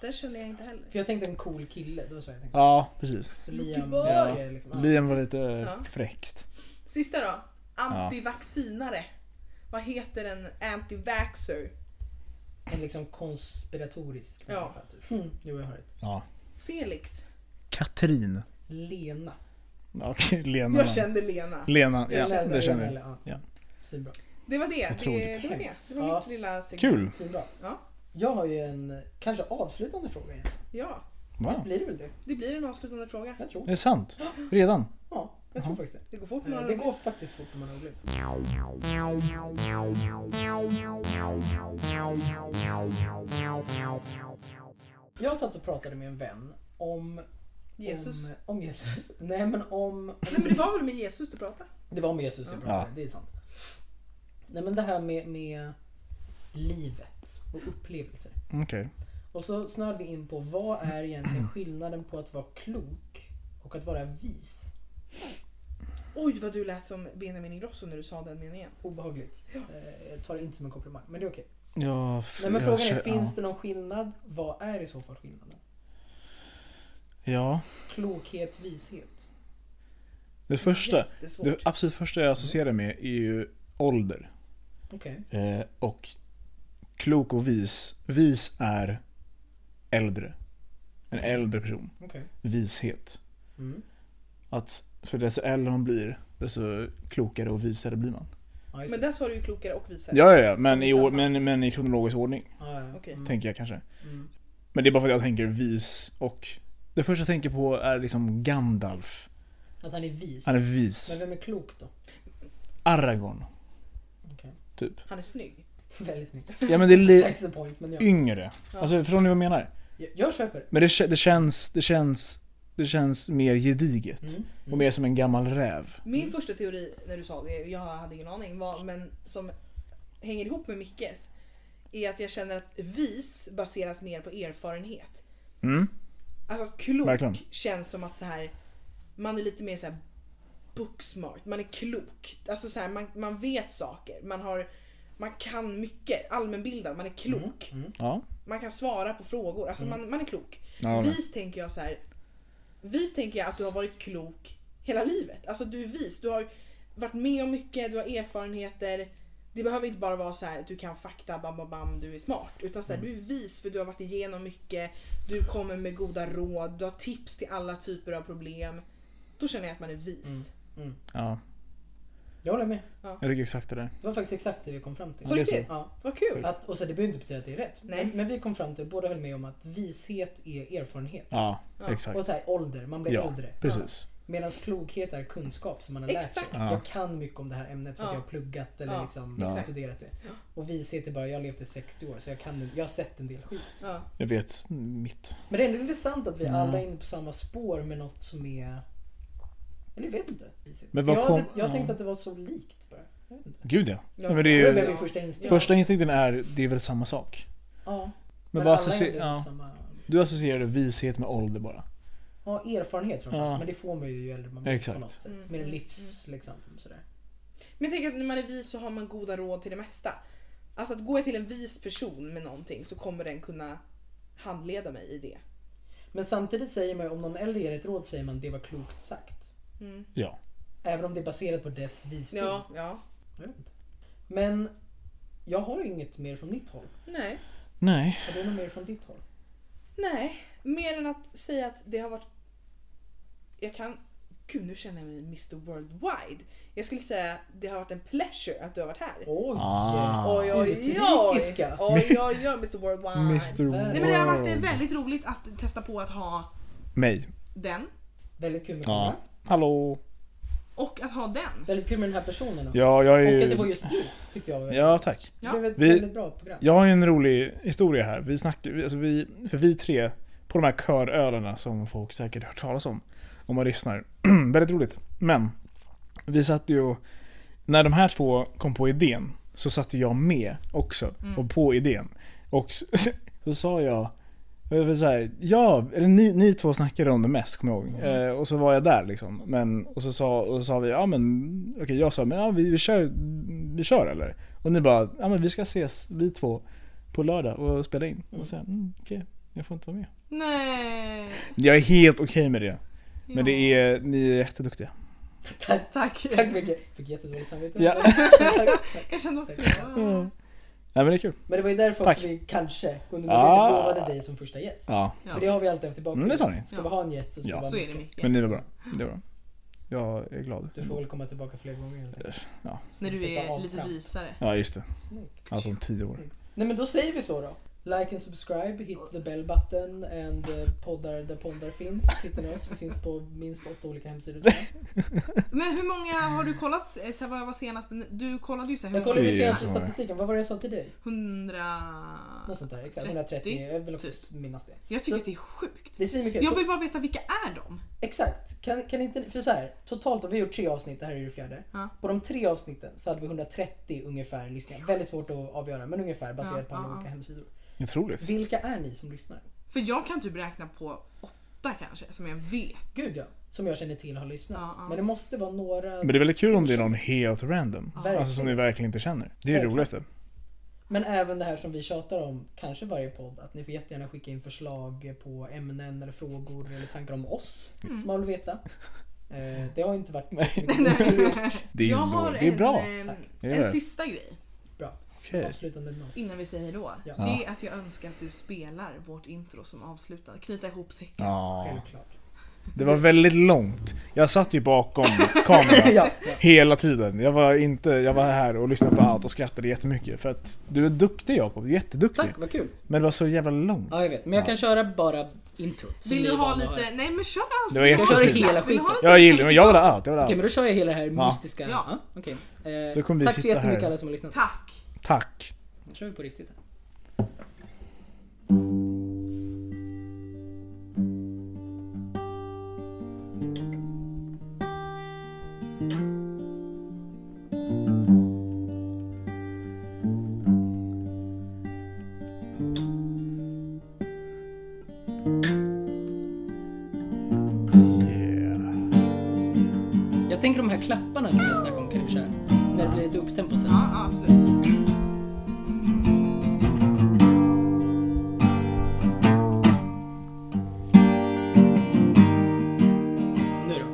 Speaker 2: Det känner jag inte heller.
Speaker 1: För jag tänkte en cool kille. Då sa jag tänkte.
Speaker 3: Ja, precis.
Speaker 1: Så Liam.
Speaker 2: Boy.
Speaker 1: Micke, liksom. ja.
Speaker 3: Liam var lite
Speaker 2: Ja.
Speaker 3: fräckt.
Speaker 2: Sista då. Antivaccinare. Vad heter en antivaxxer?
Speaker 1: En liksom konspiratorisk
Speaker 2: Ja.
Speaker 1: människa. Typ. Mm. Jo, jag har ett.
Speaker 3: Ja.
Speaker 2: Felix.
Speaker 3: Katrin.
Speaker 1: Lena.
Speaker 3: Ja, Okej, [laughs] Lena.
Speaker 2: Jag kände Lena.
Speaker 3: Lena,
Speaker 1: Jag
Speaker 3: ja, det känner jag.
Speaker 1: Ja.
Speaker 3: Ja.
Speaker 1: Svinbra.
Speaker 2: Det var det. Det,
Speaker 3: Otroligt.
Speaker 2: det var det.
Speaker 1: Hemskt.
Speaker 2: Det var mitt
Speaker 1: Ja.
Speaker 2: lilla segment.
Speaker 3: Kul!
Speaker 1: Svinbra.
Speaker 2: Ja.
Speaker 1: Jag har ju en kanske avslutande fråga igen.
Speaker 2: Ja,
Speaker 1: Visst
Speaker 3: Wow.
Speaker 1: blir det väl det?
Speaker 2: det blir en avslutande fråga.
Speaker 1: Jag tror.
Speaker 3: Det är sant. Redan.
Speaker 1: Ja, jag tror faktiskt det.
Speaker 2: Det går fort när man
Speaker 1: Eh,
Speaker 2: har
Speaker 1: Det
Speaker 2: roligt.
Speaker 1: går faktiskt fort när man har roligt. Jag satt och pratade med en vän om...
Speaker 2: Jesus.
Speaker 1: Om, om Jesus. Nej men om...
Speaker 2: Nej men det var väl med Jesus du pratade?
Speaker 1: Det var om Jesus jag pratade,
Speaker 3: Ja.
Speaker 1: det är sant. Nej men det här med, med livet och upplevelser.
Speaker 3: Okej.
Speaker 1: Och så snörde vi in på vad är
Speaker 3: [clears throat]
Speaker 1: egentligen skillnaden på att vara klok och att vara vis?
Speaker 2: Oj vad du lät som Benjamin Ingrosso när du sa den meningen.
Speaker 1: Obehagligt. Eh, Jag tar det inte som en komplimang, men det är okej.
Speaker 3: Ja,
Speaker 1: Nej, men frågan är,
Speaker 3: jag-
Speaker 1: finns det någon skillnad? Vad är i så fall skillnaden?
Speaker 3: Ja.
Speaker 1: Klokhet, vishet.
Speaker 3: Det första,
Speaker 2: Jättesvårt.
Speaker 3: det absolut första jag associerar med är ju ålder.
Speaker 1: Okej.
Speaker 3: Eh, och klok och vis. Vis är äldre. En äldre person.
Speaker 1: Okej.
Speaker 3: Vishet.
Speaker 1: Mm.
Speaker 3: Att för desto äldre man blir, desto klokare och visare blir man.
Speaker 1: Ja, just
Speaker 2: Men
Speaker 1: det.
Speaker 2: där sa du ju klokare och visare.
Speaker 3: Ja, ja, ja. Men,
Speaker 2: Som
Speaker 3: i, or-
Speaker 2: samma.
Speaker 3: men, men i kronologisk ordning,
Speaker 1: Ja, ja.
Speaker 2: Okej.
Speaker 1: Mm.
Speaker 3: tänker jag kanske.
Speaker 1: Mm.
Speaker 3: Men det är bara för att jag tänker vis och... Det första jag tänker på är liksom Gandalf.
Speaker 1: Att han är vis.
Speaker 3: Han är
Speaker 1: Men
Speaker 3: vis.
Speaker 1: vem är klok då? [laughs]
Speaker 3: Aragorn.
Speaker 1: Okej.
Speaker 3: Typ.
Speaker 2: Han är snygg.
Speaker 1: Väldigt snyggt.
Speaker 3: Ja men det är li-
Speaker 1: Sex the point, men jag,
Speaker 3: yngre. Alltså förstår ni vad jag menar?
Speaker 1: jag, jag köper.
Speaker 3: Men det, kä- det känns, det känns, det känns mer gediget.
Speaker 1: Mm.
Speaker 3: Och mer som en gammal räv.
Speaker 2: Min
Speaker 1: Mm.
Speaker 2: första teori när du sa det, jag hade ingen aning, var, men som hänger ihop med Mickes. Är att jag känner att vis baseras mer på erfarenhet.
Speaker 3: Mm.
Speaker 2: Alltså att klok
Speaker 3: Verkligen.
Speaker 2: känns som att så här, man är lite mer så här booksmart, man är klok. Alltså så här, man, man vet saker, man, har, man kan mycket, allmänbildad, man är klok.
Speaker 1: Mm.
Speaker 3: Ja.
Speaker 2: Man kan svara på frågor, alltså man, man är klok.
Speaker 3: Mm. ja men.
Speaker 2: Vis tänker jag så här. Vis tänker jag att du har varit klok hela livet. Alltså du är vis. Du har varit med om mycket, du har erfarenheter. Det behöver inte bara vara så här att du kan fakta, bam, bam, bam, du är smart. Utan så här,
Speaker 3: Mm.
Speaker 2: du är vis för du har varit igenom mycket. Du kommer med goda råd, du har tips till alla typer av problem. Då känner jag att man är
Speaker 3: Mm.
Speaker 2: vis.
Speaker 3: ja.
Speaker 1: Jag håller med.
Speaker 3: Jag tycker exakt det där.
Speaker 1: Det var faktiskt exakt det vi kom fram till.
Speaker 2: På
Speaker 3: det är
Speaker 2: riktigt?
Speaker 1: Ja.
Speaker 2: Vad kul!
Speaker 1: Att, och så det behöver inte betyda att det är rätt.
Speaker 2: Nej.
Speaker 1: Men, men vi kom fram till, båda höll med om att vishet är erfarenhet.
Speaker 3: Ja,
Speaker 2: Ja.
Speaker 3: exakt.
Speaker 1: Och så här, ålder, man blir
Speaker 3: Ja,
Speaker 1: äldre.
Speaker 3: precis.
Speaker 1: Medan klokhet är kunskap som man har lärt
Speaker 2: Exakt.
Speaker 1: sig.
Speaker 3: Ja.
Speaker 1: Jag kan mycket om det här ämnet för att
Speaker 2: Ja.
Speaker 1: jag har pluggat eller
Speaker 2: Ja.
Speaker 1: liksom
Speaker 3: Ja.
Speaker 1: studerat det.
Speaker 2: Ja.
Speaker 1: Och vishet är bara, jag har levt i 60 år så jag, kan, jag har sett en del skit.
Speaker 2: Ja.
Speaker 3: Jag vet mitt.
Speaker 1: Men det är ändå intressant att vi
Speaker 3: Mm.
Speaker 1: alla är inne på samma spår med något som är... Eller jag vet inte. vishet.
Speaker 3: Men vad
Speaker 1: jag
Speaker 3: kom-
Speaker 1: hade, jag
Speaker 3: ja.
Speaker 1: tänkte att det var så likt bara. Jag vet inte.
Speaker 3: Gud ja.
Speaker 2: Ja.
Speaker 3: Nej, men det
Speaker 1: Det
Speaker 3: är
Speaker 1: var
Speaker 3: ju,
Speaker 2: Ja.
Speaker 1: min första instinkt.
Speaker 3: första instinkten är, det är väl samma sak.
Speaker 1: Ja. Men,
Speaker 3: Men, vad
Speaker 1: alla
Speaker 3: associ-
Speaker 1: är liksom. ändå
Speaker 3: ja.
Speaker 1: samma...
Speaker 3: Du associerade vishet med ålder bara.
Speaker 1: Ja, erfarenhet framförallt.
Speaker 3: Ja.
Speaker 1: Men det får man ju ju äldre man blir
Speaker 3: Exakt.
Speaker 1: på något sätt.
Speaker 2: Mm,
Speaker 1: Mer
Speaker 2: mm,
Speaker 1: livs liksom sådär.
Speaker 2: Men jag tänker att när man är vis så har man goda råd till det mesta. Alltså att gå till en vis person med någonting så kommer den kunna handleda mig i det.
Speaker 1: Men samtidigt säger man ju, om någon äldre ger ett råd säger man det var klokt sagt.
Speaker 2: Mm.
Speaker 3: Ja.
Speaker 1: Även om det är baserat på dess visdom.
Speaker 2: Ja, ja.
Speaker 1: Jag vet inte. Men jag har inget mer från mitt håll.
Speaker 2: Nej.
Speaker 3: Nej.
Speaker 1: Har du något mer från ditt håll?
Speaker 2: Nej. Mer än att säga att det har varit... Jag kan... Gud, nu känner jag mig Mr Worldwide. Jag skulle säga det har varit en pleasure att du har varit här.
Speaker 1: Oj!
Speaker 3: Ah.
Speaker 2: Oj, oj,
Speaker 1: Utrikiska.
Speaker 2: Oj, oj, oj, Mr Worldwide.
Speaker 3: Mr. World.
Speaker 2: Ah, Nej men det har varit eh, väldigt roligt att testa på att ha
Speaker 3: Mig.
Speaker 2: den.
Speaker 1: Väldigt kul med
Speaker 3: Ja.
Speaker 1: Clara.
Speaker 3: Hallå.
Speaker 2: Och att ha den.
Speaker 1: Väldigt kul med den här personen också.
Speaker 3: Ja, jag är
Speaker 1: Och
Speaker 3: ju...
Speaker 1: att det var just du, tyckte jag. var väldigt-
Speaker 3: Ja, tack.
Speaker 1: Det blev ett
Speaker 3: Vi-
Speaker 1: väldigt bra program.
Speaker 3: Jag har ju en rolig historia här. Vi snackar, vi- alltså vi, för vi tre, på de här körölarna som folk säkert hört talas om. Om man lyssnar. [clears throat] Väldigt roligt. Men, vi satt ju och, när de här två kom på idén, så satt ju jag med också.
Speaker 2: Mm.
Speaker 3: Och på idén. Och så, [laughs] så sa jag, jag var så här, ja, eller ni, ni två snackade om det mest, kommer jag ihåg. Eh, och så var jag där liksom. Men, och, så sa, och så sa vi, ja men, okej jag sa, men ja, vi, vi, kör, vi kör eller? Och ni bara, ja men vi ska ses vi två på lördag och spela in. Och så, här, mm, okej, jag får inte vara med.
Speaker 2: Nej.
Speaker 3: Jag är helt okej med det. Men det
Speaker 2: Ja.
Speaker 3: är, ni är jätteduktiga.
Speaker 1: Tack,
Speaker 2: Tack.
Speaker 1: tack mycket. Fick jättedåligt samvete.
Speaker 3: Ja.
Speaker 1: [laughs] tack, tack.
Speaker 2: Jag kände också
Speaker 3: Mm.
Speaker 2: det.
Speaker 3: [laughs] Nej men det är kul.
Speaker 1: Men det var ju därför
Speaker 3: Tack.
Speaker 1: också vi kanske kunde
Speaker 3: Ah.
Speaker 1: ah. lovade dig som första gäst.
Speaker 3: Ja.
Speaker 1: För det har vi alltid haft tillbaka.
Speaker 3: Mm, det sa ni.
Speaker 1: Ska vi ha en gäst så ska
Speaker 3: Ja.
Speaker 1: det vara
Speaker 2: Så är det
Speaker 1: mycket.
Speaker 2: mycket.
Speaker 3: Men ni var bra. Det var bra. Jag är glad.
Speaker 1: Du får väl komma tillbaka fler gånger. helt enkelt.
Speaker 3: Ja.
Speaker 1: Så får
Speaker 2: När
Speaker 1: vi
Speaker 2: du
Speaker 1: sätta
Speaker 2: är lite
Speaker 1: avtramp.
Speaker 2: visare.
Speaker 3: Ja just det.
Speaker 1: Snyggt.
Speaker 3: Alltså om tio år.
Speaker 1: Snyggt. Nej men då säger vi så då. Like and subscribe, hit the bell button and eh, poddar där poddar finns. Hittar ni oss? Vi finns på minst åtta olika
Speaker 2: [laughs]
Speaker 1: hemsidor.
Speaker 2: Men hur många har du kollat? eh, Så här, vad var senast? Du kollade ju så här, hur
Speaker 1: Jag
Speaker 2: många?
Speaker 1: kollade
Speaker 3: Det
Speaker 1: ju
Speaker 3: är
Speaker 1: senaste
Speaker 3: så många.
Speaker 1: statistiken. Vad var det jag sa till dig?
Speaker 2: 100...
Speaker 1: Något sånt där. Exakt. 130. Jag vill också minnas det.
Speaker 2: Jag tycker
Speaker 1: Så-
Speaker 2: att det är sjukt.
Speaker 1: Det är svinmycket.
Speaker 2: Jag
Speaker 1: Så-
Speaker 2: vill bara veta vilka är de?
Speaker 1: Exakt. Kan, kan inte, för så här, totalt har vi gjort tre avsnitt, det här är det fjärde.
Speaker 2: Ja.
Speaker 1: På de tre avsnitten så hade vi 130 ungefär lyssningar. Väldigt svårt att avgöra, men ungefär baserat
Speaker 2: Ja,
Speaker 1: på alla
Speaker 2: ja,
Speaker 1: olika
Speaker 2: ja.
Speaker 1: hemsidor.
Speaker 3: Otroligt.
Speaker 1: Vilka är ni som lyssnar?
Speaker 2: För jag kan typ räkna på åtta kanske som jag vet.
Speaker 1: Gud ja, som jag känner till har lyssnat.
Speaker 2: Ja, ja.
Speaker 1: Men det måste vara några...
Speaker 3: Men det är väldigt kul om det är någon helt random.
Speaker 1: Verkligen.
Speaker 3: Alltså som ni verkligen inte känner. Det är det
Speaker 1: Verkligen.
Speaker 3: roligaste.
Speaker 1: Men även det här som vi tjatar om, kanske varje podd, att ni får jättegärna skicka in förslag på ämnen eller frågor eller tankar om oss
Speaker 2: Mm.
Speaker 1: som man vill veta. Eh, det har inte
Speaker 2: [laughs]
Speaker 1: varit mycket
Speaker 3: Det
Speaker 2: jag
Speaker 3: är, ju
Speaker 2: har
Speaker 3: då- det är bra.
Speaker 2: en,
Speaker 1: Tack.
Speaker 2: eh,
Speaker 3: Det är det.
Speaker 2: en sista grej
Speaker 1: bra.
Speaker 3: Okej.
Speaker 1: Avslutande noll.
Speaker 2: innan vi säger då.
Speaker 1: Ja.
Speaker 2: Det är att jag önskar att du spelar vårt intro som avslutar. Knyta ihop säcken.
Speaker 3: Ja.
Speaker 1: Självklart.
Speaker 3: Det var väldigt långt. Jag satt ju bakom kameran.
Speaker 1: Ja, ja.
Speaker 3: Hela tiden. Jag var, inte, jag var här och lyssnade på allt och skrattade jättemycket. För att du är duktig Jakob, jätteduktig.
Speaker 1: Tack, vad kul.
Speaker 3: Men det var så jävla långt.
Speaker 1: Ja, jag vet. Men jag kan köra bara introt. som
Speaker 2: Vill
Speaker 1: ni
Speaker 2: du
Speaker 1: är
Speaker 2: ha
Speaker 1: vana att
Speaker 2: lite...
Speaker 1: höra.
Speaker 2: Nej men kör allt.
Speaker 3: Det var
Speaker 2: Vill du
Speaker 1: Jag kör
Speaker 2: ha
Speaker 1: hela
Speaker 2: lite-
Speaker 1: skiten.
Speaker 2: Vill du ha lite-
Speaker 3: Jag gillar men jag vill ha allt. Jag vill ha
Speaker 1: Okej, men
Speaker 3: allt.
Speaker 1: då kör jag hela det här
Speaker 3: Ja.
Speaker 1: mystiska.
Speaker 2: Ja.
Speaker 1: Ja. okej. Eh,
Speaker 3: Så kommer vi
Speaker 1: tack så
Speaker 3: sitta här.
Speaker 1: jättemycket alla som har lyssnat.
Speaker 2: Tack.
Speaker 3: Tack.
Speaker 1: Nu kör vi på riktigt. här.
Speaker 3: Yeah.
Speaker 1: Jag tänker de här klapparna som jag snackade om kanske. När det blir lite upptempo sen.
Speaker 2: Ja, ja, absolut.
Speaker 1: Nu då.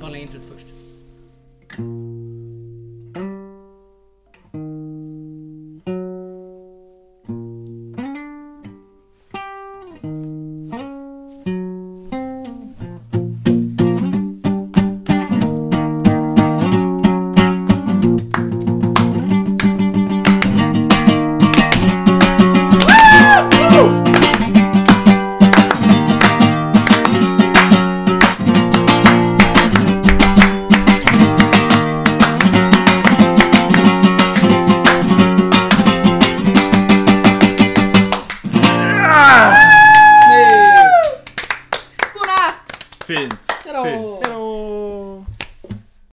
Speaker 1: Vanliga introt först.
Speaker 3: Fint.
Speaker 1: Hejdå!
Speaker 3: Fint. Hejdå!